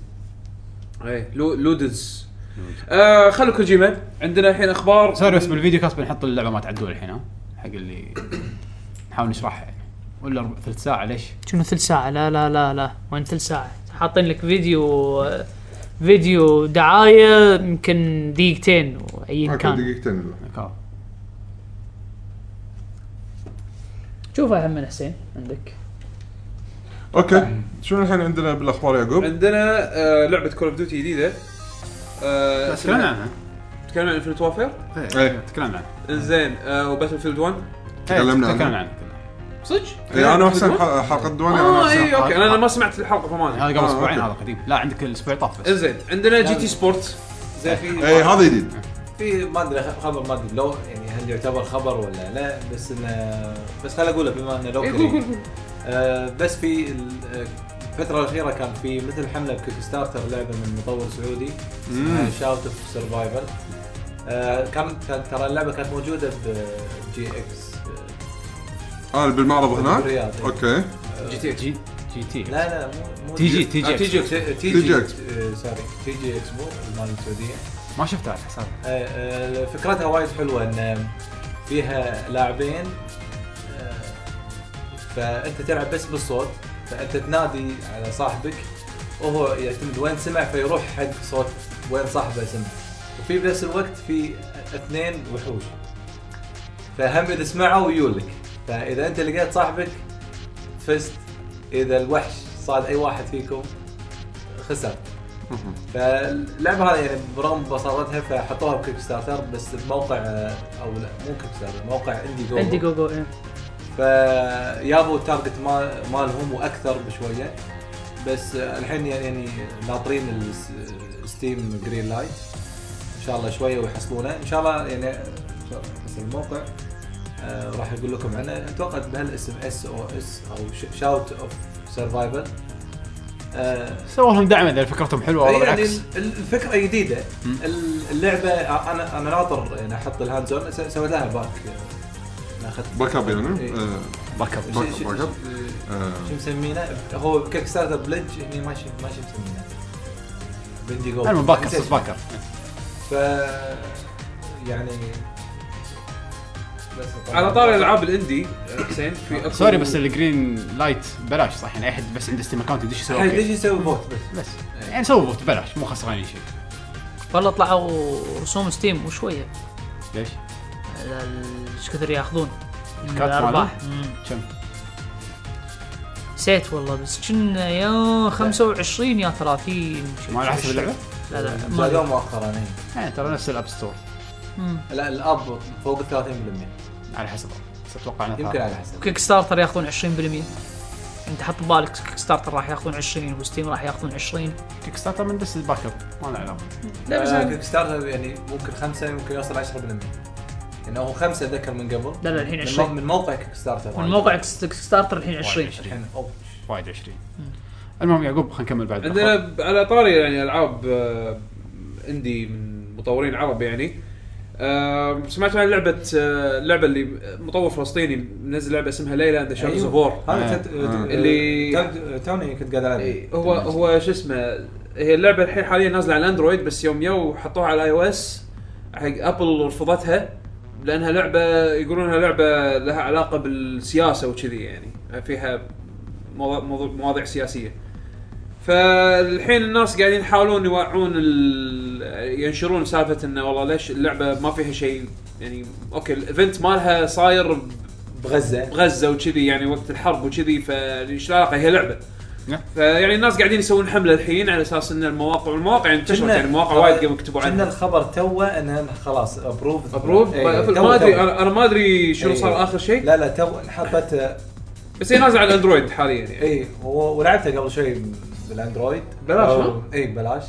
D: ايه لو- لودز آه خلوا كوجيما عندنا الحين اخبار
A: سوري بس بالفيديو كاست بنحط اللعبه ما تعدول الحين ها حق اللي نحاول نشرحها يعني ولا ربع- ثلث ساعه ليش؟
B: شنو ثلث ساعة لا لا لا لا وين ثلث ساعة حاطين لك فيديو فيديو دعاية يمكن دقيقتين وايا
C: اوكي
B: كان
C: دقيقتين الا
A: كار.
B: شوفها هم من حسين عندك
C: اوكي شنو الحين عندنا بالاخبار يا يعقوب؟
D: عندنا آه لعبه كول اوف ديوتي جديده
A: تكلمنا
D: آه اسمها-
A: عنها
D: تكلمنا عن انفنت وافير
C: إيه.
A: إيه، تكلمنا عنها
D: انزين آه وباتل فيلد 1
C: تكلمنا
A: إيه،
C: عنها.
A: تكلمنا عنها كلها.
D: صدق؟
C: إيه، انا وحسين ح- حلقه الديواني انا
D: اه اي
C: وحسين
D: اوكي انا ما سمعت الحلقه فما ادري
A: هذا قبل
C: آه،
A: اسبوعين
C: أوكي.
A: هذا قديم لا عندك الاسبوع طاف بس
D: انزين عندنا جي تي سبورت زين
C: اي
D: في
A: إيه،
C: إيه، هذا جديد
E: في ما ادري خ- خبر ما ادري لو يعني هل يعتبر خبر ولا لا بس انه بس خل اقوله بما انه لو
D: إيه،
E: كريم.
D: قول- قول- قول.
E: آه، بس في ال- آه، الفترة الأخيرة كان في مثل حملة بكيك ستارتر لعبة من مطور سعودي اسمها شاوت اوف سرفايفل كانت آه، كان- ترى اللعبة كانت موجودة بجي اكس
C: اه بالمعرض هناك
E: بالرياض إيه.
C: اوكي
D: جي تي
A: جي جي تي
E: لا لا مو- مو
A: تي جي تي
D: آه، تي
A: جي
D: جي
E: س- تي
C: تي جي
E: جي
C: إكس.
E: آه، سوري تي جي اكس مو مال السعودية
A: ما شفتها على حسابي
E: آه، آه، فكرتها وايد حلوه ان فيها لاعبين آه، فانت تلعب بس بالصوت فانت تنادي على صاحبك وهو يعتمد وين سمع فيروح حق صوت وين صاحبه سمع وفي بنفس الوقت في اثنين وحوش فهم اذا سمعوا يولك فاذا انت لقيت صاحبك فزت اذا الوحش صاد اي واحد فيكم خسرت فاللعبه هذه يعني برغم بساطتها فحطوها بكيك ستارتر بس بموقع آه، او لا مو كيك ستارتر موقع اندي جو
B: عندي جو جو إيه.
E: فيابوا التارجت ما- مالهم واكثر بشويه بس آه، الحين يعني يعني ناطرين الستيم جرين لايت ان شاء الله شويه ويحصلونه ان شاء الله يعني بس الموقع آه، راح اقول لكم عنه اتوقع بهالاسم اس او اس او شاوت اوف سرفايفل
A: سووا لهم دعم اذا فكرتهم حلوه والله
E: اي آه، يعني
A: بالعكس
E: ال- الفكره جديده ال- اللعبه انا انا ناطر يعني احط الهاند زون س- سويت لها باك أنا اخذت
C: باك اب يعني
E: إيه.
C: آه،
A: باك اب
E: ش-
C: باك-
E: ش-
C: باك أب. آه،
E: شو مسمينه هو كيك ستارتر بلج هني ما شو ما شو مسمينه بندي جو
A: المهم باك اب
E: نسيت.
A: صوت باك اب
E: ف يعني بس طبعاً.
D: على طار الالعاب الاندي آه، حسين في أكو-
A: سوري بس الجرين لايت ببلاش صح يعني اي احد بس عنده ستيم اكونت يدش يسوي
E: الحين ليش
A: اوكي
E: يسوي فوت بس
A: بس يعني سووا بوت ببلاش مو خسرانين شيء
B: والله طلعوا رسوم ستيم وشويه
A: ليش؟
B: على ال- ايش كثر ياخذون
A: الكات
B: الارباح مم.
A: كم؟
B: نسيت والله بس كنا يا 25 يا 30 شيء.
A: ما على حسب اللعبه؟
B: لا لا ما
E: زادوه
B: أدري.
E: مؤخرا إيه.
A: يعني ترى نفس الاب ستور
B: مم.
E: لا الاب فوق ال 30%
A: على حسب بس اتوقع انه
E: يمكن على حسب
B: كيك ستارتر ياخذون 20% انت حط ببالك كيك ستارتر راح ياخذون 20 وستيم راح ياخذون 20
A: كيك ستارتر من بس الباك اب ما له علاقه
B: لا بس
E: آه،
B: أنا-
E: كيك ستارتر يعني ممكن خمسه ممكن يوصل 10% يعني هو خمسه ذكر من قبل
B: لا لا الحين
E: من
B: 20
E: مو- من موقع كيك ستارتر
B: من موقع كيك ستارتر الحين 20
E: الحين أوه.
A: وايد 20 المهم يعقوب خلينا نكمل بعد
D: عندنا
A: الأخبار.
D: ب- على طاري يعني العاب آه، اندي من مطورين عرب يعني آه، سمعت عن لعبه آه، اللعبه اللي مطور فلسطيني منزل لعبه اسمها ليلى اند شادوز اوف وور
E: أيوه. هذا
A: آه.
E: تت-
C: آه.
D: اللي-
E: تت- توني كنت قاعد العب
D: إيه، هو هو شو اسمه هي اللعبه الحين حاليا نازله على الاندرويد بس يوم يو حطوها على اي او اس حق ابل رفضتها لانها لعبه يقولونها لعبه لها علاقه بالسياسه وكذي يعني فيها مواضيع- موضوع مواضيع سياسيه فالحين الناس قاعدين يحاولون يوعون ال... ينشرون سالفه انه والله ليش اللعبه ما فيها شيء يعني اوكي الايفنت مالها صاير ب-
E: بغزه
D: بغزه وكذي يعني وقت الحرب وكذي فايش العلاقه هي لعبه
A: نعم.
D: فيعني الناس قاعدين يسوون حمله الحين على اساس ان المواقع والمواقع انتشرت يعني مواقع وايد قاموا يكتبوا
E: كنا
D: عنها
E: الخبر توه انها خلاص ابروف
D: مبروك ما ادري انا أنا ما ادري شنو
E: إيه.
D: صار اخر شيء
E: لا لا تو انحطت آه،
D: بس هي نازله على الاندرويد حاليا يعني
E: اي إيه. و- ولعبتها قبل شوي بالاندرويد
D: بلاش، ها؟
E: اي بلاش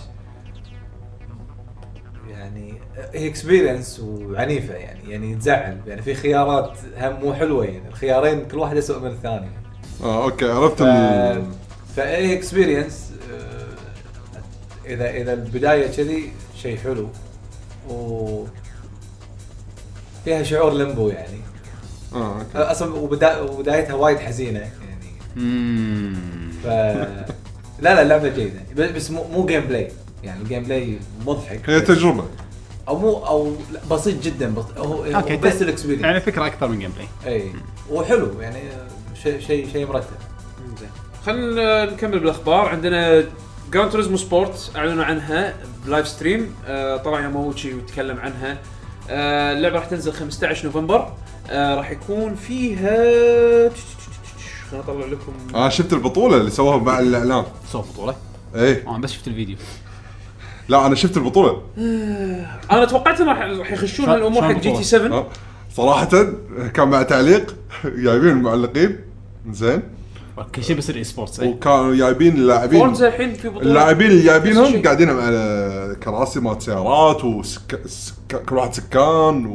E: يعني هي اكسبيرينس وعنيفه يعني يعني تزعل يعني في خيارات هم مو حلوه يعني الخيارين كل واحد اسوء من الثاني
C: اه اوكي عرفت
E: ف... آه،
C: ال-
E: فاي اكسبيرينس اذا اذا البدايه كذي شيء حلو و فيها شعور لمبو يعني
C: اه اوكي
E: اصلا وبدا... وبدايتها وايد حزينه يعني
A: مم. [LAUGHS]
E: ف لا لا لعبه جيده ب- بس مو مو جيم بلاي يعني الجيم بلاي مضحك
C: هي تجربه
E: او مو او لا، بسيط جدا بس هو
A: اوكي
E: هو بس الاكسبيرينس
A: يعني فكره اكثر من جيم بلاي
E: اي وحلو يعني آه، شيء شيء شيء مرتب
D: خلينا نكمل بالاخبار عندنا جران توريزمو سبورت اعلنوا عنها بلايف ستريم آه، طلع ياماوتشي وتكلم عنها آه، اللعبه راح تنزل 15 نوفمبر آه، راح يكون فيها خليني اطلع لكم
C: اه شفت البطوله اللي سووها مع الاعلان
A: سوى بطوله
C: ايه
A: انا بس شفت الفيديو
C: لا انا شفت البطوله
D: انا توقعت انه راح راح يخشون
A: شلون-
D: هالامور حق
A: شلون
D: جي تي
A: بطولة؟
D: 7
C: آه. صراحه كان مع تعليق جايبين المعلقين زين
A: كل شيء إيه. بيصير اي سبورتس اي
C: وكانوا جايبين اللاعبين
D: فورزا الحين في بطوله
C: اللاعبين اللي
D: نفس
C: جايبينهم
D: الشيء.
C: قاعدين على كراسي مالت سيارات وسك... سك... كل واحد سكان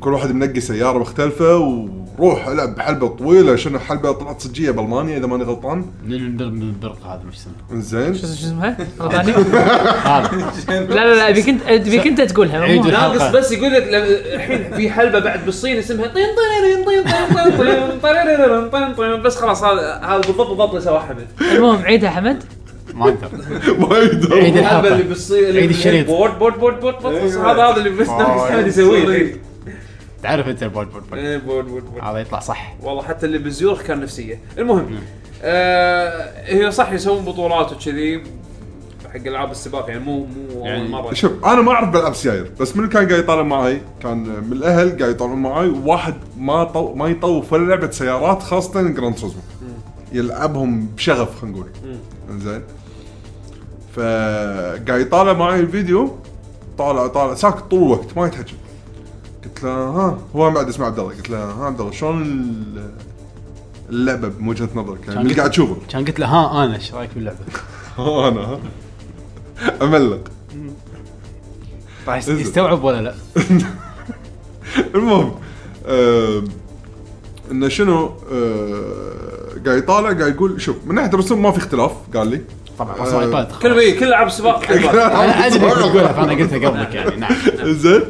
C: وكل واحد منقي سياره مختلفه وروح العب بحلبه طويله شنو حلبه طلعت صجيه بالمانيا اذا ماني غلطان
A: البرق هذا مش اسمه
C: زين
B: شو شو
C: [LAUGHS]
B: اسمها؟ رباني؟
A: هذا
B: لا لا لا ابيك انت ابيك انت تقولها
A: عيد
B: مو-
D: ناقص بس يقول لك لا- الحين في حلبه بعد بالصين اسمها طين طين طين طين طين طين طين طين بس خلاص هذا هذا بالضبط بالضبط اللي سواه حمد
B: المهم عيدها حمد
A: ما اقدر
C: ما
B: يعني
A: عيد
C: يدرون
D: الحلبه اللي
A: الحلقه
D: بالصين اللي
A: عيد الشريط.
D: بورد بورد بورد بورد بورد بس
C: أيوة.
D: هذا هذا اللي بس ناقص حمد يسويه الحين
A: تعرف انت البول بول بول
D: إيه، بورد بورد بورد
A: هذا يطلع صح
D: والله حتى اللي بالزيورخ كان نفسيه المهم آه هي صح يسوون بطولات وكذي حق العاب السباق يعني مو مو
A: يعني
D: اول مره
C: شوف انا ما اعرف بلعب سياير بس من كان قاعد يطالع معي كان من الاهل قاعد يطالعون معي واحد ما طو... ما يطوف ولا لعبه سيارات خاصه جراند توريزمو يلعبهم بشغف خلينا نقول انزين فقاعد يطالع معي الفيديو طالع طالع ساكت طول الوقت ما يتحكى قلت له ها هو بعد اسمه عبد الله قلت له ها عبد الله شلون ال- اللعبه من وجهه نظرك يعني من اللي قاعد [LAUGHS] تشوفه
A: كان قلت له ها انا ايش رايك باللعبه؟
C: ها انا ها املق
A: راح يست- يستوعب ولا لا؟
C: المهم آم، انه شنو آه، قاعد يطالع قاعد يقول شوف من ناحيه الرسوم ما في اختلاف قال لي
A: طبعا
C: آه.
A: خلاص ايباد
D: كل إيه، كل العاب
C: [LAUGHS]
D: السباق حق
A: أيوة.
D: بعض.
A: انا ادري ايش تقولها فانا قلتها قبلك يعني نعم
C: [LAUGHS] زين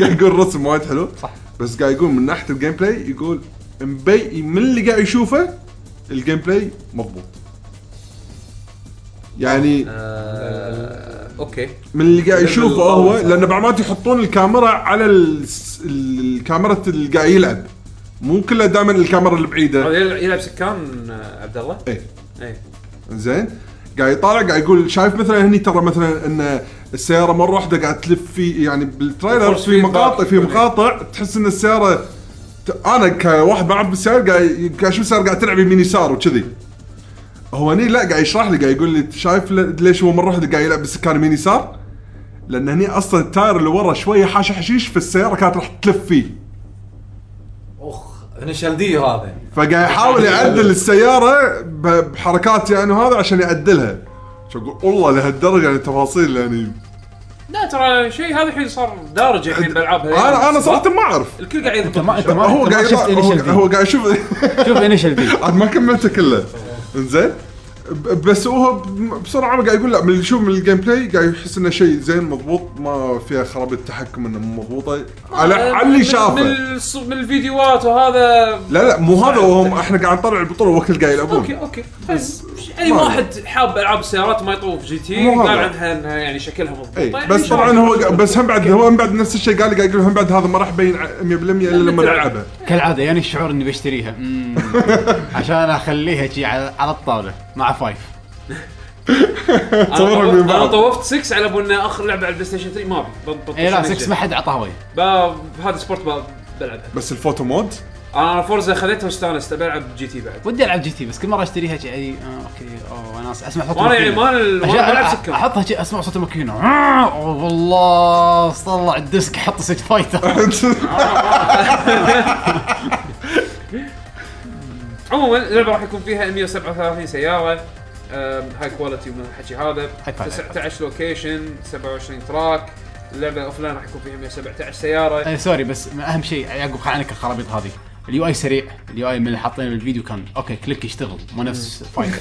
C: قاعد يقول الرسم وايد حلو
A: صح.
C: بس قاعد يقول من ناحيه الجيم بلاي يقول مبي من اللي قاعد يشوفه الجيم بلاي مضبوط يعني
D: آه، اوكي
C: من اللي قاعد
E: ليفل
C: يشوفه
E: طالع
C: هو
E: صح.
C: لان بعض ما يحطون الكاميرا على الس- ال- الكاميرا اللي قاعد يلعب مو كلها دائما الكاميرا
A: أيوة.
C: البعيده
D: هذا يلعب- يلعب سكان آه، عبد الله
C: ايه
D: ايه
C: زين قاعد يطالع قاعد يقول شايف مثلا هني ترى مثلا ان السياره مره واحده قاعد تلف في يعني بالتريلر
D: الفورس
C: في
D: فيدباك.
C: مقاطع في مقاطع تحس ان السياره ت- انا كواحد ما اعرف بالسياره قاعد قاعد اشوف السياره قاعد تلعب يمين يسار وكذي هو هني لا قاعد يشرح لي قاعد يقول لي شايف ل- ليش هو مره واحده قاعد يلعب بالسكان يمين يسار؟ لان هني اصلا التاير اللي ورا شويه حاشه حشيش فالسياره كانت راح تلف فيه
E: اخ هنا شلدي هذا
C: فقاعد يحاول يعدل السياره ب- بحركات يعني هذا عشان يعدلها شو اقول والله لهالدرجه يعني تفاصيل يعني
D: لا ترى شيء هذا الحين صار دارج الحين بالالعاب هذه.
C: انا انا صراحه ما اعرف
D: الكل قاعد
A: انت ما
D: يضبط
A: انت ما
C: هو
A: أنت ما
C: قاعد
A: شفت
C: [LAUGHS] يطلع- هو,
A: انيشال
C: هو قاعد يشوف
A: شوف انيشال دي
C: عاد ما كملته كله انزين ب- بس هو ب- بسرعه أنا قاعد يقول لا من اللي يشوف من الجيم بلاي قاعد يحس انه شيء زين مضبوط ما فيها خرابيط تحكم انه مو مضبوطه على على اللي
D: آه، من-
C: شافه
D: من الص- من الفيديوهات وهذا
C: لا لا مو هذا وهم احنا قاعد نطلع البطوله وكل قاعد
D: اوكي
C: يلعبون
D: اوكي بس يعني
C: ما-
D: واحد حاب العاب السيارات ما يطوف جي تي
C: مو
D: قال
C: هذا.
D: عنها انها يعني شكلها مضبوط
C: اي إيه، بس طبعا هو قا- بس هم بعد هو هم بعد نفس الشيء قال قاعد يقول هم بعد هذا ما راح يبين ع- 100% الا لما
D: متى؟
C: نلعبه
A: كالعاده يعني الشعور اني بشتريها مم. عشان اخليها شي على على الطاوله مع فايف
C: تصورهم من
D: انا
C: بعض.
D: طوفت 6 على ابو انه اخر لعبه على البلاي ستيشن 3 ما ابي ب- بطش
C: إيه،
A: اي إيه، لا
D: عليك
A: 6
D: شيء.
A: ما حد عطاها وجه
D: ب- هذا سبورت ب- بلعبها
C: بس الفوتو مود [LAUGHS]
D: انا فورزا خذيتها واستانست بلعب جي تي بعد
A: ودي العب جي تي بس كل مره اشتريها شي اي آه اوكي اوه انا اسمع صوت
D: وانا يعني
A: الماكينة.
D: ما ال-
A: عشان
D: ما بلعب
A: أ-
D: سكر
A: احطها شي اسمع صوت الماكينه أوه والله طلع الديسك حط سيت فايتر [LAUGHS]
D: عموما اللعبه راح يكون فيها 137 سياره أم، هاي كواليتي من الحكي هذا
A: هاي كواليتي.
D: 19 لوكيشن 27 تراك اللعبه اوف لاين راح يكون فيها 117 سياره
A: آه، سوري بس ما اهم شيء يعقوب خل عنك الخرابيط هذه اليو اي سريع اليو اي من اللي حاطينه بالفيديو كان اوكي كليك يشتغل مو نفس فايتر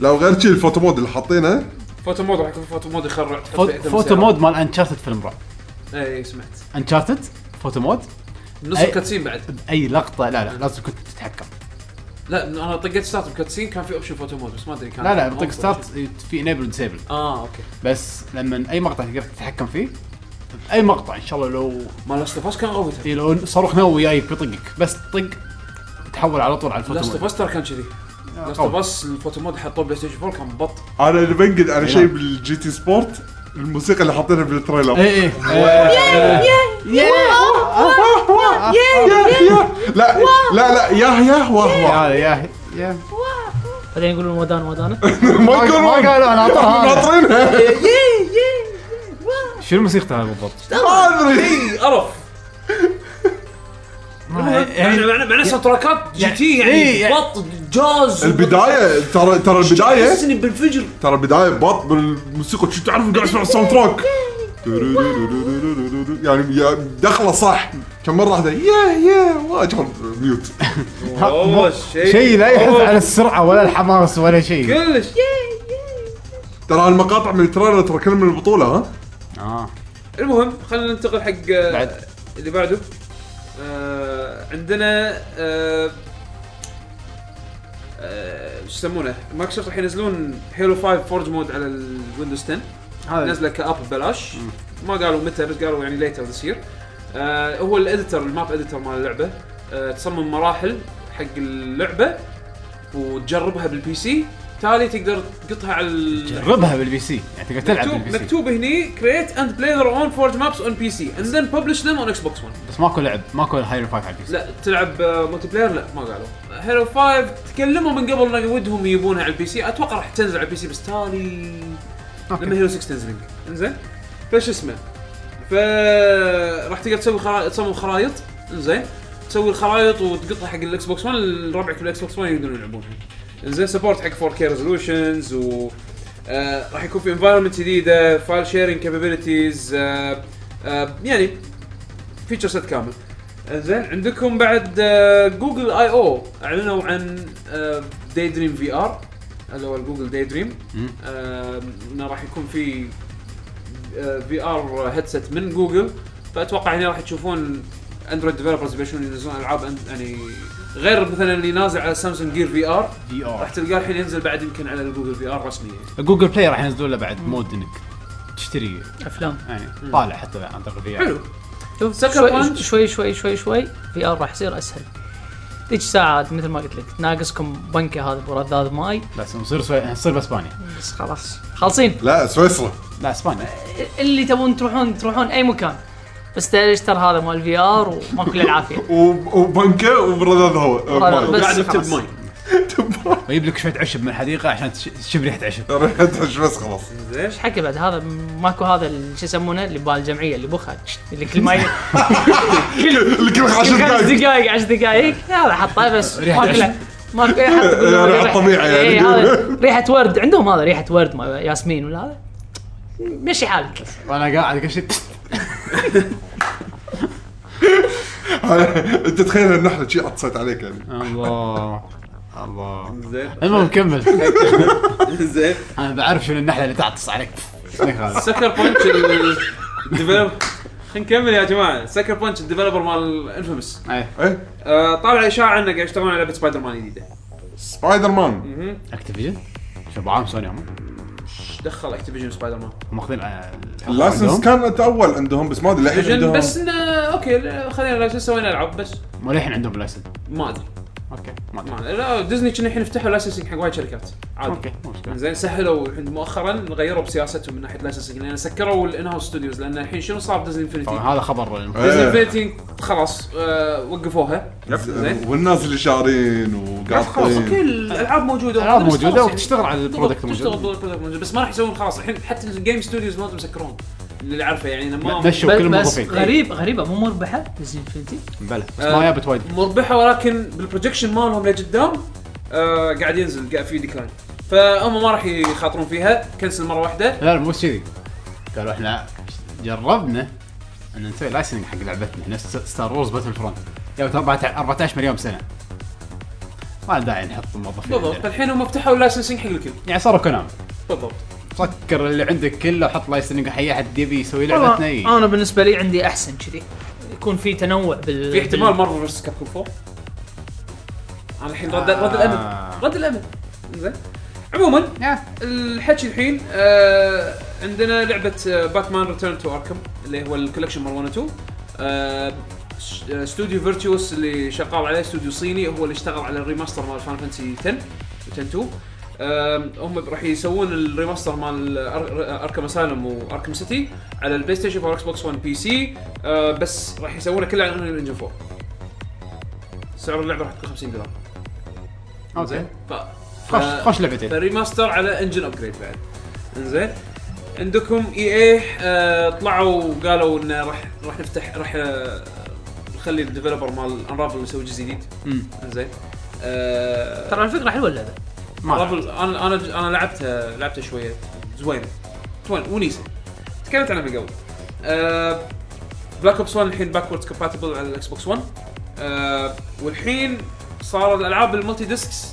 C: لو غير شيء الفوتو مود اللي حاطينه
D: فوتو مود راح يكون فوتو مود يخرع تحط
A: فوت-
D: فيه أكثر من
A: فوتو
D: سيارة.
A: مود مال انشارتد فيلم رعب
D: اي إيه، سمعت
A: انشارتد فوتو مود
D: نص
A: أي-
D: الكاتسين بعد
A: اي لقطه لا لا لازم كنت تتحكم
D: لا انا طقيت ستارت بكاتسين كان في اوبشن فوتو مود بس ما ادري كان
A: لا لا بطق ستارت في انيبل ديسيبل
D: اه اوكي
A: بس لما اي مقطع تقدر تتحكم فيه اي مقطع ان شاء الله لو
D: ما لاست اوف كان قوته
A: إي إيه، لو صاروخ نووي جاي بيطقك بس طق تحول على طول على
D: لاست
A: الفوتو
D: اوف
A: مود.
D: اس ترى كان كذي
A: آه،
D: لاست اوف اس الفوتو مود حطوه بلاي ستيشن 4 كان بط
C: انا اللي بنقد على
A: لا.
C: شيء بالجي تي سبورت الموسيقى اللي حاطينها بالتريلر
A: اي اي آه،
C: لا لا لا ياه ياه واه واه
A: يا يا يا
B: بعدين يقولون ودان ودانه
C: ما
A: ما
C: يقولون
A: قالوا انا
C: [LAUGHS]
A: اعطاها
C: ناطرينها
A: شنو موسيقتها بالضبط؟
C: ما ادري
D: اي قرف
A: يعني-
D: يعني معنى معنى سطركات جي تي
A: إيه،
D: يعني
A: يعني-
D: بط جاز
C: البدايه ترى ترى البدايه
D: تحسني بالفجر
C: ترى البدايه بط بالموسيقى شو تعرف قاعد اسمع الساوند تراك يعني يا- دخله صح كم مره واحده ياه ياه واجهر ميوت
D: والله
A: شيء لا يحث على السرعه ولا الحماس ولا شيء
D: كلش
C: ترى هالمقاطع من التريلر ترى كلها من البطوله ها
A: اه
D: المهم خلينا ننتقل حق آه،
A: بعد.
D: اللي بعده آه عندنا آه، آه، شو يسمونه مايكروسوفت راح ينزلون هيلو 5 فورج مود على الويندوز 10
A: هذا
D: نازله كاب ببلاش ما قالوا متى بس قالوا يعني ليتر تصير آه هو الاديتر الماب اديتر مال اللعبه آه تصمم مراحل حق اللعبه وتجربها بالبي سي تالي تقدر تقطها على ال-
A: جربها بالبي سي يعني تقدر تلعب
D: مكتوب
A: بالبي سي
D: مكتوب هني create and play their own forge maps on PC and then publish them on Xbox One
A: بس ماكو لعب ماكو هاير فايف على البي سي
D: لا تلعب ملتي بلاير لا ما قالوا هيلو 5 تكلموا من قبل ان ودهم يبونها على البي سي اتوقع راح تنزل على البي سي بس تالي
A: أوكي.
D: لما هيلو 6 تنزل انزين فش اسمه ف راح تقدر تسوي خرا... تصمم خرائط انزين تسوي الخرائط وتقطها حق الاكس بوكس 1 ربعك بالاكس بوكس 1 يقدرون يلعبونها انزين سبورت حق 4K ريزولوشنز و آه راح يكون في انفايرمنت جديده فايل شيرنج كابابيلتيز آه آه يعني فيتشر سيت كامل زين عندكم بعد آه، جوجل اي او اعلنوا عن آه، داي دريم في ار اللي هو جوجل داي دريم
A: مم.
D: انه راح يكون في آه، في ار هيدسيت من جوجل فاتوقع هنا راح تشوفون اندرويد ديفلوبرز بيشون ينزلون العاب أن- يعني غير مثلا اللي نازل على سامسونج جير في ار
A: في
D: راح
A: ار
D: تلقاه الحين ينزل بعد يمكن على الجوجل في ار رسميا
A: جوجل بلاي راح ينزلون له بعد مود انك تشتري
B: افلام
A: يعني طالع حتى عن طريق الفي
D: [LAUGHS] حلو
B: شوف
D: Sucker
B: شوي
D: Punch.
B: شوي شوي شوي شوي في ار راح يصير اسهل ذيك ساعات مثل ما قلت لك ناقصكم بنكه هذا ابو رذاذ ماي
A: بس نصير سوي... نصير باسبانيا
B: بس خلاص خالصين
C: لا سويسرا
A: لا اسبانيا
D: إيه.
B: اللي تبون تروحون تروحون اي مكان بس تشتر هذا مال الفي ار وماكو الا العافيه
C: وب- وبنكه وبرذاذ
B: برذاذ
C: هواء
B: بس.
D: قاعد اكتب
B: خلاص.
D: ماي
A: ويجيب لك شويه عشب من الحديقه عشان تش- تشم ريحه عشب
C: ريحة عش بس خلاص
D: زين
B: ايش حكي بعد هذا ماكو هذا ال- شو يسمونه اللي بالجمعيه اللي بوخه اللي كل [LAUGHS] ما ي-
C: اللي كل عشر
B: كل خمس
C: [LAUGHS] دقايق
B: دقائق 10 دقائق هذا حطه بس
A: ريحة
B: ماكو له- ماكو أي [LAUGHS] حد يقول
C: ريحة
B: ريحة-
C: طبيعي يعني.
B: إيه، هذا ريحه ورد عندهم هذا ريحه ورد ما- ياسمين ولا هذا مشي حالك
A: وانا قاعد كل شيء
C: انت تخيل ان احنا شي عطسيت عليك يعني
A: الله الله
F: زين
A: المهم كمل
F: زين
A: انا بعرف شنو النحله اللي تعطس عليك ما يخالف.
D: سكر بونش الديفلوبر خلينا نكمل يا جماعه سكر بونش الديفلوبر مال انفيمس
A: ايه
C: ايه
D: طالع اشاعه انه قاعد يشتغلون على لعبه سبايدر مان جديده
C: سبايدر مان
D: مهم.
A: اكتيفيجن شبعان سوني هم آه،
D: ايش دخل اكتيفيجن سبايدر مان
A: ماخذين
C: اللايسنس كانت اول عندهم بس ما ادري للحين
D: فيجن
C: أيوة، عندهم
D: بس انه اوكي لا، خلينا لا شو سوينا العاب بس
A: مو للحين عندهم لايسنس
D: ما ادري
A: اوكي ما
D: ما
A: أدري.
D: أدري. لا ديزني كنا الحين فتحوا لايسنسنج حق وايد شركات
C: [LAUGHS]
D: عادي
A: اوكي مو مشكله
D: زين سهلوا الحين مؤخرا غيروا بسياستهم من ناحيه لايسنسنج لان سكروا الان هاوس ستوديوز لان الحين شنو صار ديزني
A: طبعا
D: انفنتي؟
A: هذا خبر
D: ديزني
C: إيه.
D: انفنتي خلاص آه، وقفوها زين
C: آه، والناس اللي شارين
D: بس خلاص اوكي
C: وقاطعين
D: الالعاب موجوده
A: الألعاب
D: بس
A: موجودة
D: خلاص
A: وتشتغل على
D: يعني
A: البرودكت
D: تشتغل
A: الموجود.
D: على البرودكت الموجود بس ما راح يسوون خلاص الحين حتى الجيم ستوديوز ما مسكرون اللي عارفه يعني إنه ما
A: مشوا كل
B: بس
A: الموظفين
B: غريب آه. غريبه مو مربحه ديزني انفنتي
A: بلى بس ما جابت وايد
D: مربحه ولكن بالبروجكشن مالهم لقدام آه قاعد ينزل قاعد في ديكلاين فهم ما راح يخاطرون فيها كنسل مره واحده
A: لا لا مو بس كذي قالوا احنا جربنا ان نسوي لايسننج حق لعبتنا نفس ستار وورز باتل فرونت يا 14 مليون سنه ما له داعي نحط موظفين
D: بالضبط
A: عندنا.
D: الحين هم فتحوا اللايسنسنج حق الكل
A: يعني صاروا كلام
D: بالضبط
A: سكر اللي عندك كله وحط لايسننج حي احد يبي يسوي لعبتنا اي
B: والله آه. انا بالنسبه لي عندي احسن كذي يكون في تنوع بال
D: في احتمال مارفل فيرس كابكوم 4 انا الحين رد رد
A: آه.
D: الامل رد الامل زين عموما الحكي الحين آه عندنا لعبه آه باتمان ريتيرن تو اركم اللي هو الكولكشن مال 1 و 2 آه، ش- آه، استوديو فيرتوس اللي شغال عليه استوديو صيني هو اللي اشتغل على الريماستر مال فان فانتسي 10 و 10 2 آم، هم راح يسوون الريماستر مال أر- اركم اسالم واركم سيتي على البلاي ستيشن 4 اكس بوكس 1 بي سي آه، بس راح يسوونه كله على انريل انجن 4 سعر اللعبه راح تكون 50 دولار
A: اوكي
D: ف...
A: خوش
D: ف-
A: خوش لعبتين
D: فريماستر على انجن ابجريد بعد انزين عندكم اي اي آه طلعوا وقالوا انه راح راح نفتح راح آه، نخلي الديفلوبر مال انرافل يسوي جزء جديد
A: مم.
D: انزين آه
B: ترى الفكره حلوه اللعبه
A: ما أدري.
D: Unravel- انا انا انا لعبتها لعبتها شويه زوينه زوين ونيسه تكلمت عنها من قبل آه، بلاك اوبس 1 الحين باكورد كومباتبل على الاكس بوكس 1 آه، والحين صار الالعاب المالتي ديسكس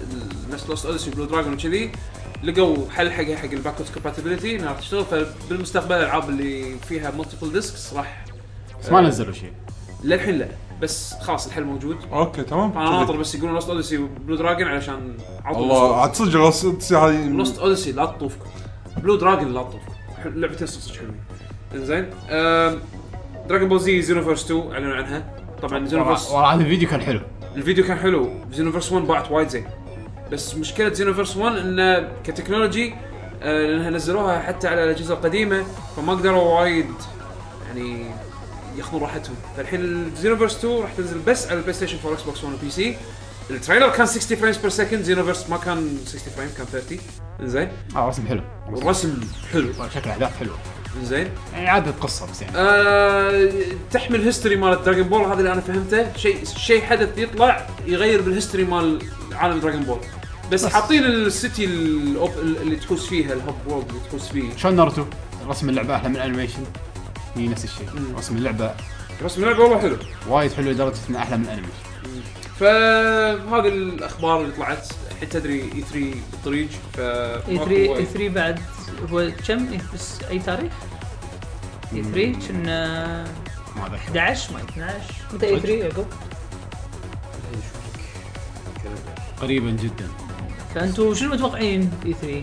D: ال- نفس لوست اوديسي بلو دراجون وكذي لقوا حل حقها حق الباكورد كومباتبلتي انها راح تشتغل فبالمستقبل الالعاب اللي فيها مالتيبل ديسكس راح
A: بس ما نزلوا شيء
D: للحين لا بس خلاص الحل موجود
C: اوكي تمام
D: فانا ناطر بس يقولون لوست اوديسي بلو دراجون علشان على طول
C: طيب. الله عاد صدق راس- هاي
D: لوست اوديسي لا تطوفكم بلو دراجون لا تطوفكم ح- لعبتين صدق حلوين انزين دراجون بول زي زينوفيرس 2 اعلنوا عنها طبعا زينوفيرس
A: والله هذا الفيديو كان حلو
D: الفيديو كان حلو زينوفيرس 1 باعت وايد زين بس مشكله زينوفيرس 1 انه كتكنولوجي آه، لانها نزلوها حتى على الاجهزه القديمه فما قدروا وايد يعني ياخذون راحتهم فالحين زينوفيرس 2 راح تنزل بس على البلاي ستيشن 4 اكس بوكس 1 وبي سي التريلر كان 60 فريمز بير سكند زينوفيرس ما كان 60 فريم كان 30 انزين
A: اه رسم حلو
D: والرسم حلو
A: شكل احداث حلو
D: زين
A: يعني عادة قصه بس يعني
D: آه تحمل هيستوري مال دراجون بول هذا اللي انا فهمته شيء شيء حدث يطلع يغير بالهيستوري مال عالم دراجون بول بس,
A: بس.
D: حاطين السيتي الأوب- اللي تحوس فيها الهب وورد اللي تحوس فيه
A: شلون ناروتو رسم اللعبه احلى من الانيميشن هي نفس الشيء رسم اللعبه
D: رسم اللعبه والله حلو
A: وايد حلو لدرجه انه احلى من الانيميشن
D: فهذه الاخبار اللي طلعت الحين تدري اي 3 بالطريق ف
B: اي 3 اي 3 إيه، بعد هو كم إي- بس اي تاريخ؟ اي 3 كنا
A: ما اذكر
B: 11 ما 12 متى اي 3 يعقوب؟
A: قريبا جدا
B: فانتم شنو متوقعين اي 3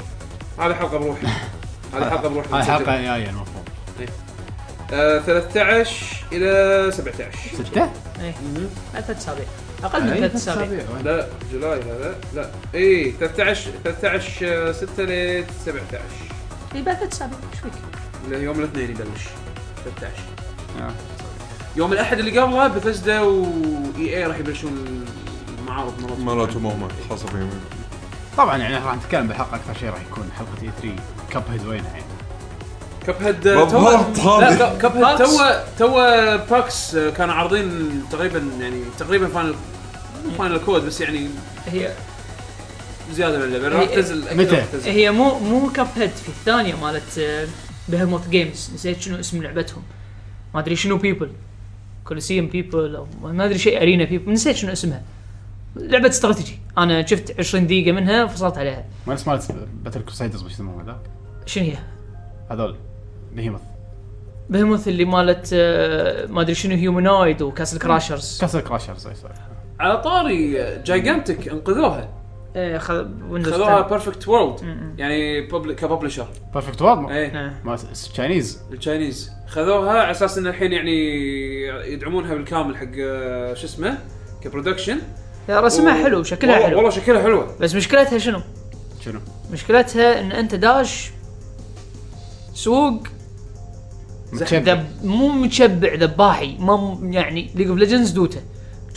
D: هذه حلقه بروحي هذه حلقه بروحي
A: هاي حلقه جايه المفروض
D: آه 13 الى 17
A: سته؟
B: إيه. بعد ثلاث اسابيع اقل
A: إيه،
B: من ثلاث اسابيع
D: لا جولاي هذا لا إيه، اي 13 13 6 آه، ل 17
B: اي بعد ثلاث اسابيع ايش فيك؟
D: اللي هي يوم الاثنين يبلش 13
A: آه.
D: يوم الاحد اللي قبله بثزدا واي اي E راح يبلشون المعارض مرات
C: مرات ومهمة خاصة فيهم
A: طبعا يعني راح نتكلم بالحلقه اكثر شيء راح يكون حلقه اي 3 كب هيد وينها يعني
D: كب هيد
C: بالضبط هذه.
D: آه، لا كب هيد
B: باكس.
D: تو تو باكس آه، كانوا عارضين تقريبا يعني تقريبا فاينل فاينل كود بس يعني
B: هي
D: زياده من اللعبه راح
B: هي-
D: تنزل أكيد
A: متى؟
D: راح تنزل.
B: هي مو مو كاب هيد في الثانيه مالت آه، بهيموت جيمز نسيت شنو اسم لعبتهم ما ادري شنو بيبل كولوسيوم بيبل او ما ادري شيء ارينا بيبل نسيت شنو اسمها لعبه استراتيجي انا شفت 20 دقيقه منها فصلت عليها
A: ونفس مالت باتل كروسايدرز وش يسمونه ذا
B: شنو هي؟
A: هذول بهيموث
B: بهموث اللي مالت آه، ما ادري شنو هيومانويد وكاسل كراشرز
A: كاسل كراشرز اي صح
D: على طاري جايجانتك انقذوها
B: إيه، خذ- ويندوز
D: خذوها
B: 10.
D: بيرفكت وورلد
B: م-م.
D: يعني public- كببلشر
A: بيرفكت وورد
D: ايه
B: إيه.
A: ما تشاينيز
D: التشاينيز خذوها على اساس ان الحين يعني يدعمونها بالكامل حق آه، شو اسمه كبرودكشن
B: رسمها
D: و-
B: حلو شكلها
D: والله-
B: حلو
D: والله شكلها حلوه
B: بس مشكلتها شنو؟
A: شنو؟
B: مشكلتها ان انت داش سوق
A: متشبع.
B: ذب مو متشبع ذباحي ما م- يعني ليج اوف ليجندز دوتا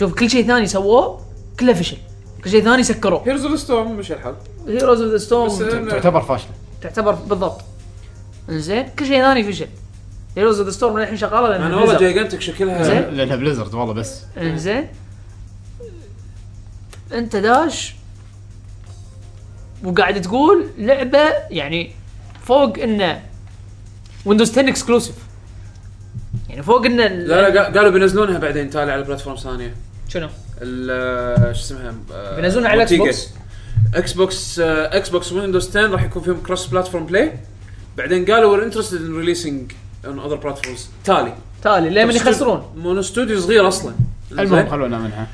B: شوف كل شيء ثاني سووه كله فشل كل شيء ثاني سكروه
D: هيرز اوف ستورم مش الحل
B: هيروز اوف ذا
D: بس آه،
B: ستورم
D: إنه-
A: تعتبر فاشله
B: تعتبر بالضبط زين كل شيء ثاني فشل هيروز اوف ذا ستورم الحين شغاله لأنها
D: انا والله
B: Blizzard.
D: جايجانتك شكلها
B: زين.
A: لانها بليزرد والله بس
B: انزين انت داش وقاعد تقول لعبه يعني فوق انه ويندوز 10 اكسكلوسيف يعني فوق انه
D: لا لا قا- قالوا بينزلونها بعدين تالي على بلاتفورم ثانيه
B: شنو؟
D: ال- شو اسمها آه،
B: بينزلونها على الاكس
D: مونتيجا.
B: بوكس
D: اكس بوكس آه، اكس بوكس ويندوز 10 راح يكون فيهم كروس بلاتفورم بلاي بعدين قالوا وير انترستد ان ريليسنج اون اذر بلاتفورمز تالي
B: تالي ليه من يخسرون
D: مونو استوديو صغير اصلا
A: المهم
D: زين.
A: خلونا منها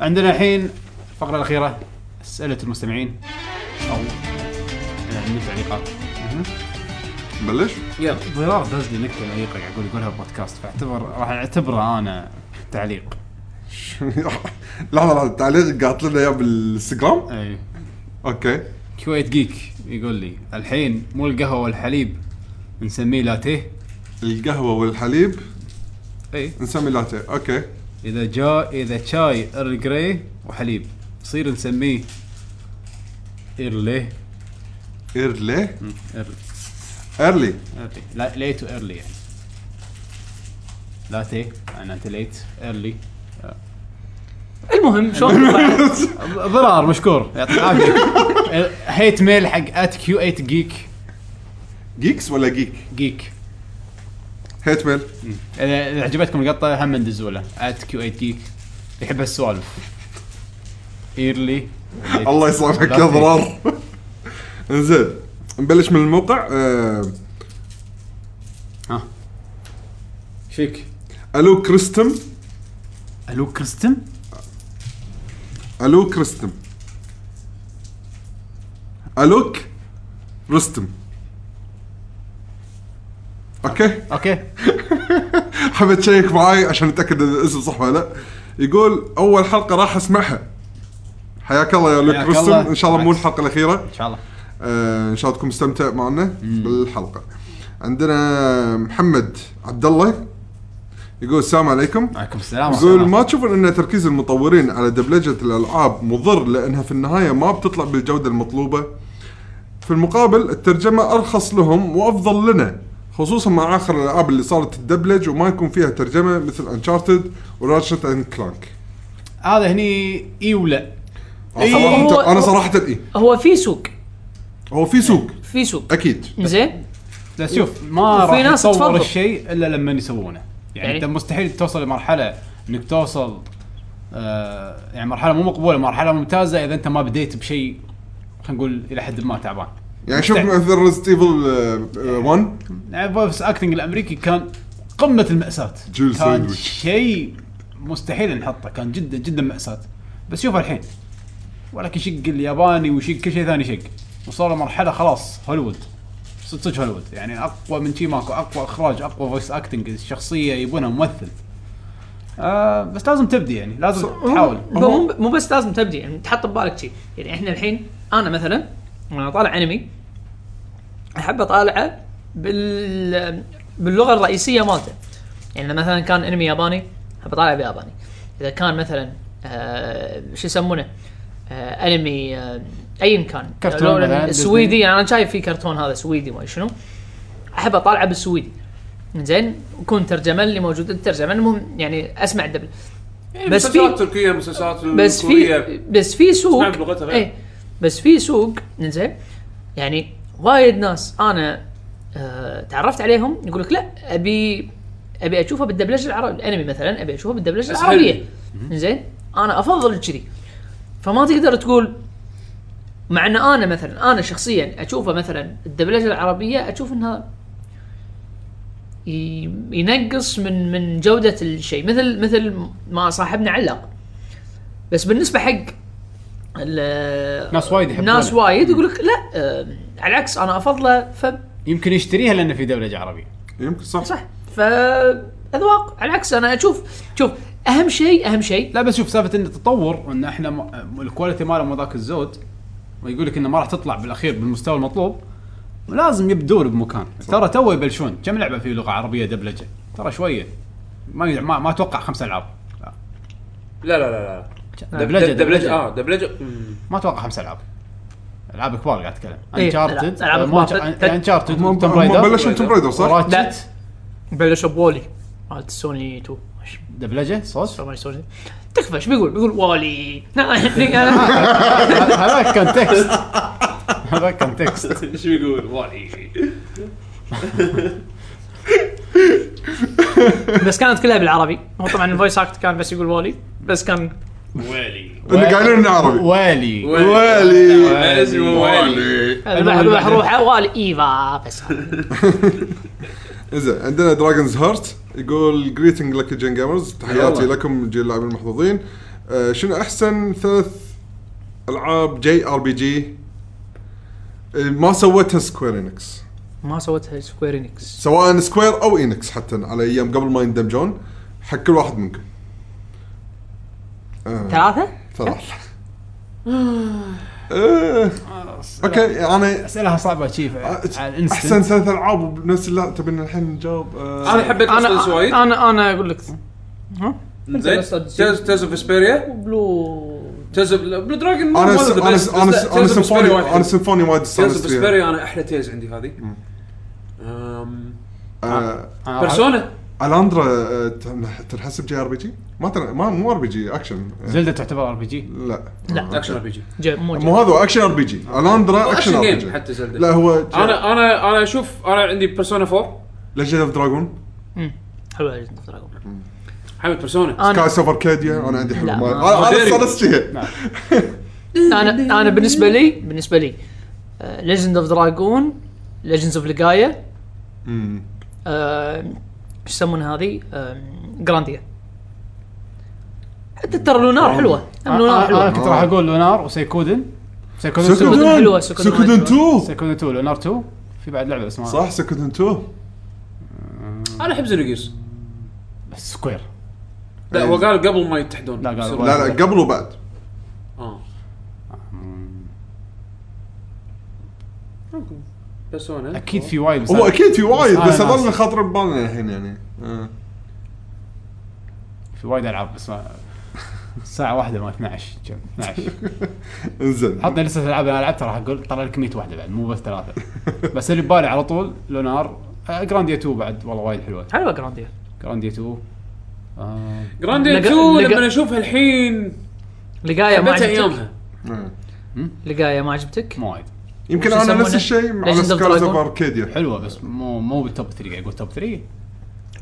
A: عندنا الحين الفقره الاخيره اسئله المستمعين او يعني تعليقات
C: [LAUGHS] نبلش؟
D: يلا
A: ضرار دز لي نكته لعيقه قاعد اقول يقولها بودكاست فاعتبر راح اعتبرها انا تعليق
C: لحظه لحظه تعليق قاعد لنا اياه بالانستغرام
A: اي
C: اوكي
A: كويت جيك يقول لي الحين مو القهوه والحليب نسميه لاتيه
C: القهوه والحليب
A: اي
C: نسمي لاتيه اوكي
A: اذا جا اذا شاي ايرل جراي وحليب يصير نسميه إيه؟ ايرلي
C: ايرلي
A: مم، ايرلي
C: ايرلي
A: ايرلي لا ليت وايرلي يعني لاتيه انا انت ليت ايرلي
B: المهم شلون
D: [LAUGHS]
A: ضرار مشكور يعطيك العافيه [LAUGHS] هيت ميل حق ات كيو 8 جيك
C: جيكس ولا جيك؟
A: جيك
C: هيت ميل
A: اذا إذا عجبتكم القطه هم ندزوا له ات كيو 8 جيك يحب هالسوالف ايرلي
C: الله يصلحك يا ضرار [LAUGHS] انزين نبلش من الموقع آه،
A: ها ايش فيك؟
C: الو كريستم
A: الو كريستم؟
C: الو كريستم الوك رستم اوكي
A: اوكي
C: حبيت تشيك معاي عشان اتاكد اذا الاسم صح ولا لا يقول اول حلقه راح اسمعها حياك الله يا لوك
A: حياك
C: رستم
A: الله.
C: ان شاء الله مو
A: بالعكس.
C: الحلقه الاخيره
A: ان شاء الله
C: آه، ان شاء الله تكون مستمتع معنا بالحلقه عندنا محمد عبد الله يقول السلام عليكم
A: عليكم السلام
C: يقول ما تشوفون ان تركيز المطورين على دبلجه الالعاب مضر لانها في النهايه ما بتطلع بالجوده المطلوبه في المقابل الترجمه ارخص لهم وافضل لنا خصوصا مع اخر الالعاب اللي صارت تدبلج وما يكون فيها ترجمه مثل انشارتد وراتشت اند كلانك
A: هذا هني اي ولا
C: أنا
A: إيه،
B: هو-
C: صراحه انا صراحه اي
B: هو في سوق
C: إيه. هو في سوق
B: في سوق
C: اكيد
B: زين
A: لا شوف ما
B: وفي
A: راح
B: ناس
A: يصور
B: تفضل.
A: الشيء الا لما يسوونه يعني, انت
B: يعني؟
A: مستحيل توصل لمرحله انك توصل آه يعني مرحله مو مقبوله مرحله ممتازه اذا انت ما بديت بشيء خلينا نقول الى حد ما تعبان
C: يعني شوف
A: مستحيل.
C: مثل آه، ريزنت ايفل 1
A: يعني فويس اكتنج الامريكي كان قمه الماساه
C: جيل
A: كان
C: ساندويتش.
A: شيء مستحيل نحطه كان جدا جدا ماساه بس شوف الحين ولك يشق الياباني ويشق كل شيء ثاني يشق وصلوا مرحله خلاص هوليوود صدق صدق هوليوود يعني اقوى من شي ماكو اقوى اخراج اقوى فويس اكتنج الشخصيه يبونها ممثل آه بس لازم تبدي يعني لازم تحاول
B: مو- مو مو بس لازم تبدي يعني تحط ببالك شيء يعني احنا الحين انا مثلا وانا طالع انمي احب اطالعه بال باللغه الرئيسيه مالته يعني إذا مثلا كان انمي ياباني احب اطالعه بياباني اذا كان مثلا آه شو يسمونه آه انمي آه ايا كان
A: كرتون
B: لو-
A: مثلاً،
B: سويدي
A: ديزني.
B: يعني انا شايف في كرتون هذا سويدي ما شنو احب اطالعه بالسويدي زين وكون ترجمه اللي موجوده الترجمه المهم يعني اسمع الدبل
D: يعني
B: بس في-
D: مسلسلات تركيه مسلسلات
B: بس في
D: كورية.
B: بس في سوق
D: اسمع بلغتها غير.
B: ايه بس في سوق زين يعني وايد ناس انا آه تعرفت عليهم يقول لك لا ابي ابي اشوفها بالدبلجه العربيه الانمي مثلا ابي اشوفها بالدبلجه
D: أسهل.
B: العربيه زين انا افضل كذي فما تقدر تقول مع ان انا مثلا انا شخصيا اشوفه مثلا الدبلجه العربيه اشوف انها ي- ينقص من من جوده الشيء مثل مثل ما صاحبنا علق بس بالنسبه حق ال-
A: ناس وايد يحبونه.
B: ناس وايد يقول لك لا آه، على العكس انا افضله ف
A: يمكن يشتريها لانه في دبلجه عربي
C: يمكن صح
B: صح فاذواق على العكس انا اشوف شوف اهم شيء اهم شيء
A: لا بس شوف سالفه ان التطور وان احنا م... الكواليتي ماله مو ذاك الزود ويقول لك انه ما راح تطلع بالاخير بالمستوى المطلوب لازم يبدون بمكان ترى تو يبلشون كم لعبه في لغه عربيه دبلجه ترى شويه ما يد- ما, ما اتوقع خمس العاب لا.
D: لا لا لا لا
C: آه.
A: دبلجه
D: دبلجه اه دبلجه
A: ما اتوقع خمس العاب العاب كبار قاعد اتكلم
B: إيه،
A: انشارتد
B: ألعاب كبار. تت-
A: انشارتد
C: هم
A: توم
C: هم
A: رايدر
C: بلشوا توم رايدر صح؟
B: لا.
A: راتشت
B: بلشوا بولي مالت سوني 2 إيش
A: دبلجه صوت
B: سوني سوني تكفى ايش بيقول؟ بيقول والي [LAUGHS] يعني
A: هذاك كان تكست [LAUGHS] هذاك كان تكست
D: شو يقول والي
B: بس كانت كلها بالعربي هو طبعا الفويس اكت كان بس يقول والي بس كان
D: والي
C: إنه قاعدين عربي.
A: والي
C: والي.
D: اسمه والي
B: روح روح روح والي ايفا بس
C: زين عندنا دراجونز هارت يقول جريتنج لك جين جيمرز تحياتي
A: يلا.
C: لكم جيل اللاعبين المحظوظين آه، شنو احسن ثلاث العاب جي ار بي جي آه، ما سوتها سكوير انكس
B: ما سوتها سكوير انكس
C: سواء سكوير او انكس حتى على ايام قبل ما يندمجون حق كل واحد منكم آه،
B: ثلاثة؟
C: ثلاث آه، اوكي انا
A: اسئله صعبه تشيف على الانستنت
C: احسن ثلاث العاب بنفس اللعبه تبي الحين نجاوب آه،
D: انا حبيت
B: انا
D: مسلسل وايد
B: انا انا اقول لك
D: زين تيرز تيرز اوف اسبيريا
B: بلو
D: تيرز اوف بلو دراجون
C: انا س- انا س- انا س- انا سيمفوني انا سيمفوني وايد
D: تيرز
C: استانست
D: اوف
C: فيها
D: اسبيريا انا احلى تيرز عندي هذه أم،
C: آه،
D: بيرسونا
C: الاندرا آه، تن- تنحسب جي ار بي جي؟ ما تن- ما مو ار بي جي اكشن آه،
A: زلده تعتبر ار بي جي
C: لا
B: لا،
C: آه،
D: اكشن ار بي جي
B: مو
C: مو
B: جيم.
C: هذا اكشن ار بي جي الاندرا اكشن
D: اكشن
C: ار بي
D: جيم حتى
C: جي
D: زلده
C: لا هو
D: انا انا انا اشوف انا عندي بيرسونا 4
C: ليجند اوف دراجون
B: مم. حلوه Legend of Dragon.
D: حبيت بيرسونا
B: انا
C: سكاي سوفر كاديا انا عندي حلو
B: لا،
C: ما-
B: ما-
C: انا أنا
D: موديري.
C: استانست فيها
B: انا انا بالنسبه لي بالنسبه لي ليجند اوف دراجون ليجندز اوف لقايا
C: مم.
B: ايش آه، يسمونها هذه جرانديا حتى ترى لونار حلوه
C: آه،
B: لونار
A: انا أنا
B: حلوه
A: كنت راح اقول لونار وسيكودن سيكودن
C: سكودن
A: 2
B: حلوة، سكودن وايد
C: سكودن 2
A: سيكودن 2 لونار 2 في بعد لعبه اسمها
C: صح سكودن 2
D: انا احب زينوجيرز
A: بس سكوير
D: لا هو قال قبل ما يتحدون
A: لا، قال
D: بسرعة.
A: وايد.
C: لا لا قبل وبعد
D: اه بيرسونا
A: اكيد في وايد بس
C: هو
A: أنا-
C: اكيد في وايد
A: أنا
C: بس
A: ناسي.
C: اظل خاطر ببالنا الحين يعني آه. [LAUGHS]
A: في وايد العاب بس ما الساعة واحدة ما 12 كم 12
C: انزين
A: حطني لسه العاب انا لعبتها راح اقول طلع لك 100 واحدة بعد مو بس ثلاثة بس اللي ببالي على طول لونار آه، جرانديا 2 بعد والله وايد حلوة
B: حلوه جرانديا
A: جرانديا 2 آه.
D: جراندي
B: لق-
D: 2
B: لق-
D: لما اشوفها الحين
B: لقايا أيوة، ما
D: حبيتها
B: عجبتك
D: ايامها
C: آه.
B: لقايا ما عجبتك
A: مو وايد
C: يمكن
B: وش
C: انا
B: يسمونه؟
C: نفس الشيء على
B: Legend of
C: سكارز
B: Dragon.
C: اوف اركيديا
A: حلوة بس مو مو بالتوب 3 قاعد اقول توب 3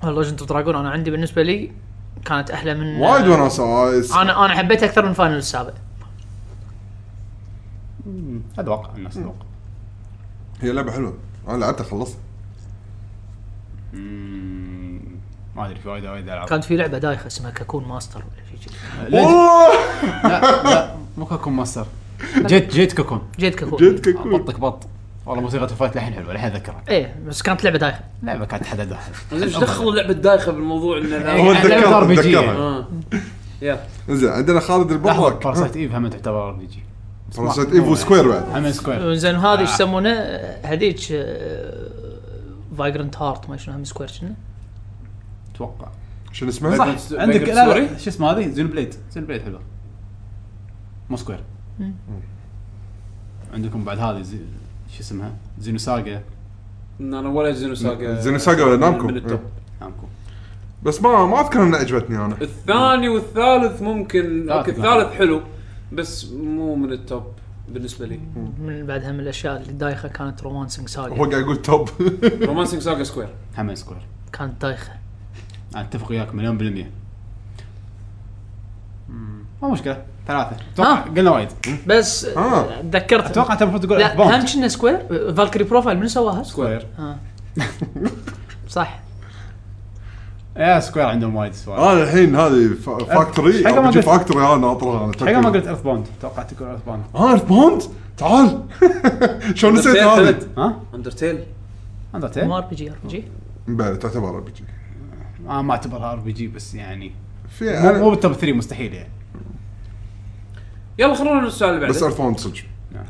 B: ليجند اوف دراجون انا عندي بالنسبه لي كانت احلى من
C: وايد وناسه آه،
B: انا انا حبيتها اكثر من فاينل السابق
A: اتوقع الناس اتوقع
C: هي لعبه حلوه انا لعبتها خلصت
A: مم، ما ادري في وايد وايد العاب
B: كانت في لعبه دايخه اسمها كاكون ماستر ولا شيء كذي
C: والله
A: لا لا مو كاكون ماستر جيت جيت كاكون
B: جيت كاكون
C: جد كيكون
A: بطك بط والله موسيقى الفايت لحن حلوه لحن اذكرها
B: ايه بس كانت لعبه دايخه
A: لعبه كانت حددها
D: ليش دخلوا لعبه دايخه بالموضوع
C: هو
A: إيه.
D: انه
A: لعبة
C: تذكرها
A: RPG.
C: تذكرها
D: اه يا
C: زين عندنا خالد
A: لحظه
C: البحرك
A: باراسايت ايف هم تعتبر ار بي جي
C: باراسايت ايفو سكوير بعد
A: هم سكوير
B: زين هذه
C: آه.
B: ايش يسمونه هذيك فايجرنت هارت ما شنو هم سكوير شنو
A: اتوقع
C: شنو اسمها؟
A: صح
D: Backstreet
A: عندك لا لا
D: Story؟
A: شو اسمه هذه زين بليد زين بليد حلوه مو سكوير عندكم بعد هذه زي- شو اسمها زينو ساجا
D: إن انا ولا زينو ساجا
C: زينو ساغا ولا نامكو؟ إيه.
D: من التوب.
A: نامكو
C: بس ما ما اذكر انها عجبتني انا
D: الثاني والثالث ممكن اوكي
A: ثالث.
D: الثالث حلو بس مو من التوب بالنسبه لي
B: من بعدها من الاشياء اللي دايخه كانت رومانسنج
C: هو
B: ساجا
C: قاعد يقول توب [LAUGHS]
D: رومانسنج ساجا سكوير
A: هم سكوير
B: كانت دايخه
A: أنا اتفق وياك مليون بالمية مم. ما مشكله ثلاثه اتوقع قلنا وايد
B: بس
C: آه.
B: تذكرت
A: اتوقع انت المفروض تقول
B: لا
A: Earthbound.
B: هم كنا سكوير فالكري بروفايل من سواها؟
A: سكوير
B: آه. صح
A: يا سكوير إيه، عندهم وايد سوالف
C: انا الحين هذه فا- فاكتوري
A: حق ما
C: أو بيجي
A: قلت.
C: فاكتوري انا ناطرها انا
A: حق ما قلت ايرث بوند توقعت تقول ايرث بوند
C: اه إيرث بوند تعال [LAUGHS] شلون نسيت هذه؟
A: ها
D: اندرتيل
B: مو
A: اندرتيل
B: ار بي جي ار بي جي
C: بلى تعتبر ار بي جي
A: آه ما اعتبرها ار بي جي بس يعني
C: في
A: مو مو
C: أنا-
A: بالتوب 3 مستحيل يعني
D: يلا خلونا للسؤال اللي
C: بس
D: بعده
C: ايرث بوند صدق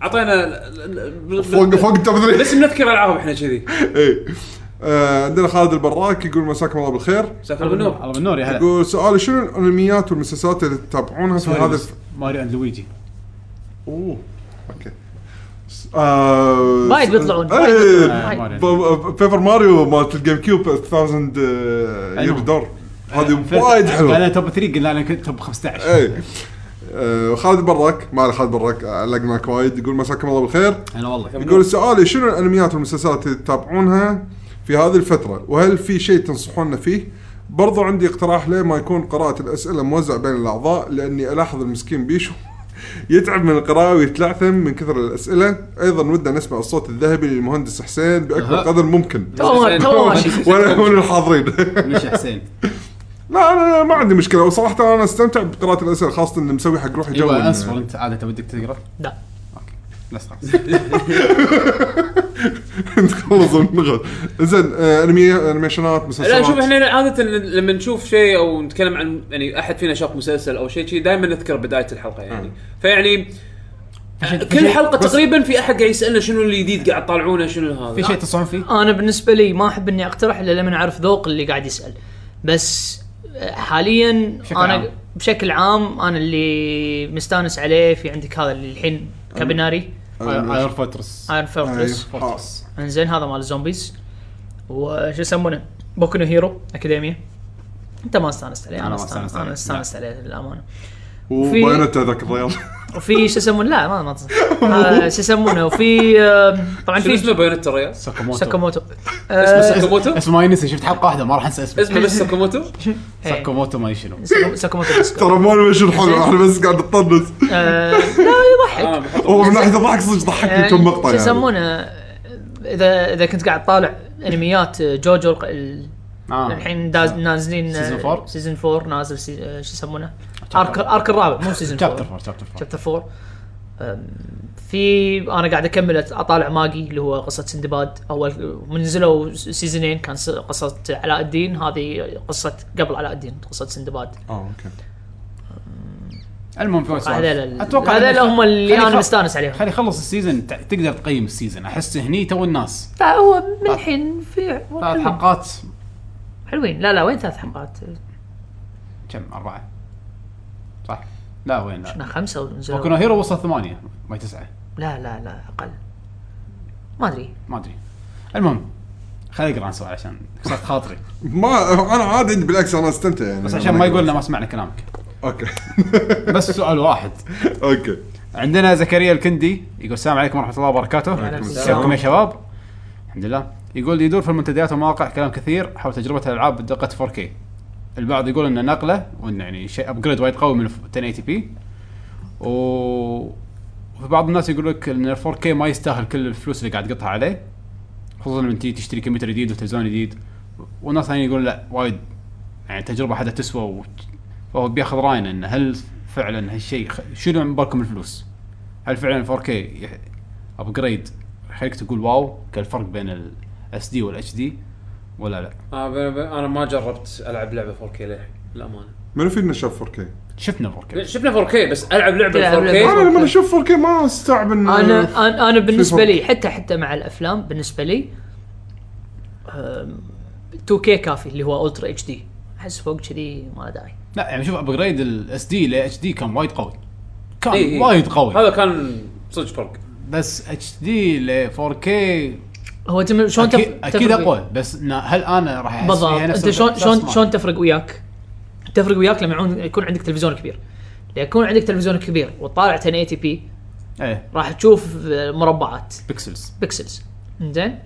D: اعطينا ال- ال- ال-
C: فوق فوق التوب 3
D: بس نذكر العاب احنا كذي
C: اي آه، عندنا خالد البراك يقول مساكم الله بالخير
D: مساك الله بالنور
A: الله بالنور يا هلا
C: يقول سؤالي شنو الانميات والمسلسلات اللي تتابعونها في هذا الف...
A: ماريو اند لويجي
C: اوه اوكي س- آه،
B: وايد
C: س-
B: بيطلعون،
C: إيه.
B: وايد بيطلعون،
A: آه، ماريو
B: وايد.
A: and Luigi.
C: ب- ب- بيبر ماريو مالت الجيم كيوب 1000 يير
A: أيوة.
C: دور
A: فل-
C: آه، هذه وايد إيه.
A: انا
C: حلوه
A: توب 3 قلنا انا كنت توب 15
C: اي آه، خالد البراك ما عليه خالد البراك علق معك وايد يقول مساكم الله بالخير
A: انا والله
C: يقول سؤالي شنو الانميات والمسلسلات اللي تتابعونها في هذه الفترة وهل في شيء تنصحونا فيه؟ برضو عندي اقتراح ليه ما يكون قراءة الأسئلة موزع بين الأعضاء لأني ألاحظ المسكين بيشو [LAUGHS] يتعب من القراءة ويتلعثم من كثر الأسئلة أيضا ودنا نسمع الصوت الذهبي للمهندس حسين بأكبر
A: أها.
C: قدر ممكن
B: تو تو ماشي
C: [LAUGHS] وأنا من [LAUGHS] الحاضرين
A: مش حسين
C: لا أنا ما عندي مشكلة وصراحة أنا استمتع بقراءة الأسئلة خاصة إني مسوي حق روحي جو
A: ايوه
C: إن- [LAUGHS]
A: اصبر انت عاده ودك تقرا
B: لا
A: بس خلاص
C: نتخلص من المغرب زين آه، أنمي- أنيميشنات مسلسلات آه،
D: لا شوف احنا عادة لما نشوف شيء او نتكلم عن يعني احد فينا شاف مسلسل او شيء شيء دائما نذكر بداية الحلقة يعني
A: نعم.
D: فيعني كل حلقة تقريبا في احد قاعد يسالنا شنو الجديد قاعد تطالعونه شنو هذا
A: في شيء تصحون
C: [LAUGHS]
A: فيه؟
B: انا بالنسبه لي ما احب اني اقترح الا لما اعرف ذوق اللي قاعد يسال بس حاليا
A: بشكل
B: انا
A: عام.
B: بشكل عام انا اللي مستانس عليه في عندك هذا اللي الحين كابيناري
A: أيوه. اير فورترس
C: آه.
B: ايرون فورترس
A: فورترس
B: انزين هذا مال الزومبيز وشو يسمونه بوكو نو هيرو اكاديميا انت ما استانست عليه
A: أنا
B: انا
A: ما استانست
B: استانست
A: عليه.
B: انا استانست عليه للامانه
C: وبايونتا ذاك الريال
B: وفي شو يسمونه لا ما ما تص- آه، شو يسمونه وفي آه، طبعا
D: شنو اسمه
B: في
D: بايونيتا الريال؟
A: ساكاموتو
B: ساكاموتو
D: اسمه
B: آه،
D: ساكاموتو؟
A: اسمه ما ينسى شفت حلقه واحده ما راح انسى اسمه [LAUGHS]
D: اسمه بس ساكاموتو؟
B: إيه.
A: ساكاموتو ما شنو
B: ساكا- إيه، ساكاموتو ديسكو.
C: [LAUGHS] ترى ما نمشي الحلقه احنا بس قاعد نطنز
B: آه، لا
D: [LAUGHS]
B: يضحك آه،
D: آه، بحط-
C: هو من ناحيه الضحك صدق ضحكني كم مقطع
B: شو
C: يعني
B: يسمونه اذا اذا كنت قاعد طالع انميات جوجو الق- ال-
A: آه.
B: الحين داز نازلين
A: Season four؟
B: سيزون 4 نازل سي- آه، شو يسمونه ارك ارك الرابع مو سيزون
A: شابتر
B: 4
A: 4 شابتر 4
B: شابتر 4 Um, في انا قاعد اكمل أت- اطالع ماجي اللي هو قصه سندباد اول من نزلوا س- سيزونين كان س- قصه علاء الدين هذه قصه قبل علاء الدين قصه سندباد
C: اه اوكي
A: المهم في
B: آه،
A: وايد سوالف.
B: هذول
A: اتوقع
B: هذول هم اللي
A: خلي
B: انا
A: خل-
B: مستانس عليهم
A: خلي يخلص السيزون ت- تقدر تقيم السيزون احس هني تو الناس
B: لا، هو من الحين في
A: ثلاث
B: حلوين.
A: حلقات
B: حلوين لا لا وين ثلاث حلقات؟
A: كم اربعه صح؟ لا وين لا
B: كنا خمسه ونزلوا
A: بوكو نو هيرو وصل ثمانيه ما هي تسعه
B: لا لا لا اقل ما ادري
A: ما ادري المهم خلي اقرا عن سؤال عشان كسرت خاطري
C: ما انا عادي عندي بالعكس انا استمتع يعني
A: بس عشان ما يقولنا
C: [LAUGHS]
A: ما سمعنا كلامك
C: اوكي
A: بس سؤال واحد
C: اوكي
A: عندنا زكريا الكندي يقول السلام عليكم ورحمه الله وبركاته
B: وعليكم السلام.
A: كيفكم يا شباب الحمد لله يقول يدور في المنتديات ومواقع كلام كثير حول تجربه الالعاب بدقه 4K البعض يقول انه نقله وانه يعني شيء ابجريد وايد قوي من 1080 بي و وفي بعض الناس يقول لك ان 4K ما يستاهل كل الفلوس اللي قاعد تقطها عليه خصوصا لما تيجي تشتري كمبيوتر جديد وتلفزيون جديد والناس الثانيين يقول لا وايد يعني تجربه حدا تسوى و... فهو بياخذ راينا انه هل فعلا هالشيء خ... شيلوا من بالكم الفلوس هل فعلا 4K يح- ابجريد يخليك تقول واو كالفرق بين الاس دي والاتش دي ولا لا
D: آه، ب- ب- انا ما جربت العب لعبه 4K للحين للامانه
C: منو فينا شاف 4K؟
B: إيه.
A: شفنا 4K
D: شفنا 4K بس العب لعبه
B: تلعب لعبة.
D: 4K
C: انا لما اشوف 4K ما استوعب ان
B: انا انا, أنا بالنسبه
C: فرق؟
B: لي حتى حتى مع الافلام بالنسبه لي أم، 2K كافي اللي هو الترا اتش دي احس فوق كذي ما له داعي
A: لا يعني شوف ابجريد الاس دي لاتش دي كان وايد قوي كان
D: إي إي.
A: وايد قوي
D: إيه، هذا كان صدق فرق
A: بس اتش دي ل 4K
B: هو تم- شلون تف-
A: اكيد, أكيد
B: تفرق
A: اقوى بس إنه هل انا راح احس
B: بالضبط
A: فيها نفس
B: انت شلون
A: الإحساس؟
B: شلون
A: ما
B: شلون تفرق وياك؟ تفرق وياك لما يعون- يكون عندك تلفزيون كبير يكون عندك تلفزيون كبير وتطالع 1080 بي
A: ايه
B: راح تشوف آه، مربعات
A: بيكسلز
B: بيكسلز زين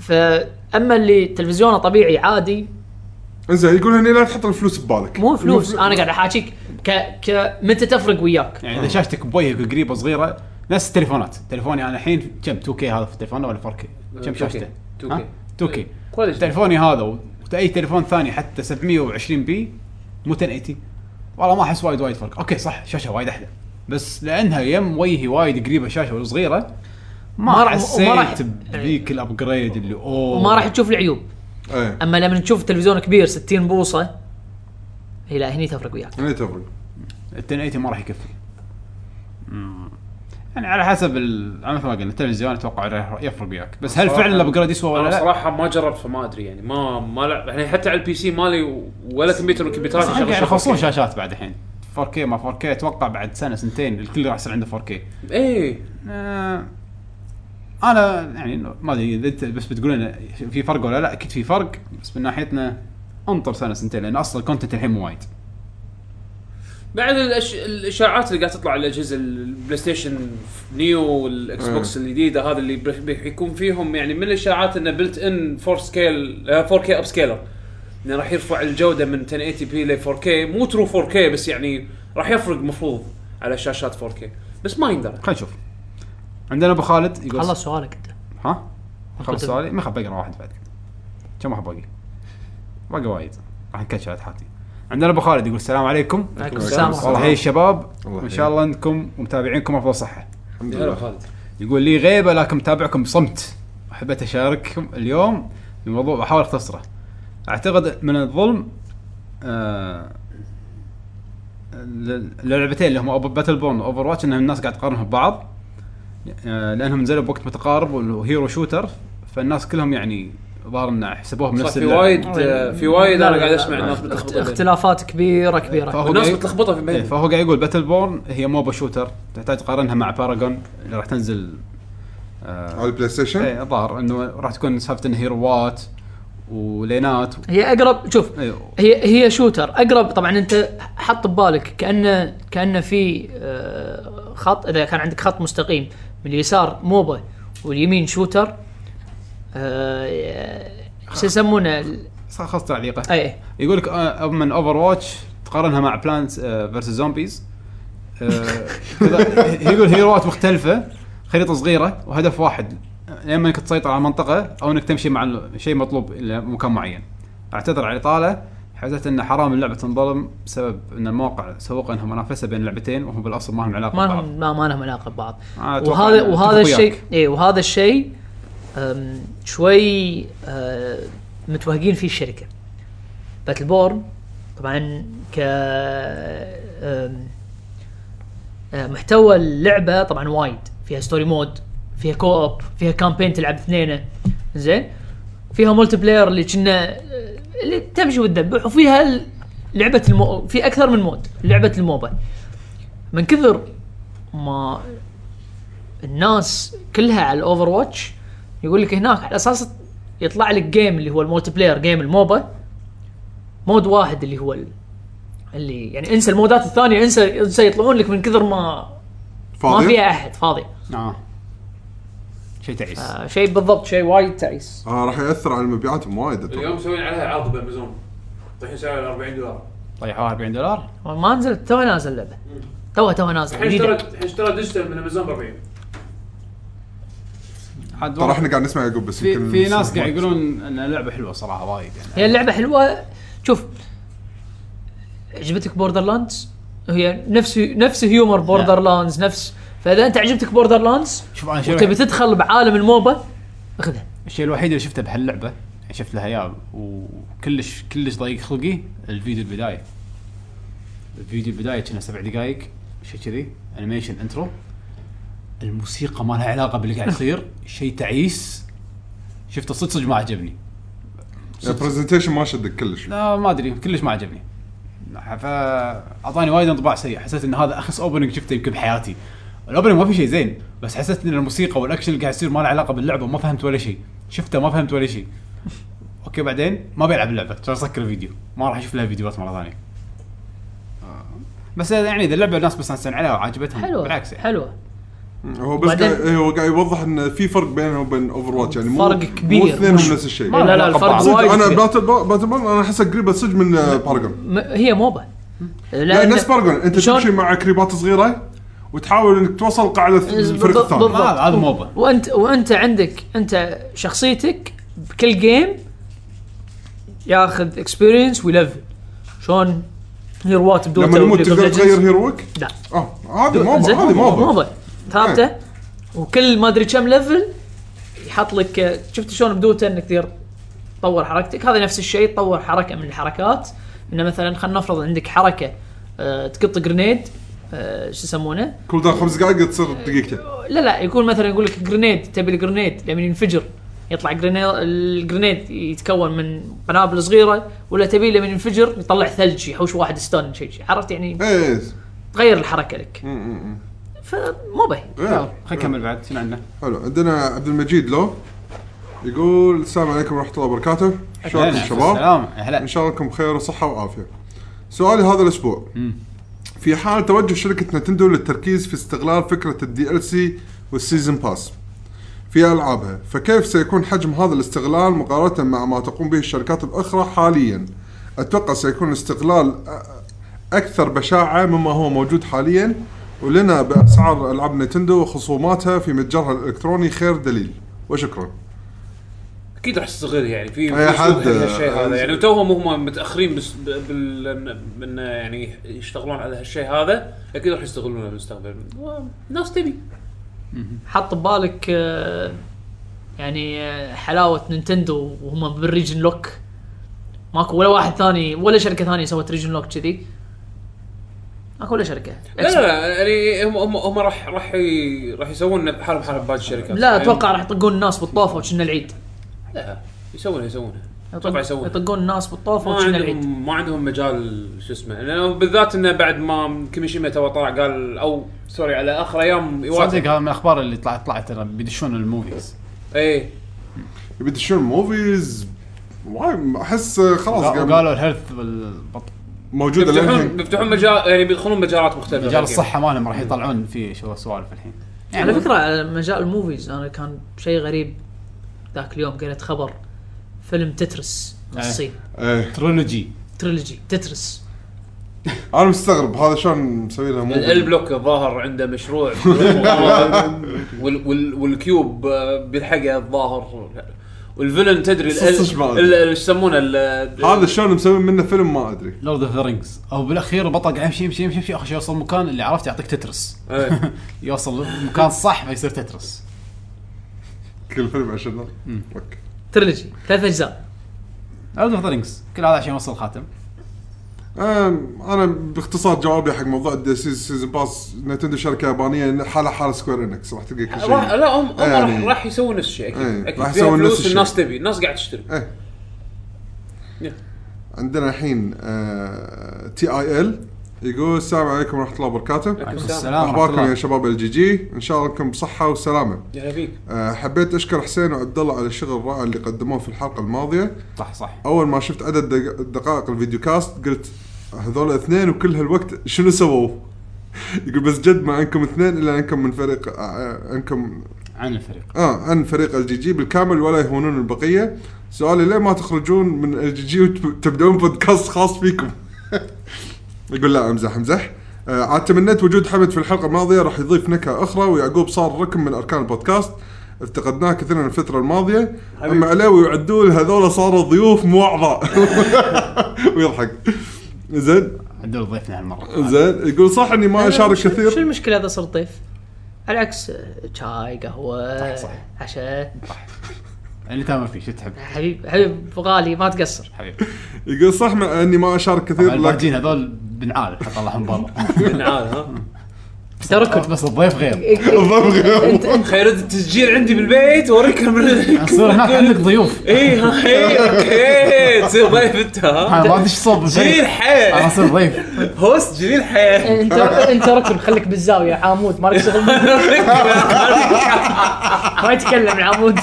B: فاما اللي تلفزيونه طبيعي عادي
C: انزين يقول هني لا تحط الفلوس ببالك
B: مو فلوس انا قاعد احاكيك ك ك متى تفرق وياك
A: يعني اذا شاشتك بوجهك قريبه صغيره نفس التليفونات تليفوني انا الحين كم 2 كي هذا في تليفونه ولا 4 كي كم
D: 2K.
A: شاشته
D: 2K.
A: 2
B: إيه،
A: كي
D: كواليتي.
A: تليفوني هذا و- واي تليفون ثاني حتى 720 بي مو 1080 والله ما احس وايد وايد فرق اوكي صح شاشه وايد احلى بس لانها يم وجهي وايد قريبه الشاشه والصغيره
B: ما
A: ما
B: راح- وما راح-
A: حسيت بذيك الابجريد اللي اوه
B: وما راح تشوف العيوب
C: ايه
B: اما لما تشوف تلفزيون كبير 60 بوصه هي لا هني تفرق وياك
C: يعني تفرق
A: ال 1080 ما راح يكفي مم. يعني على حسب ال- على مثل ما قلنا التلفزيون اتوقع راح يفرق وياك بس هل
D: صراحة-
A: فعلا الابجريد يسوى
D: انا
A: ولا لا؟
D: صراحه ما جربت فما ادري يعني ما ما لعب يعني حتى على البي سي مالي ولا كمبيوتر من
A: بس
D: الكمبيوترات
A: الحين قاعد
B: يعني
D: شغل
A: يخلصون
D: 4K.
A: شاشات بعد الحين 4K ما 4K اتوقع بعد سنه سنتين الكل راح يصير عنده 4K
D: ايه
A: آه، انا يعني ما ادري اذا انت بس بتقول لنا في فرق ولا لا اكيد في فرق بس من ناحيتنا انطر سنه سنتين لان اصلا الكونتنت الحين مو وايد
D: بعد الأش... الاشاعات اللي قاعد تطلع على الاجهزه البلاي ستيشن نيو والاكس بوكس الجديده هذا اللي بيح- بيكون فيهم يعني من الاشاعات انه بلت ان 4 سكيل 4 كي اب سكيلر انه راح يرفع الجوده من 1080 بي ل 4 كي مو ترو 4 كي بس يعني راح يفرق مفروض على شاشات 4 كي بس ما يندرى
A: خلينا نشوف عندنا ابو خالد يقول
B: خلص سؤالك انت
A: ها خلص سؤالي ما خاب بقرا واحد بعد كم واحد باقي؟ باقي وايد راح نكشف على حالتي عندنا ابو خالد يقول السلام عليكم
B: عليكم
C: السلام.
B: السلام
A: والله هي الشباب
C: الله
A: وان شاء الله انكم ومتابعينكم افضل صحه
C: الحمد
D: هلا
C: لله
D: خالد
A: يقول لي غيبه لكن متابعكم بصمت حبيت اشارككم اليوم بموضوع بحاول اختصره اعتقد من الظلم آه ل- للعبتين اللي هم باتل بورن واوفر واتش انهم الناس قاعد تقارنهم ببعض آه لانهم نزلوا بوقت متقارب وهيرو شوتر فالناس كلهم يعني ظهر ان حسبوهم
D: صح
A: نفس
D: في
A: اللعبة.
D: وايد آه، في
B: نعم.
D: وايد
B: لا،
D: انا
B: لا،
D: قاعد
B: لا،
D: اسمع
B: لا،
D: الناس
B: اخت-
D: بتلخبط
B: اختلافات كبيره كبيره
A: فهو
D: الناس
A: قاعد-
D: متلخبطه في
A: إيه،
D: بين
A: فهو قاعد يقول باتل بورن هي موبا شوتر تحتاج تقارنها مع باراجون اللي راح تنزل آه،
C: على البلاي ستيشن
A: ايه الظاهر انه راح تكون سالفه انه هيروات ولينات
B: هي اقرب شوف
A: ايوه
B: هي هي شوتر اقرب طبعا انت حط ببالك كانه كانه في آه، خط اذا كان عندك خط مستقيم من اليسار موبا واليمين شوتر آه، شو يسمونه ال- إيه.
A: خلاص تعليقه
B: اي
A: يقول لك آه، من اوفر واتش تقارنها مع بلانتس فيرسس زومبيز آه، كذا- [LAUGHS] يقول هيروات مختلفه خريطه صغيره وهدف واحد يا اما انك تسيطر على منطقه او انك تمشي مع ال- شيء مطلوب الى مكان معين اعتذر على الاطاله حسيت ان حرام اللعبه تنظلم بسبب ان المواقع سوق انها منافسه بين اللعبتين وهم بالاصل ما لهم علاقه
B: ما
A: ببعض.
B: لهم ما, ما لهم علاقه ببعض
A: آه، أتوقع
B: وهذا
A: أتفق
B: وهذا
A: وياك.
B: الشيء اي وهذا الشيء أم، شوي أه، متوهقين فيه الشركه باتل بورن طبعا ك أم، أه، محتوى اللعبه طبعا وايد فيها ستوري مود فيها كو اوب فيها كامبين تلعب اثنين زين فيها مولتي بلاير اللي كنا أه، اللي تمشي وتذبح وفيها ال- لعبه المو... في اكثر من مود لعبه الموبا من كثر ما الناس كلها على الاوفر واتش يقول لك هناك على اساس يطلع لك جيم اللي هو المولتي بلاير جيم الموبا مود واحد اللي هو ال- اللي يعني انسى المودات الثانيه انسى انسى يطلعون لك من كثر ما ما
C: فاضي
B: فيها احد فاضي
A: اه شيء تعيس
B: آه شيء بالضبط شيء وايد تعيس
C: آه راح ياثر على مبيعاتهم وايد أتوقع.
D: مسوين عليها عرض بامازون الحين سعرها 40 دولار
A: طيحوها 40 دولار
B: ما نزلت توها نازل اللعبه توها توها نازل جديدة.
D: الحين اشترى ديجيتال من امازون ب 40
A: عاد
C: ترى
A: والله
C: احنا قاعد نسمع يعقوب بس
A: في
C: يمكن
A: في ناس قاعد
C: نسمع.
A: يقولون ان اللعبه حلوه صراحه وايد يعني
B: هي اللعبة حلوة شوف عجبتك بوردر لاندز هي نفس نفس هيومر بوردر لاندز نفس فاذا انت عجبتك بوردر لاندز
A: شوف انا الشيء
B: وتبي
A: الوحيد-
B: تدخل بعالم الموبا اخذها
A: الشيء الوحيد اللي شفته بهاللعبه يعني شفت لها اياه وكلش كلش ضيق خلقي الفيديو البدايه الفيديو البدايه كنا سبع دقائق شيء كذي انيميشن انترو الموسيقى ما لها علاقه باللي قاعد يصير شيء تعيس شفته صدق صدق ما عجبني
C: البرزنتيشن يعني ما شدك كلش
A: لا ما ادري كلش ما عجبني فاعطاني وايد انطباع سيء حسيت ان هذا اخس اوبننج شفته يمكن بحياتي الاوبننج ما في شيء زين بس حسيت ان الموسيقى والاكشن اللي قاعد يصير ما له علاقه باللعبه وما فهمت ولا شيء شفته ما فهمت ولا شيء اوكي بعدين ما بيلعب اللعبه ترى سكر الفيديو ما راح اشوف لها فيديوهات مره ثانيه آه. بس يعني اذا اللعبه الناس مستانسين عليها وعاجبتهم
B: حلوة
A: بالعكس يعني.
B: حلوة
C: هو بس
B: بعدين-
C: قاعد إيه، هو قاعد يوضح ان في فرق بينهم وبين اوفر واتش يعني مو
B: فرق كبير.
C: مو اثنينهم
B: مش-
C: نفس الشيء
A: ما-
B: لا لا
A: علاقة
B: الفرق
A: ببعض.
C: صدق
B: وايد
C: انا
B: كبير.
C: باتل بو- باتل بول انا احسها قريبه صدق من باراجون
B: م- هي موبا
C: لا نفس بارجون انت تمشي مع كريبات صغيره وتحاول انك توصل قاعده الفريق
B: بالضبط-
C: الثاني
B: بالضبط.
A: هذا- هذا موبا.
B: وانت وانت عندك انت شخصيتك بكل جيم ياخذ اكسبيرينس ويلفل شلون هيروات بدون
C: لما يموت تقدر تغير هيروك
B: لا
C: اه هذه موبا
B: زين؟
C: هذه موبا
B: موبا ثابته وكل ما ادري كم ليفل يحط لك آه، شفت شلون بدوته انك تقدر تطور حركتك هذا نفس الشيء تطور حركه من الحركات انه مثلا خلينا نفرض عندك حركه آه، تقط جرينيد آه، شو يسمونه
C: كل دار خمس دقائق تصير
B: آه.
C: دقيقتين
B: لا لا يكون مثلا يقول لك جرينيد تبي الجرينيد لما ينفجر يطلع جرينيد الجرينيد يتكون من قنابل صغيره ولا تبي لما ينفجر يطلع ثلج يحوش واحد ستون شيء شيء. عرفت يعني
C: ايه
B: تغير الحركه لك
C: م- م- م.
B: فمو به
C: غير.
A: خلينا نكمل بعد شنو عندنا؟
C: إيه. حلو عندنا عبد المجيد لو يقول السلام عليكم ورحمه الله وبركاته شلونكم شباب؟
A: سلام
C: ان
A: هلا
C: شاء الله لكم بخير وصحه وعافيه. سؤالي هذا الاسبوع في حال توجه شركه نتندو للتركيز في استغلال فكره الدي ال سي والسيزون باس في العابها، فكيف سيكون حجم هذا الاستغلال مقارنه مع ما تقوم به الشركات الاخرى حاليا؟ اتوقع سيكون الاستغلال أ- اكثر بشاعه مما هو موجود حاليا ولنا باسعار العاب نتندو وخصوماتها في متجرها الالكتروني خير دليل وشكرا.
D: اكيد راح تصغر يعني في
C: أي
D: في
C: حد.
D: سوق هالشيء هذا يعني وتوهم هم متاخرين بس ب- بال من يعني يشتغلون على هالشيء هذا اكيد راح يستغلونه بالمستقبل ناس تبي
B: حط ببالك آه، يعني آه، حلاوه نينتندو وهم بالريجن لوك ماكو ولا واحد ثاني ولا شركه ثانيه سوت ريجن لوك كذي ماكو ولا شركه
D: لا لا, لا يعني هم هم هم راح راح ي- راح يسوون حالهم حال باقي الشركات
B: لا
D: يعني
B: اتوقع راح يطقون الناس بالطوفه وكنا العيد
D: لا يسوونها يسوونها اتوقع
B: يطق-
D: يسوونها
B: يطقون الناس بالطوفه
D: ما
B: وكنا العيد
D: عندهم ما عندهم مجال شو اسمه لانه بالذات انه بعد ما كيميشيما تو طلع قال او سوري على اخر ايام
A: صدق
D: يواجه
A: هذا من الاخبار اللي طلعت طلعت ترى بيدشون الموفيز
D: ايه
C: يبي يدشون موفيز وايد احس خلاص قام-
A: قالوا الهيلث والبط-
C: موجوده
D: بيفتحون
C: للحين
D: بيفتحون مجال يعني بيدخلون مجالات مختلفه
A: مجال الصحه مالهم راح يطلعون فيه شو سوالف الحين
B: على فكره على مجال الموفيز انا كان شيء غريب ذاك اليوم قريت خبر فيلم تترس
D: إيه.
B: من
A: أي.
B: الصين
C: ايه
A: ترولوجي
B: تريلوجي تترس
C: انا مستغرب هذا شلون مسوي لها موفي
D: البلوك الظاهر عنده مشروع وال وال والكيوب آه، بيلحقه الظاهر والفيلن تدري ال-
C: صص شمال.
D: ال- ال- ايش يسمونه ال-
C: هذا شلون مسوي منه فيلم ما ادري
A: لورد اوف ذا رينجز او بالاخير البطل قاعد يمشي يمشي يمشي يمشي اخر شيء يوصل مكان اللي عرفت يعطيك تترس [LAUGHS]
D: إيه.
A: يوصل المكان الصح فيصير تترس
C: كل فيلم 20 دولار اوكي
B: تريلوجي ثلاث اجزاء
A: لورد اوف ذا رينجز كل هذا عشان يوصل الخاتم
C: آم، انا باختصار جوابي حق موضوع الدي سيزون باس نتندو شركه يابانيه حالها حال سكوير انكس راح تلقى كل
D: راح
C: [LAUGHS] شيء
D: لا هم هم راح
C: يعني-
D: راح يسوون نفس الشيء
C: إيه،
D: اكيد اكيد
C: راح
D: راح
C: يسوون نفس
D: فلوس
C: الشيء.
D: الناس تبي الناس قاعد تشتري
C: ايه
D: Yeah.
C: عندنا الحين آه، تي اي ال يقول السلام عليكم ورحمه الله وبركاته
D: عليكم السلام
A: السلام
C: اخباركم يا شباب الجي جي ان شاء الله لكم بصحه وسلامه
D: يا هلا [LAUGHS] فيك
C: آه، حبيت اشكر حسين وعبد الله على الشغل الرائع اللي قدموه في الحلقه الماضيه
A: صح صح
C: اول ما شفت عدد دق- دقائق الفيديو كاست قلت هذول اثنين وكل هالوقت شنو سووا؟ [LAUGHS] يقول بس جد ما انكم اثنين الا انكم من فريق آه، انكم
A: عن الفريق
C: اه عن فريق الجي جي بالكامل ولا يهونون البقيه سؤالي ليه ما تخرجون من الجي جي وتبدون بودكاست خاص فيكم [LAUGHS] يقول لا امزح امزح آه عاد تمنيت وجود حمد في الحلقه الماضيه راح يضيف نكهه اخرى ويعقوب صار ركن من اركان البودكاست افتقدناه كثيرا الفتره الماضيه اما علاوي وعدول هذول صاروا ضيوف مو اعضاء [LAUGHS] ويضحك زين
A: عدل ضيفنا هالمره
C: زين يقول صح اني ما اشارك
B: شو- شو
C: كثير
B: المشكله اذا صرت ضيف؟ على العكس آه، شاي قهوه
A: صح.
B: عشاء
A: اللي تامر فيه شو تحب
B: حبيب حبيب غالي ما تقصر
A: حبيبي
C: يقول صح ما- اني ما اشارك كثير [LAUGHS] لكن
A: الباجين هذول بنعال اطلعهم برا
D: [LAUGHS] نعال ها
B: [LAUGHS] تركن
A: بس الضيف غير
B: إيه، انت انت
D: خير التسجيل عندي بالبيت واركها من [LAUGHS]
A: نصير هناك عندك ضيوف
D: اي إيه، ها اي اوكي تصير ضيف انت ها
A: انا ما ادري ايش صوب
D: جليل
A: بالفريق انا
D: حياه
A: اصير ضيف
D: هوست جليل حياه
C: [LAUGHS]
B: انت انت ركن خليك بالزاويه عامود مالك [LAUGHS] شغل ما يتكلم العمود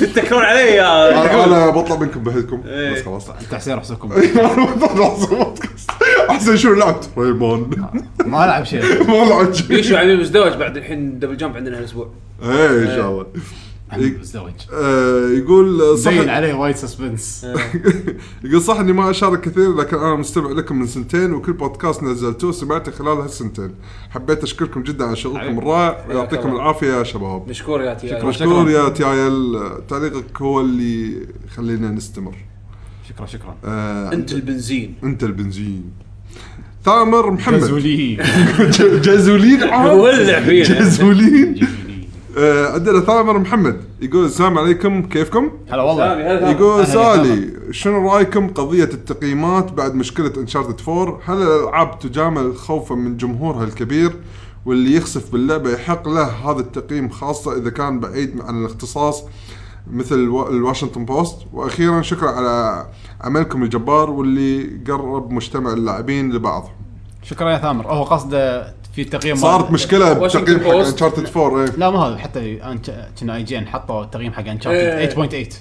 D: تتكرون علي يا
C: انا أنا بطلع منكم بهدكم
D: إيه.
C: بس خلاص
A: انت حسين احسبكم
C: احسن شنو لعبت ريبون
A: ما العب شيء
C: [LAUGHS] ما لعبت شيء
D: بيشو عمي مزدوج بعد الحين دبل جامب عندنا هالاسبوع
C: ايه ان إيه، شاء الله إيه.
F: الزواج
C: آه، يقول صح
F: زين عليه وايد سسبنس
C: [LAUGHS] يقول صح اني ما اشارك كثير لكن انا مستمع لكم من سنتين وكل بودكاست نزلتوه سمعته خلال هالسنتين حبيت اشكركم جدا على شغلكم
A: حبيبي.
C: الرائع ويعطيكم العافيه يا شباب
E: مشكور يا تي
A: شكراً.
C: مشكور يا تيايل تعليقك هو اللي خلينا نستمر
A: شكرا شكرا
C: آه،
D: انت البنزين
C: انت البنزين تامر محمد
F: جزولي
C: [LAUGHS] جازولين عاد.
D: ولع فينا
C: جازولين آه، عندنا ثامر محمد يقول السلام عليكم كيفكم؟
A: هلا والله
C: يقول سالي شنو رايكم قضيه التقييمات بعد مشكله انشارتد 4 هل الالعاب تجامل خوفا من جمهورها الكبير واللي يخسف باللعبه يحق له هذا التقييم خاصه اذا كان بعيد عن الاختصاص مثل الوا- الواشنطن بوست واخيرا شكرا على عملكم الجبار واللي قرب مجتمع اللاعبين لبعضهم
A: شكرا يا ثامر هو قصده في تقييم
C: صارت مشكله
D: واشنطن
C: بتقييم حق
D: بوست.
C: انشارتد 4 ايه
A: لا ما هذا حتى أنت- كنا اي جي ان حطوا تقييم حق
D: إيه.
A: انشارتد 8.8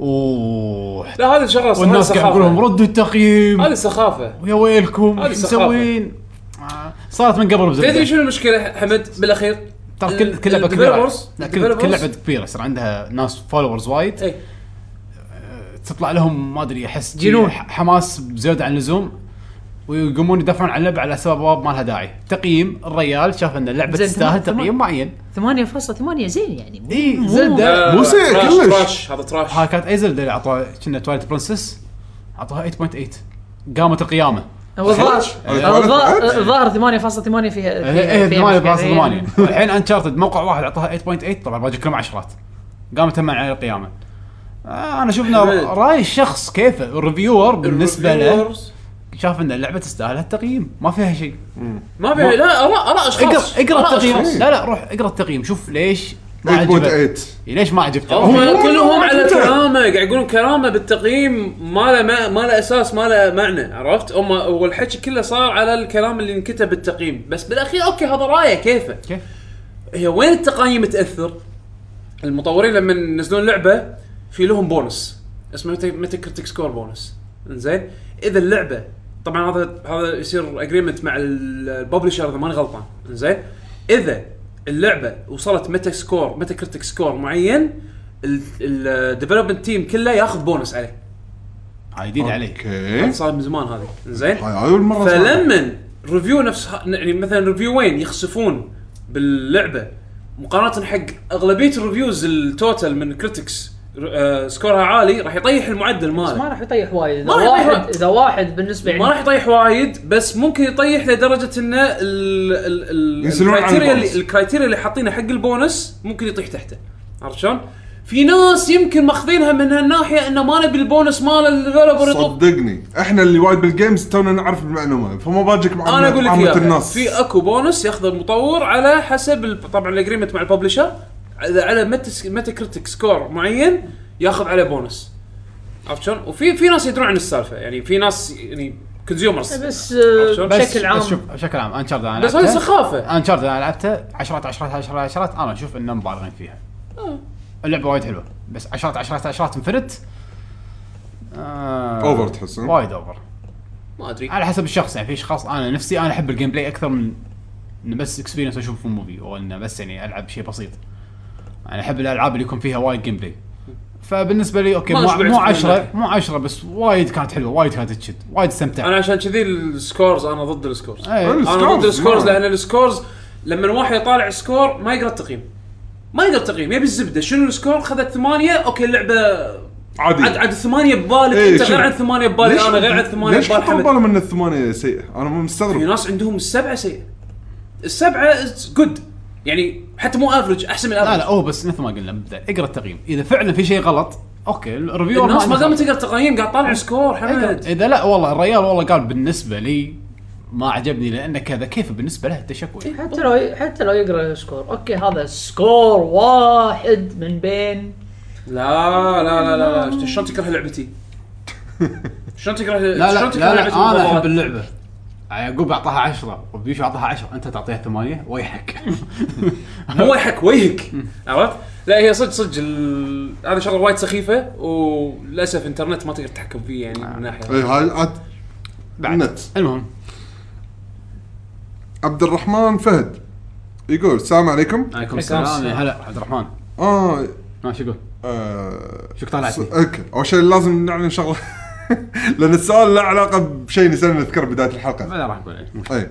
A: اوه
D: لا هذه شغله صراحة
A: والناس قاعد
D: سخافة.
A: يقول لهم ردوا
D: هذه
A: التقييم
D: سخافه
A: ويا ويلكم
D: هذه
A: ايش
D: سخافة.
A: مسوين آه، صارت من قبل بزبده
D: تدري شنو المشكله حمد بالاخير؟
A: ترى كل كل لعبه كبيره
D: الديفلوبرز-
A: لا كل
D: الديفلوبرز-
A: كل لعبه كبيره يصير عندها ناس فولورز وايد
D: اي
A: تطلع لهم ما ادري احس
B: جنون.
A: جنون حماس زياده عن اللزوم ويقومون يدافعون عن اللعبه على سبب ما لها داعي تقييم الريال شاف ان اللعبه
B: زين،
A: تستاهل
B: تمام،
A: تقييم معين
B: 8.8 زين يعني
A: اي
B: مو-
C: إيه،
B: مو-
A: زلده
C: مو سيء
D: تراش-
C: كلش.
D: تراش آه، هذا تراش
A: ها كانت اي زلده اللي اعطوها كنا تواليت برنسس اعطوها 8.8 قامت القيامه
B: هو الظاهر
C: يعني أنا
B: هو
C: أعرف
B: الظاهر-
C: بعد.
B: الظاهر 8.8 فيها
A: هي
B: فيها- فيها
A: 8
B: مشكلة.
A: إيه،
B: إيه.
A: بلاس 8 الحين انشارتد موقع واحد اعطاها 8.8 طبعا باقي كلهم عشرات قامت تمن على القيامه آه، انا شفنا
D: حمد.
A: راي الشخص كيفه الريفيور بالنسبه له
D: الريفيورز.
A: شاف ان اللعبه تستاهل هالتقييم ما فيها شيء
D: ما فيها لا اراء اراء
A: اقرا
D: اشخاص
A: اقرا
D: آراء
A: التقييم
D: أشخاص.
A: لا لا روح اقرا التقييم شوف ليش ما عجبك
C: 8.8
A: ليش ما عجبتك
D: هم كلهم على كرامه قاعد يقولون كرامه بالتقييم ما له ما, ما له اساس ما له معنى عرفت؟ هم والحكي كله صار على الكلام اللي انكتب بالتقييم بس بالاخير اوكي هذا رايه كيفه
A: كيف؟
D: هي وين التقايم تاثر؟ المطورين لما ينزلون لعبه في لهم بونس اسمه ميتا- ميتا كريتيك سكور بونس زين اذا اللعبه طبعا هذا هذا يصير اجريمنت مع ال- الببلشر اذا ماني غلطان زين اذا اللعبه وصلت ميتا سكور ميتا كريتيك سكور معين الديفلوبمنت تيم كله ياخذ بونس عليه
A: هاي جديد عليك
C: اوكي
D: صار من زمان هذه زين
C: هاي اول مره صارت.
D: فلما ريفيو نفس ه- يعني مثلا ريفيوين يخسفون باللعبه مقارنه حق اغلبيه الريفيوز التوتال من كريتكس سكورها عالي راح يطيح المعدل
B: بس ما
D: ماله
B: راح يطيح وايد اذا
D: ما راح يطيح
B: واحد
D: وايد.
B: اذا واحد يعني بالنسبه
D: ما راح يطيح وايد بس ممكن يطيح لدرجه انه ال- ال- ال-
C: ينزلون عن
D: الكرايتيريا
C: البونص.
D: اللي الكرايتيريا اللي حاطينها حق البونس ممكن يطيح تحته عرفت شلون؟ في ناس يمكن ماخذينها من هالناحيه انه ما نبي البونس مال الديفلوبر يطب
C: صدقني احنا اللي وايد بالجيمز تونا نعرف المعلومه فما باجك مع
D: انا اقول لك
C: عامة
D: إياها.
C: الناس
D: في اكو بونس ياخذه المطور على حسب ال- طبعا الاجريمنت مع الببلشر اذا على ميتا كريتيك سكور معين ياخذ عليه بونس عرفت شلون؟ وفي في ناس يدرون عن السالفه يعني في ناس يعني كونسيومرز
B: بس آه،
D: بس-
B: بشكل عام
A: بس شوف بشكل عام انشارتد انا
D: بس هذه
A: لعبتها.
D: سخافه
A: انشارتد انا لعبته عشرات عشرات عشرات عشرات انا اشوف انهم مبالغين فيها اللعبه وايد حلوه بس عشرات عشرات عشرات انفنت آه
C: اوفر تحس ها؟
A: وايد اوفر
D: ما ادري
A: على حسب الشخص يعني في اشخاص انا نفسي انا احب الجيم بلاي اكثر من انه بس اكسبيرينس اشوف في موفي او انه بس يعني العب شيء بسيط انا احب الالعاب اللي يكون فيها وايد جيم بلاي فبالنسبه لي اوكي
D: ما
A: مو
D: شبعت
A: مو
D: من
A: 10
D: النهاية.
A: مو 10 بس وايد كانت حلوه وايد كانت تشد وايد استمتعت
D: انا عشان كذي السكورز انا ضد السكورز
A: إيه.
D: انا ضد
C: السكورز،
D: السكورز
C: نعم.
D: لان السكورز لما واحد يطالع سكور ما يقرا التقييم ما يقرا التقييم يبي الزبده شنو السكور خذت ثمانيه اوكي اللعبه
C: عادي
D: عاد عاد ثمانيه ببالك
C: إيه،
D: انت
C: شنو؟
D: غير عن ثمانيه ببالي انا غير عن ثمانيه
C: ليش
D: ببال
C: حطوا
D: حمد
C: بالهم ان الثمانيه سيئه انا مو
D: في
C: مستغرب
D: ناس عندهم السبعه سيئه السبعه جود يعني حتى مو افرج احسن من
A: لا لا
D: افرج
A: هو بس مثل ما قلنا بالبداية، اقرا التقييم اذا فعلا في شيء غلط اوكي الريفيور
D: الناس ما
A: عنده
D: قامت تقرا تقييم قاعد
A: إيه،
D: طالع سكور
A: إذا-
D: حمد
A: اذا لا والله الريال والله قال بالنسبه لي ما عجبني لانه كذا كيف بالنسبه له التشكوي
B: حتى لو حتى لو يقرا السكور اوكي هذا سكور واحد من بين
D: لا لا لا لا شلون تكره
A: [LAUGHS]
D: لعبتي؟ شلون تكره
A: لا لا
D: شلون
A: لا, لا انا
D: بالموضوع؟
A: احب اللعبه يعقوب اعطاها 10 وبيشو اعطاها 10 انت تعطيها 8
D: [LAUGHS]
A: ويحك
D: مو وجهك وجهك عرفت؟ لا هي صدق صدق ال- هذا شغله وايد سخيفه وللاسف انترنت ما تقدر تحكم فيه يعني من ناحيه
C: اي إيه، هاي عاد النت
A: المهم
C: عبد الرحمن فهد يقول السلام عليكم
A: عليكم
D: نعم.
B: السلام.
A: السلام يا هلا عبد الرحمن
C: اه
A: ما شو يقول؟
C: آه،
A: شو طلعت
C: س-
A: لي؟
C: اوكي اول شيء لازم نعلن [LAUGHS] شغله لان السؤال له علاقه بشيء نسينا نذكره بدايه الحلقه
A: بعدين راح اقول عليه مو مشكلة.
C: اي طيب.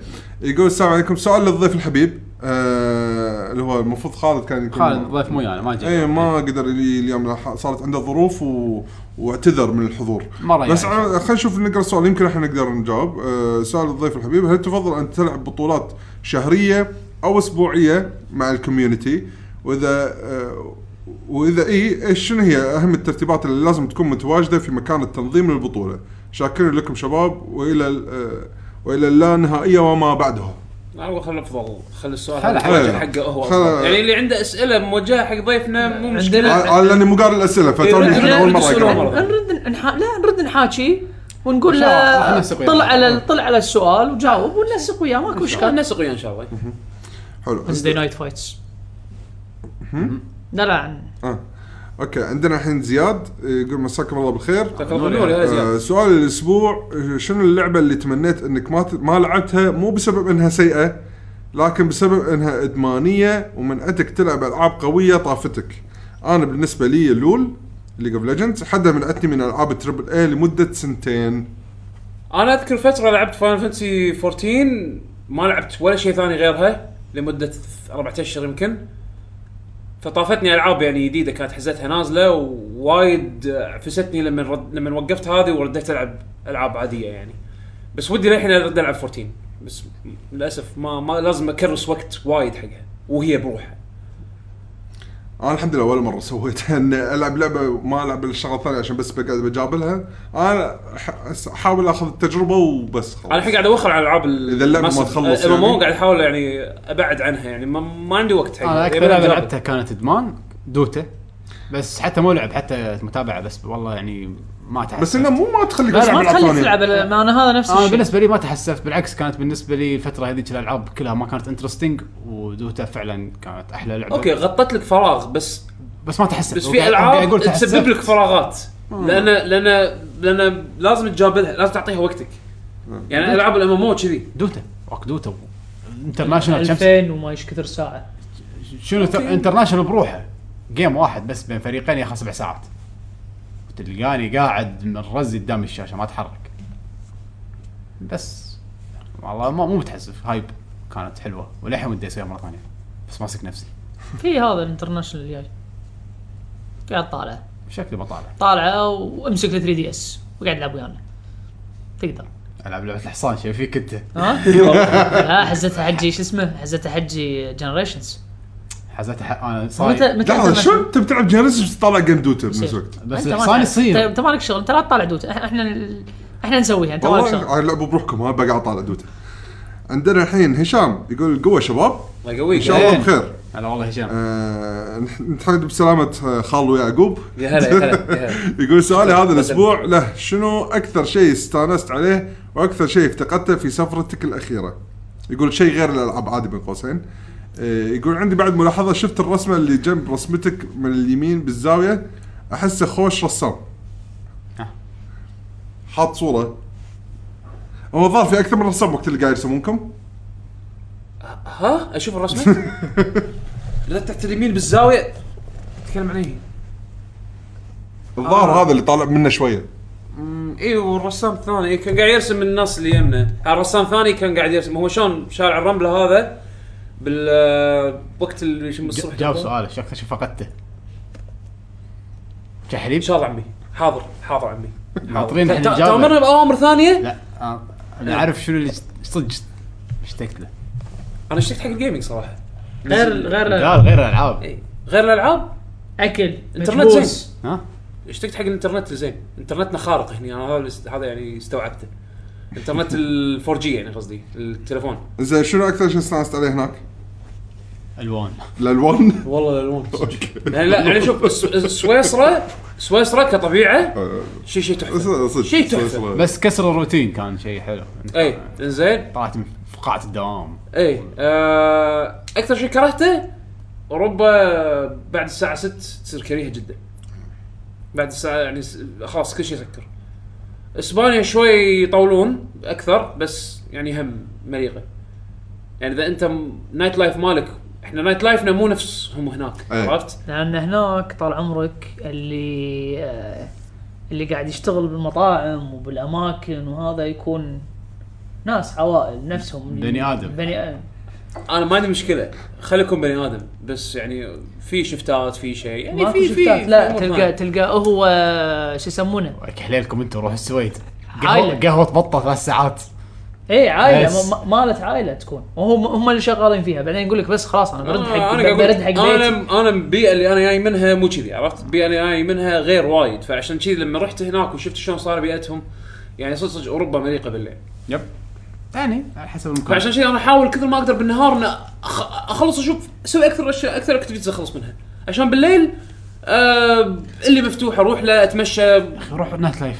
C: يقول السلام عليكم سؤال للضيف الحبيب آه اللي هو المفروض خالد كان يكون
A: خالد ضيف مو انا ما جاي
C: اي إيه، ما قدر يجي اليوم لح- صارت عنده ظروف و... واعتذر من الحضور
A: مرة
C: بس
A: يعني.
C: خلينا نشوف نقرا السؤال يمكن احنا نقدر نجاوب أه سؤال الضيف الحبيب هل تفضل ان تلعب بطولات شهريه او اسبوعيه مع الكوميونتي واذا أه واذا اي إيش- شنو هي اهم الترتيبات اللي لازم تكون متواجده في مكان التنظيم للبطوله شاكرين لكم شباب والى ال- أه والى اللا نهائيه وما بعدها
D: والله خل افضل خل السؤال
A: خل-
D: هذا
A: خل-
D: موجه حقه هو
C: خل-
D: أفضل. يعني اللي عنده اسئله موجهه حق ضيفنا مو مشكله
B: عندنا-
C: أنا- لاني مو قاري الاسئله فتوني
D: إيه،
C: الحين اول مره
D: الأسئلة
C: أقرأها.
D: مرة.
B: نرد نح... لا نرد نحاكي ونقول له
A: إن شاء الله، نثق وياه.
B: طلع على طلع على السؤال وجاوب وننسق وياه ماكو
D: خلنا
B: اشكال
D: نسق وياه ان شاء الله
C: حلو
B: وينزداي نايت فايتس لا لا عن-
C: آه. اوكي عندنا الحين زياد إيه، يقول مساكم الله بالخير
D: مساك الله بالنور يا زياد.
C: آه، سؤال الاسبوع آه، شنو اللعبه اللي تمنيت انك ما ت- ما لعبتها مو بسبب انها سيئه لكن بسبب انها ادمانيه ومنعتك تلعب العاب قويه طافتك انا بالنسبه لي لول ليج اوف ليجندز حدها منعتني من العاب التربل اي لمده سنتين
D: انا اذكر فتره لعبت فاين فانتسي 14 ما لعبت ولا شيء ثاني غيرها لمده اربعة اشهر يمكن فطافتني العاب يعني جديده كانت حزتها نازله ووايد عفستني لما رد لما وقفت هذه ورديت العب العاب عاديه يعني بس ودي للحين ارد العب 14 بس للاسف ما ما لازم اكرس وقت وايد حقها وهي بروحها
C: انا الحمد لله اول مره سويتها [LAUGHS] ان العب لعبه وما العب الشغله الثانيه عشان بس بقعد بجابلها انا أح- احاول اخذ التجربه وبس خلاص
D: انا الحين قاعد اوخر على العاب
C: إذا اللعبة ما تخلص
D: يعني
C: يعني.
D: قاعد احاول يعني ابعد عنها يعني ما, إيه، ما عندي وقت حقها
A: انا اكثر
D: يبي
A: لعبه
D: أجربها.
A: آه، لعبتها كانت ادمان دوتا بس حتى مو لعب حتى متابعه بس والله يعني ما تحسفت
C: بس انه مو ما تخليك
A: لا، آه، لا، ألعاب
B: ما
C: أسمع يعني. الألعاب
B: تخليك
C: ثانية.
B: تلعب إلا- ما انا هذا نفس
A: انا
B: الشيء
A: بالنسبه لي ما تحسفت بالعكس كانت بالنسبه لي الفتره هذيك الالعاب كلها ما كانت انترستنج ودوتا فعلا كانت احلى لعبه
D: اوكي غطت لك فراغ بس
A: بس ما تحسفت
D: بس
A: وقاعد-
D: في
A: قاعد
D: العاب
A: أقول تحسفت.
D: تسبب لك فراغات لان لان لان لازم تجابلها لازم تعطيها وقتك يعني العاب الام ام او كذي
A: دوتا وقت دوتا انترناشونال شمس
B: 2000 وما ايش كثر ساعه
A: شنو ت- انترناشونال بروحه جيم واحد بس بين فريقين ياخذ سبع ساعات تلقاني قاعد مرزي قدام الشاشه ما اتحرك بس والله ما مو متحسف هايب كانت حلوه وللحين ودي اسويها مره ثانيه بس ماسك نفسي
B: في هذا الانترناشونال الجاي قاعد طالع
A: شكلي بطالع
B: طالعه وامسك ال 3 دي اس وقاعد العب ويانا تقدر
A: العب لعبه الحصان شو فيك انت
B: ها؟
D: [LAUGHS]
B: لا حزتها حجي شو اسمه حزتها حجي جنريشنز
A: حزتها ح- انا
D: طيب.
B: متى
A: صاير
B: متى
C: لحظه
B: أنت-
C: شو انت بتلعب جينيسيس طالع جيم دوتا
B: يصير.
C: بنفس الوقت
A: بس
B: أنت ما
A: الحصان
B: تعرف. أنت-
A: يصير
B: انت مالك شغل انت لا تطالع دوت إح- احنا ال- احنا نسويها انت مالك
C: والله
B: شغل
C: هاي لعبوا بروحكم ها بقى طالع دوتا عندنا الحين هشام يقول قوه شباب
D: الله يقويك
C: ان شاء الله بخير
A: هلا والله هشام
C: آه، نح- نتحدث بسلامه آه، خالو يعقوب
D: يا هلا يا هلا يا هلا.
C: [LAUGHS] يقول سؤالي هذا الاسبوع له شنو اكثر شيء استانست عليه واكثر شيء افتقدته في سفرتك الاخيره يقول شيء غير الالعاب عادي بين قوسين آه، يقول عندي بعد ملاحظه شفت الرسمه اللي جنب رسمتك من اليمين بالزاويه احسه خوش رسام
A: ها.
C: حاط صوره هو الظاهر في اكثر من رسام وقت اللي قاعد يرسمونكم
D: ها اشوف الرسمه لا تحت اليمين بالزاويه تتكلم عن ايه؟
C: الظاهر هذا اللي طالع منه شويه
D: اي والرسام الثاني إيه، كان قاعد يرسم من الناس اللي يمنا الرسام الثاني كان قاعد يرسم هو شلون شارع الرمله هذا بال آه، وقت ال- شو الصبح
A: جا- جاوب سؤاله شكله شو فقدته شحريب
D: ان شاء الله عمي حاضر حاضر عمي
A: ناطرين
D: ت-
A: احنا
D: ت-
A: نجاوب
D: تامرنا باوامر ثانيه
A: لا آه، انا اعرف شنو اللي صدق اشتقت له
D: انا اشتقت حق الجيمنج صراحه
B: غير غير
A: لا غير الالعاب
D: إي. غير الالعاب
B: اكل
D: انترنت
B: مكبوس.
D: زين
A: ها
D: اشتقت حق الانترنت زين انترنتنا خارق هنا انا هذا الاست- هذا يعني استوعبته انترنت ال 4 جي يعني قصدي التليفون
C: زين شنو اكثر شيء استانست عليه هناك؟
A: الوان
C: الالوان
D: والله
C: [LAUGHS]
D: الالوان يعني لا يعني شوف الس- سويسرا سويسرا كطبيعه شيء شيء تحفه
C: آه. صدق
D: شيء تحفه
A: بس كسر الروتين كان شيء حلو
D: اي زين
A: طلعت من فقاعه الدوام
D: اي إيه، آه، اكثر شيء كرهته اوروبا بعد الساعه 6 تصير كريهه جدا بعد الساعه يعني س- خلاص كل شيء سكر اسبانيا شوي يطولون اكثر بس يعني هم مليقه يعني اذا انت م- نايت لايف مالك احنا نايت لايفنا مو نفس هم هناك
C: إيه.
D: عرفت؟
B: لان هناك طال عمرك اللي آه، اللي قاعد يشتغل بالمطاعم وبالاماكن وهذا يكون ناس عوائل نفسهم
A: بني آدم.
B: بني ادم
D: انا ما عندي مشكله خليكم بني ادم بس يعني في شفتات في شيء يعني
B: ما
D: في
B: في
D: في
B: شفتات لا
D: أمور
B: تلقى
D: ثانية.
B: تلقى هو شو يسمونه
A: ولك حليلكم انتم طيب، روحوا السويد
B: عائلة.
A: قهوه قهوه بطه ثلاث ساعات
B: اي عائله
A: بس.
B: ما- ما- مالت عائله تكون وهم هم اللي شغالين فيها بعدين يقول لك بس خلاص انا برد
D: آه،
B: حق
D: انا قاعد
B: برد حق
D: أقول-
B: بيتي
D: انا انا البيئه اللي انا جاي منها مو كذي عرفت؟ البيئه اللي انا جاي منها غير وايد فعشان كذي لما رحت هناك وشفت شلون صار بيئتهم يعني صدق صدق اوروبا مليقه بالليل
B: نعم.
A: يب يعني على حسب المكان
D: فعشان كذي انا احاول كثر ما اقدر بالنهار ان أخ- اخلص اشوف اسوي اكثر اشياء اكثر اكتيفيتيز اخلص منها عشان بالليل آه اللي مفتوح اروح له اتمشى
A: روح نايت لايف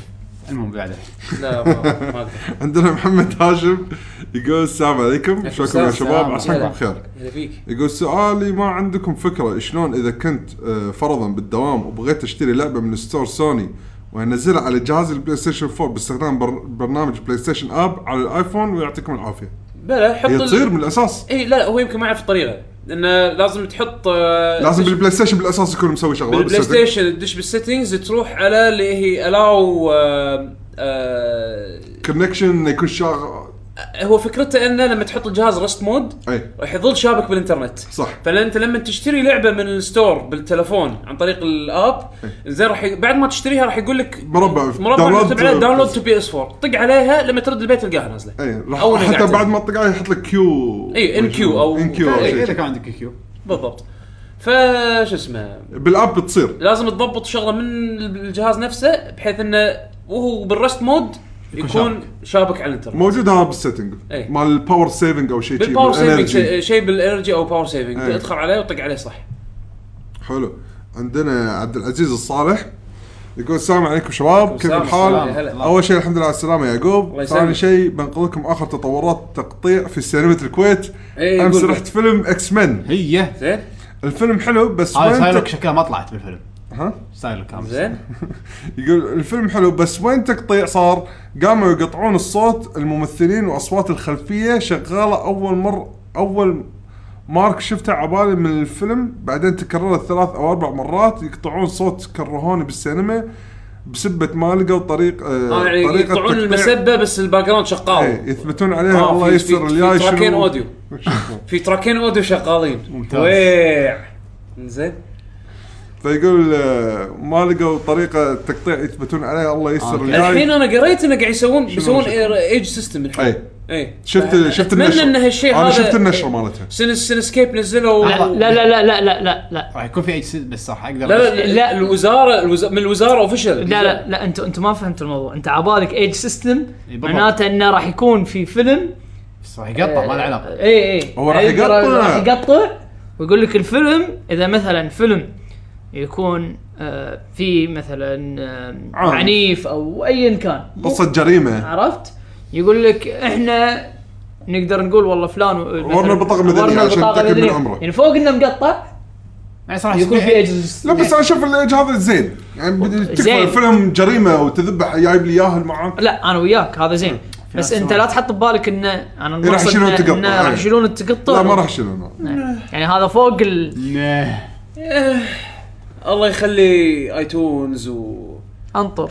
A: المهم بعده
D: لا ما ما اقدر
C: عندنا محمد هاشم يقول السلام عليكم شلونكم يا
D: السلام.
C: شباب
A: السلام.
C: عساكم بخير
D: هلا فيك
C: يقول سؤالي ما عندكم فكره شلون اذا كنت آه، فرضا بالدوام وبغيت اشتري لعبه من ستور سوني وانزلها على جهاز البلاي ستيشن 4 باستخدام بر- برنامج بلاي ستيشن اب على الايفون ويعطيكم العافيه
D: بلا حط
C: هي
D: ال-
C: تصير من الاساس
D: اي لا لا هو يمكن ما يعرف الطريقه لانه لازم تحط آه،
C: لازم بالبلاي ستيشن بالاساس يكون مسوي شغله
D: بالبلاي
C: بالستيشن.
D: ستيشن تدش بالسيتنجز تروح على اللي هي الاو آه
C: كونكشن إنه يكون شاغ
D: هو فكرته انه لما تحط الجهاز رست مود
C: اي
D: راح يظل شابك بالانترنت
C: صح
D: فانت لما تشتري لعبه من الستور بالتلفون عن طريق الاب زين راح ي... بعد ما تشتريها راح يقول لك
C: مربع
D: مربع
C: داونلود-
D: مكتوب عليه داونلود تو بي اس 4 طق عليها لما ترد البيت تلقاها نازله
C: اي راح
D: أول
C: حتى
D: نقعد.
C: بعد ما تطق عليه يحط لك كيو
D: إي، إن كيو أو-
C: ان كيو او
A: إيه، اذا
C: شيء
A: كان عندك كيو
D: بالضبط فش اسمه
C: بالاب بتصير
D: لازم تضبط شغله من الجهاز نفسه بحيث انه وهو بالرست مود يكون, شابك على الانترنت
C: موجود هذا بالسيتنج
D: إي.
C: مال الباور سيفنج او شيء شي،
D: بالباور سيفنج
C: بالenergy. إيه.
D: شيء- شيء بالانرجي او باور سيفنج
C: أي.
D: ادخل عليه وطق عليه صح
C: حلو عندنا عبد العزيز الصالح يقول السلام عليكم شباب كيف
D: السلام،
C: الحال؟
D: السلام، هلا.
C: اول شيء الحمد لله على السلامه يا
D: الله
C: يعقوب
D: يسلمك.
C: ثاني شيء بنقلكم اخر تطورات تقطيع في سينما الكويت
D: إي،
C: امس
D: قول.
C: رحت فيلم اكس مان
A: هي
D: زين
C: الفيلم حلو بس
A: هذا
C: وين تق-
A: سايلوك شكلها ما طلعت بالفيلم
C: ها
A: سايلوك كامل
D: زين
C: إيه. يقول الفيلم حلو بس وين تقطيع صار؟ قاموا يقطعون الصوت الممثلين واصوات الخلفيه شغاله اول مر اول مارك شفتها عبالي من الفيلم بعدين تكررت ثلاث او اربع مرات يقطعون صوت كرهوني بالسينما بسبه ما لقوا طريق
D: آه،
C: آه
D: يعني يقطعون
C: تقطيع.
D: المسبه بس الباك جراوند
C: إيه،
D: شغال
C: يثبتون عليها
D: آه،
C: الله
D: في-
C: يستر
D: في-
C: الجاي
D: في تراكين
C: شنو-
D: أوديو. في تراكين اوديو شغالين
A: ممتاز.
D: ويع زين
C: [LAUGHS] فيقول آه، ما لقوا طريقه تقطيع يثبتون عليها الله
A: آه،
C: يستر
A: أوكي.
C: الجاي
D: الحين انا قريت انه قاعد يسوون
C: يعني شنو-
D: يسوون
C: شنو؟
D: ايج سيستم الحين
C: إيه.
D: اي
C: شفت شفت
D: اتمنى ان هالشيء هذا
C: انا شفت النشره مالتها
D: سنس سنسكيب نزلوا
B: لا لا لا لا لا لا لا
A: راح يكون في اجساد بس راح اقدر
D: لا لا, لا
B: لا.
D: الوزاره الوز... من الوزاره اوفيشال
B: لا لا لا انت انت ما فهمت الموضوع انت عبالك ايج سيستم
A: إي بالضبط.
B: معناته انه راح يكون في فيلم
A: بس راح يقطع ما له علاقه
B: اي اي
C: هو راح
B: هيقدر-
C: يقطع.
B: راح يقطع ويقول لك الفيلم اذا مثلا فيلم يكون آه، في مثلا آه،
C: عنف.
B: عنيف او ايا كان مو-
C: قصه
D: آه.
C: جريمه
B: عرفت يقول لك احنا نقدر نقول والله فلان
C: ورنا بطاقة مدنية عشان نتأكد من عمره.
B: يعني فوق انه مقطع
A: يعني صراحه
B: يكون في
A: شكلها-
B: اجهزه
C: لا بس انا اشوف الإج هذا زين يعني بدي- تكفى
B: زين.
C: الفيلم جريمه وتذبح جايب لي اياها معاه
B: لا انا وياك هذا زين
A: في
B: بس
A: ناس
B: انت
A: ما-
B: لا تحط ببالك انه انا
C: إيه، راح
B: المقصد
C: يشيلون
B: إنه-
C: التقطع،
B: إنه
C: إيه.
B: راح يشيلون التقطه
D: طيب.
C: لا ما راح اشيل انا
B: يعني هذا فوق ال...
A: نه.
D: الله يخلي ايتونز والاكس
B: انطر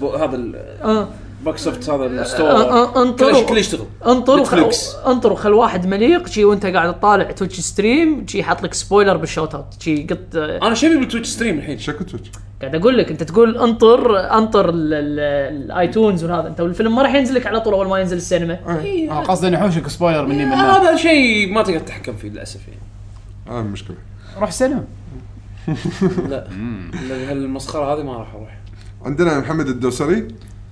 D: بو هذا الباك
B: آه.
D: سوفت هذا
B: آه،
D: الستور
B: آه، انطر
D: كله
B: و-
D: كله يشتغل
B: انطر وخل...
D: نتفليكس.
B: انطر وخل واحد مليق شي وانت قاعد تطالع تويتش ستريم شي حاط لك سبويلر بالشوت اوت شي قط
D: انا شبي بالتويتش ستريم الحين
C: شكو تويتش
B: قاعد اقول لك انت تقول انطر انطر ال- ال- الايتونز وهذا انت الفيلم ما راح ينزل لك على طول اول ما ينزل السينما
D: إيه.
A: اه قصدي انه حوشك سبويلر مني من هنا.
D: هذا شيء ما تقدر تتحكم فيه للاسف يعني
C: هذا المشكله
A: روح سينما
D: [LAUGHS] لا لا، هالمسخره هذه ما راح اروح
C: عندنا محمد الدوسري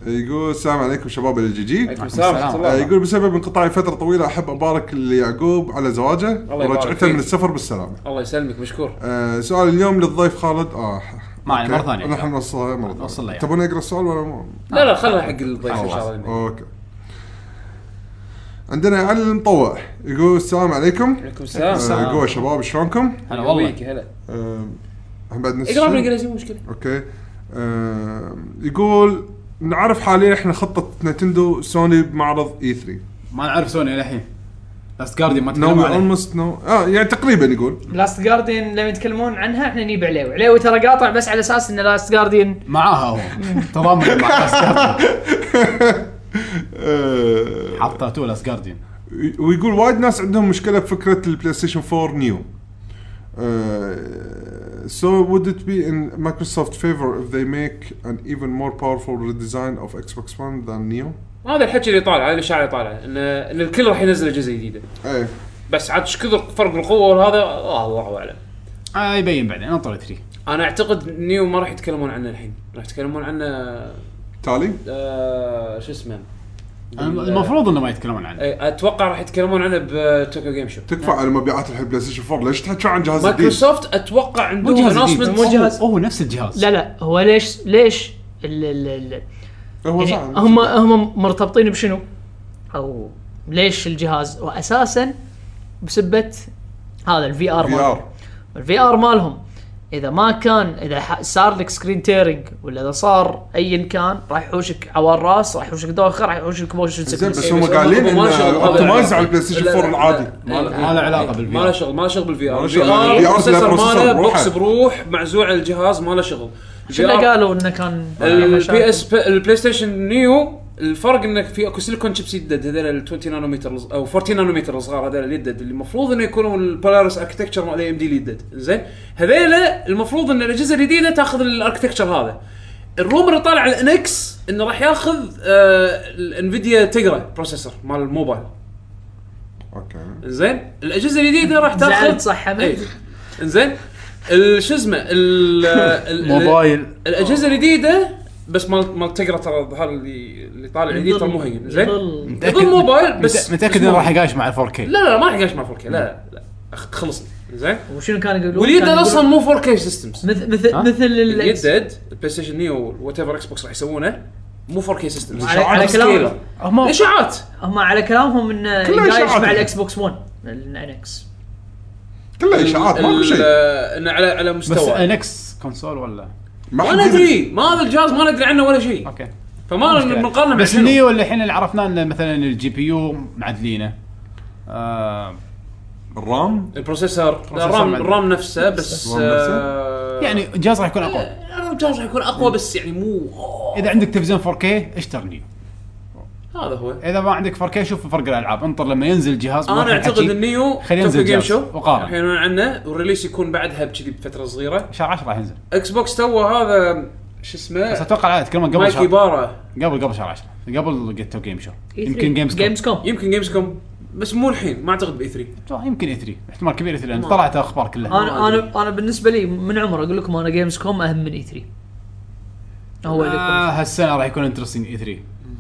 C: آه، يقول السلام عليكم شباب الجي جي
D: عليكم السلام ورحمه
A: السلام.
D: الله
C: آه، يقول بسبب انقطاعي فتره طويله احب ابارك ليعقوب على زواجه
D: يبارك
C: ورجعته
D: فيك.
C: من السفر بالسلامه
D: الله يسلمك مشكور
C: آه، سؤال اليوم للضيف خالد اه
A: ما عليه، مرة ثانية.
C: نحن نوصلها مره
A: نوصل له
C: ثانيه
A: يعني.
C: تبون اقرا السؤال ولا مو؟
D: لا لا خلها حق الضيف ان
A: خلاص.
D: شاء آه. الله
C: اوكي عندنا علي المطوع يقول السلام عليكم
D: عليكم السلام
A: السلام.
C: قوة شباب شلونكم؟
A: هلا والله
D: يقويك، هلا
C: أم، هم بعد نفس
D: اقرا
C: الشيء؟
D: بالانجليزي مو مشكله
C: اوكي أم، آه، يقول نعرف حاليا احنا خطة نتندو سوني بمعرض E اي 3
A: ما نعرف سوني للحين لاست جارديان ما
C: نو
A: تكلموا عليه
C: اولموست نو اه يعني تقريبا يقول
B: لاست جارديان لما يتكلمون عنها احنا نجيب عليوي عليوي ترى قاطع بس على اساس ان لاست جارديان
A: معاها هو تضامن مع لاست جارديان
C: آه،
A: حطه تو لاست جارديان
C: ويقول وايد ناس عندهم مشكله بفكره البلاي ستيشن 4 نيو Uh, so would it be in Microsoft favor if they make an even more powerful redesign of Xbox One than Neo?
D: هذا الحكي اللي طالع هذا الاشاعه اللي طالعه ان ان الكل راح ينزل اجهزه جديده
C: ايه
D: بس عاد ايش كثر فرق القوه وهذا آه الله اعلم
A: آه يبين بعدين انطر 3
D: انا اعتقد نيو ما راح يتكلمون عنه الحين راح يتكلمون عنه
C: تالي
D: آه شو اسمه بال-
A: المفروض انه ما يتكلمون عنه
D: إيه، اتوقع راح يتكلمون عنه بتوكيو جيم شو
C: تكفى على مبيعات الحين بلاي ستيشن 4 ليش تحكي عن جهاز جديد؟
D: مايكروسوفت اتوقع
A: مو
D: عندهم
A: جهاز جديد
B: مو
D: announcement
B: جهاز.
A: هو هو نفس الجهاز
B: لا لا هو ليش ليش ال ال ال
C: هو
B: يعني
C: صح
B: هم هم مرتبطين بشنو؟ او ليش الجهاز؟ واساسا بسبه هذا الفي ار
C: في ار
B: الفي ار مالهم اذا ما كان اذا ح- صار لك سكرين تيرنج ولا اذا صار ايا كان راح يحوشك عوار راس راح يحوشك دوخه راح يحوشك موشن
C: زين
B: sickness.
C: بس
D: إيه،
C: هم
D: بس هم-
C: قايلين
D: هم ما
C: انه
D: شغلوا هذا
C: اوبتمايز
D: العنوان.
C: على البلاي ستيشن
D: لا، لا،
C: 4
D: لا.
C: العادي
D: ما له-
A: ما له علاقه بالفي
D: ما له
A: ار
D: شغل ما له شغل بالفي
C: ما
D: ار
C: له
D: الفي
C: شغل
D: ار
C: بالVR لا
D: بروسيسور
C: بروسيسور
D: ماله
C: بروحه.
D: بوكس بروح معزوع على الجهاز ما له شغل
B: شنو قالوا انه كان آه،
D: البي اس البلاي ستيشن نيو الفرق انك في اكو سيليكون شيبس يدد هذول ال 20 نانومتر الص- او 14 نانومتر الصغار هذول اللي يدد اللي المفروض انه يكونوا البولاريس اركتكتشر مال اي ام دي اللي يدد زين هذول المفروض ان الاجهزه الجديده تاخذ الاركتكتشر هذا الرومر اللي طالع على الانكس انه راح ياخذ آه الانفيديا تقرا بروسيسور مال الموبايل
C: اوكي
D: زين الاجهزه الجديده راح تاخذ
B: زعلت صح
D: اي
B: حمد؟
D: زين ال- شو اسمه ال- ال-
A: موبايل
D: الاجهزه الجديده بس مال مال تقرا ترى الظهر اللي اللي طالع جديد ترى مو هين زين
B: يظل-
D: يضم موبايل بس بس
A: متاكد انه
D: مو-
A: راح يقايش مع 4 كي
D: لا لا لا، ما راح يقاش مع 4K لا لا لا أخ- خلصني زين
B: وشنو كانوا يقولون؟
D: واليد
B: كانوا
D: اصلا
B: يقولون
D: مو 4K سيستمز
B: مثل مثل
A: ها؟
B: مثل
D: اليد
B: ال-
D: ديد البلاي ستيشن نيو وات ايفر اكس بوكس راح يسوونه مو 4K سيستمز
B: على- على كلام
A: هم
D: اشاعات
B: هم على كلامهم انه
C: كلها
B: يقايش
C: إشاعات.
B: مع الاكس بوكس 1 الانكس
C: كلها اشاعات ماكو
D: ال-
C: شيء
D: آه، انه على على
A: بس
D: مستوى
A: نكس كونسول ولا
C: ما
D: ما ندري ما هذا الجهاز ما ندري عنه ولا شيء
A: اوكي
D: فما
A: مشكلة.
D: بنقارنه مع
A: بس
D: شنو.
A: النيو اللي الحين اللي عرفناه انه مثلا الجي بي يو معدلينه آه
C: الرام
D: البروسيسور
A: البروسيسور
D: الرام
A: معدل.
D: الرام نفسه بس
C: الرام نفسه؟
D: آه،
A: يعني الجهاز راح يكون اقوى
D: الرام جهاز راح يكون اقوى بس يعني مو
A: اذا عندك تلفزيون 4K اشتر نيو
D: هذا هو
A: اذا ما عندك 4K شوف فرق الالعاب انطر لما ينزل جهاز ما
D: انا
A: في
D: اعتقد
A: حكي.
D: النيو
A: خلينا ننزل
D: توفي جيم
A: جهاز
D: شو
A: وقارن.
D: راح يعلنون عنه والريليس يكون بعدها بكذي بفتره صغيره
A: شهر 10 راح ينزل
D: اكس بوكس تو هذا شو
A: بس
D: اسمه
A: اتوقع لا يتكلمون قبل
D: مايك
A: شهر
D: بارا
A: قبل قبل شهر 10 قبل جيتو جيم شو يمكن جيمز كوم.
B: جيمز كوم
D: يمكن جيمز كوم بس مو الحين ما اعتقد باي 3
A: يمكن اي 3 احتمال كبير اي 3 لان طلعت اخبار كلها
B: انا انا انا بالنسبه لي من عمر اقول لكم انا جيمز كوم اهم من اي 3 هو
A: آه
B: اللي آه
A: هالسنه راح يكون انترستنج اي 3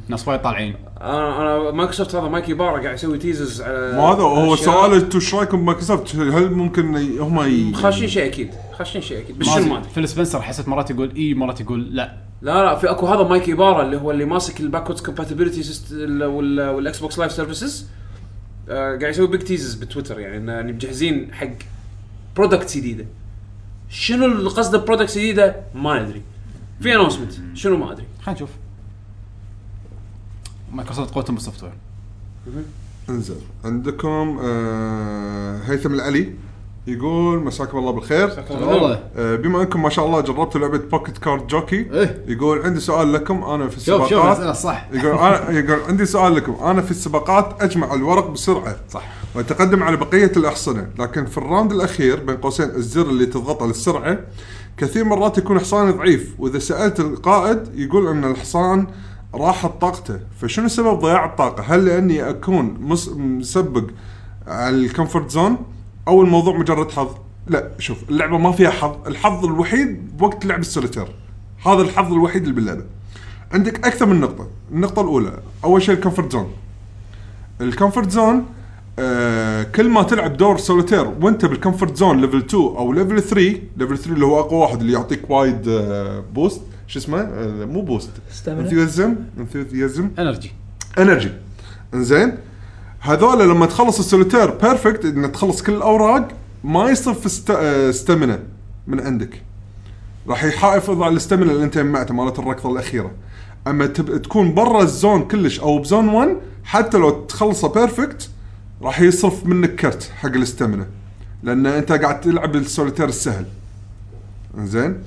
A: ناس وايد طالعين
D: انا انا مايكروسوفت هذا مايكي بارا قاعد يسوي تيزز على
C: ما هذا هو
D: أشياء.
C: سؤال انتم ايش رايكم بمايكروسوفت هل ممكن ي- هم ي...
D: خاشين شيء اكيد خاشين شيء اكيد بس
A: ما
D: شنو
A: أدري.
D: ما أدري.
A: فيل سبنسر حسيت مرات يقول اي مرات يقول لا
D: لا لا في اكو هذا مايكي بارا اللي هو اللي ماسك الباكوردز كومباتيبلتي والاكس بوكس لايف سيرفيسز آه، قاعد يسوي بيج تيزز بتويتر يعني إن- يعني مجهزين حق برودكتس جديده شنو اللي قصده برودكتس جديده ما ندري في انونسمنت شنو ما ادري
A: خلينا نشوف مايكروسوفت قوتهم بالسوفت وير
C: انزل عندكم آه هيثم العلي يقول مساكم الله بالخير
A: والله
C: آه بما انكم ما شاء الله جربتوا لعبه بوكيت كارد جوكي
A: إيه.
C: يقول عندي سؤال لكم انا في
A: شوف شوف
C: السباقات
A: الاسئله صح
C: [LAUGHS] يقول انا يقول عندي سؤال لكم انا في السباقات اجمع الورق بسرعه
A: صح.
C: واتقدم على بقيه الاحصنه لكن في الراوند الاخير بين قوسين الزر اللي تضغطه للسرعه كثير مرات يكون حصاني ضعيف واذا سالت القائد يقول ان الحصان راحت طاقته فشنو سبب ضياع الطاقه هل لاني اكون مس- مسبق على الكومفورت زون او الموضوع مجرد حظ لا شوف اللعبه ما فيها حظ الحظ الوحيد بوقت لعب السوليتير هذا الحظ الوحيد اللي باللعبه عندك اكثر من نقطه النقطه الاولى اول شيء الكومفورت زون الكومفورت زون آه كل ما تلعب دور سوليتير وانت بالكومفورت زون ليفل 2 او ليفل 3 ليفل 3 اللي هو اقوى واحد اللي يعطيك وايد آه بوست شو اسمه آه مو بوست
B: Stamina.
C: انثيوزم انثيوزم
A: انرجي
C: انرجي انزين هذول لما تخلص السوليتير بيرفكت ان تخلص كل الاوراق ما يصير في است... آه، ستامينا من عندك راح يحافظ على الستامينا اللي انت جمعته مالت الركضه الاخيره اما تب... تكون برا الزون كلش او بزون 1 حتى لو تخلصه بيرفكت راح يصرف منك كرت حق الاستمنه لان انت قاعد تلعب السوليتير السهل زين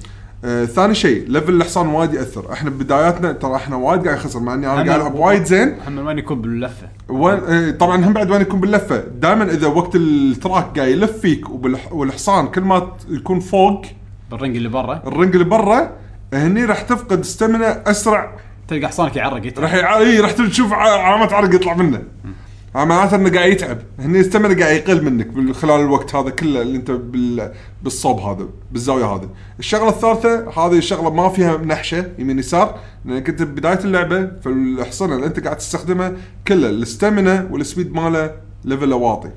C: آه ثاني شيء ليفل الحصان وايد ياثر احنا ببداياتنا ترى احنا وايد قاعد خسر مع اني انا قاعد العب وايد زين
A: محمد وين يكون باللفه
C: وين آه، طبعا هم بعد وين يكون باللفه دائما اذا وقت التراك قاعد يلف فيك وبالح- والحصان كل ما ت- يكون فوق
A: بالرنج اللي برا
C: الرنج اللي برا هني راح تفقد استمنه اسرع
A: تلقى حصانك يعرق يتعب.
C: راح يع... اي راح تشوف ع- علامات عرق يطلع منه ها معناته انه قاعد يتعب هني استمنه قاعد يقل منك بال- خلال الوقت هذا كله اللي انت بال... بالصوب هذا بالزاويه هذه الشغله الثالثه هذه الشغله ما فيها نحشه يمين يسار لانك انت بدايه اللعبه فالحصنه اللي انت قاعد تستخدمها كله الاستمنه والسبيد ماله ليفله واطي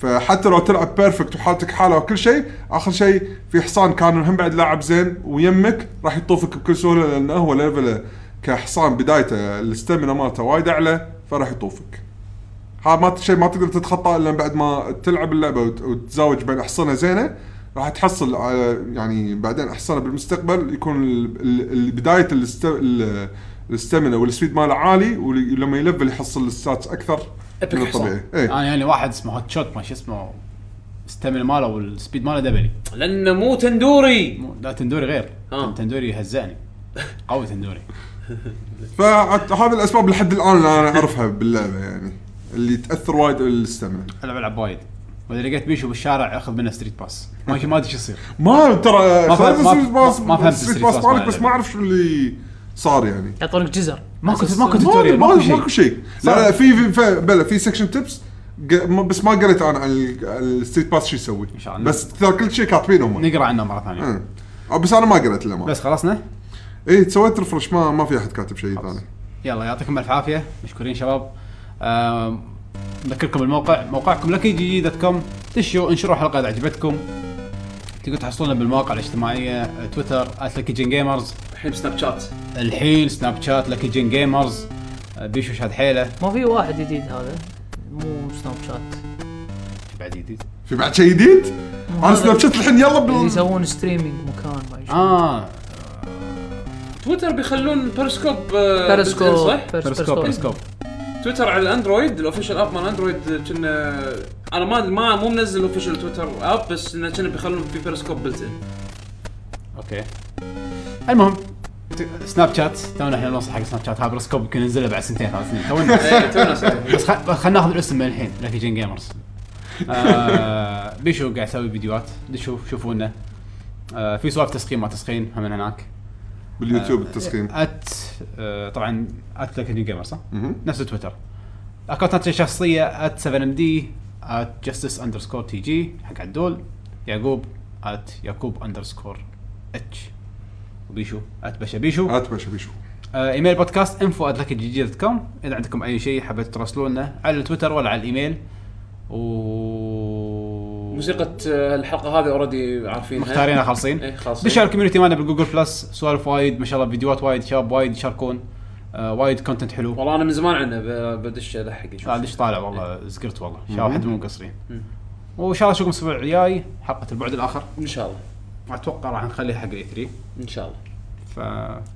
C: فحتى لو تلعب بيرفكت وحالتك حاله وكل شيء اخر شيء في حصان كان هم بعد لاعب زين ويمك راح يطوفك بكل سهوله لانه هو ليفله كحصان بدايته الاستامينا مالته وايد اعلى فراح يطوفك ها ما شيء ما تقدر تتخطاه الا بعد ما تلعب اللعبه وت- وتتزاوج بين احصنه زينه راح تحصل على يعني بعدين احصنه بالمستقبل يكون ال- ال- ال- بدايه الاست- ال- الاستامينا والسبيد ماله عالي ولما يلفل يحصل الستاتس اكثر من الطبيعي إيه.
A: انا يعني واحد اسمه هوت شوت ما شو اسمه استمر ماله والسبيد ماله دبلي
D: لانه مو تندوري
A: مو- لا تندوري غير
D: آه.
A: تندوري هزاني قوي تندوري
C: فهذه الاسباب لحد الان اللي انا اعرفها باللعبه يعني اللي تاثر وايد بالاستمنة
A: العب العب وايد واذا لقيت بيشو بالشارع اخذ منه ستريت باس ما شي- ما ادري شو
C: [LAUGHS]
A: يصير
C: ما ترى
A: ما فهمت-
C: خلينا
A: ما-
C: نسوي باص-
A: ما- ما فهمت
C: نسوي
A: السيريس
C: باص
A: باص
C: مالك،
A: مالك.
C: بس ما اعرف شو اللي صار يعني
B: يعطونك جزر
A: ماكو
B: أساس-
A: ماكو
C: ما-
A: توتوريال
C: ما-
A: ماكو شيء
C: ماكو شيء لا لا في في- في بلا في سكشن تيبس بس ما قريت انا عن ال- عن الستريت باس شو يسوي
A: إن شاء الله.
C: بس ترى كل شيء كاتبينه هم
A: نقرا عنه مره ثانيه
C: إيه. آه، بس انا ما قريت الا ما
A: بس خلصنا
C: اي سويت ريفرش ما ما في احد كاتب شيء ثاني
A: يلا يعطيكم الف عافيه مشكورين شباب آم، نذكركم بالموقع موقعكم لكي جي جي دوت كوم دشوا انشروا حلقه اذا عجبتكم تقدروا تحصلونها بالمواقع الاجتماعيه آه، تويتر @لكي جين جيمرز
D: الحين سناب شات
A: الحين سناب شات لكي جين جيمرز آه، بيشو شاد حيله
B: ما في واحد جديد هذا مو سناب شات
A: بعد جديد
C: في بعد شيء جديد؟ انا سناب شات الحين يلا
B: اللي
C: بال
B: يسوون ستريمينج مكان ما يشوف
A: اه
D: تويتر بيخلون بيرسكوب آه،
B: بيرسكوب
D: بالتل، صح؟
B: بيرس-
A: بيرسكوب بيرسكوب
D: تويتر على الاندرويد الاوفيشال اب مال اندرويد كنا انا ما ما مو منزل اوفيشال تويتر اب بس انه كنا بيخلون في بيرسكوب بلت ان
A: اوكي المهم ت- سناب شات تونا احنا نوصل حق سناب شات هاي بيرسكوب يمكن ننزله بعد سنتين ثلاث سنين تونا
D: إيه، تونا سوينا.
A: بس خل- خلنا ناخذ الاسم من الحين لكي جين جيمرز آه بيشو قاعد يسوي فيديوهات دشوا شوفونا آه في سوالف تسخين ما تسخين هم من هناك
C: باليوتيوب التسخين
A: ات آه طبعا ات لكي جين جيمرز صح؟
C: مهم.
A: نفس تويتر اكونتاتي الشخصيه ات 7 ام دي ات جستس اندرسكور تي جي حق عدول يعقوب ات يعقوب اندرسكور اتش وبيشو ات بشا بيشو
C: عاد بشوف بيشوف
A: آه، ايميل بودكاست انفو جي جي دوت كوم اذا عندكم اي شيء حبيتوا تراسلونا على التويتر ولا على الايميل و
D: [LAUGHS] موسيقى آه، الحلقه هذه اوريدي عارفينها
A: مختارينها خالصين
D: إيه، خالصين.
A: دشوا على الكوميونتي مالنا بالجوجل بلس سوالف وايد ما شاء الله فيديوهات وايد شباب وايد يشاركون آه، وايد كونتنت حلو
D: والله انا من زمان عنه ب- بدش الحق اشوف
A: آه، ليش طالع والله زقرت والله ان شاء الله حد مو مقصرين وان شاء الله اشوفكم الاسبوع الجاي حلقه البعد الاخر
D: ان شاء الله
A: اتوقع راح نخليها حق الاي 3
D: ان شاء الله
A: ف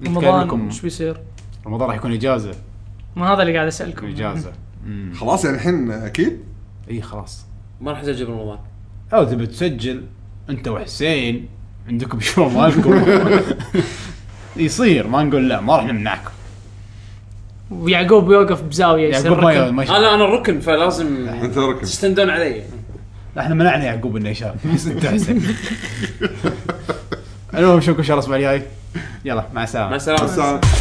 B: رمضان
A: نتكلم
B: ايش
A: لكم
B: بيصير؟
A: رمضان راح يكون اجازه
B: ما هذا اللي قاعد اسالكم
A: اجازه أمم.
C: خلاص يعني الحين اكيد
A: اي خلاص
D: ما راح اسجل رمضان
A: او تبي تسجل انت وحسين عندكم شو مالكم يصير ما نقول لا ما راح نمنعكم
B: ويعقوب يوقف بزاويه
A: يعقوب
B: يصير
A: ما
B: ركن.
A: ما يشارك.
D: انا انا الركن فلازم
C: انت ركز
D: تستندون علي
A: احنا منعنا يعقوب انه [LAUGHS] يشارك بس انت حسين
B: [LAUGHS]
A: المهم نشوفكم ان شاء الله الاسبوع الجاي يلا مع السلامه
D: مع السلامه
C: بس أنا-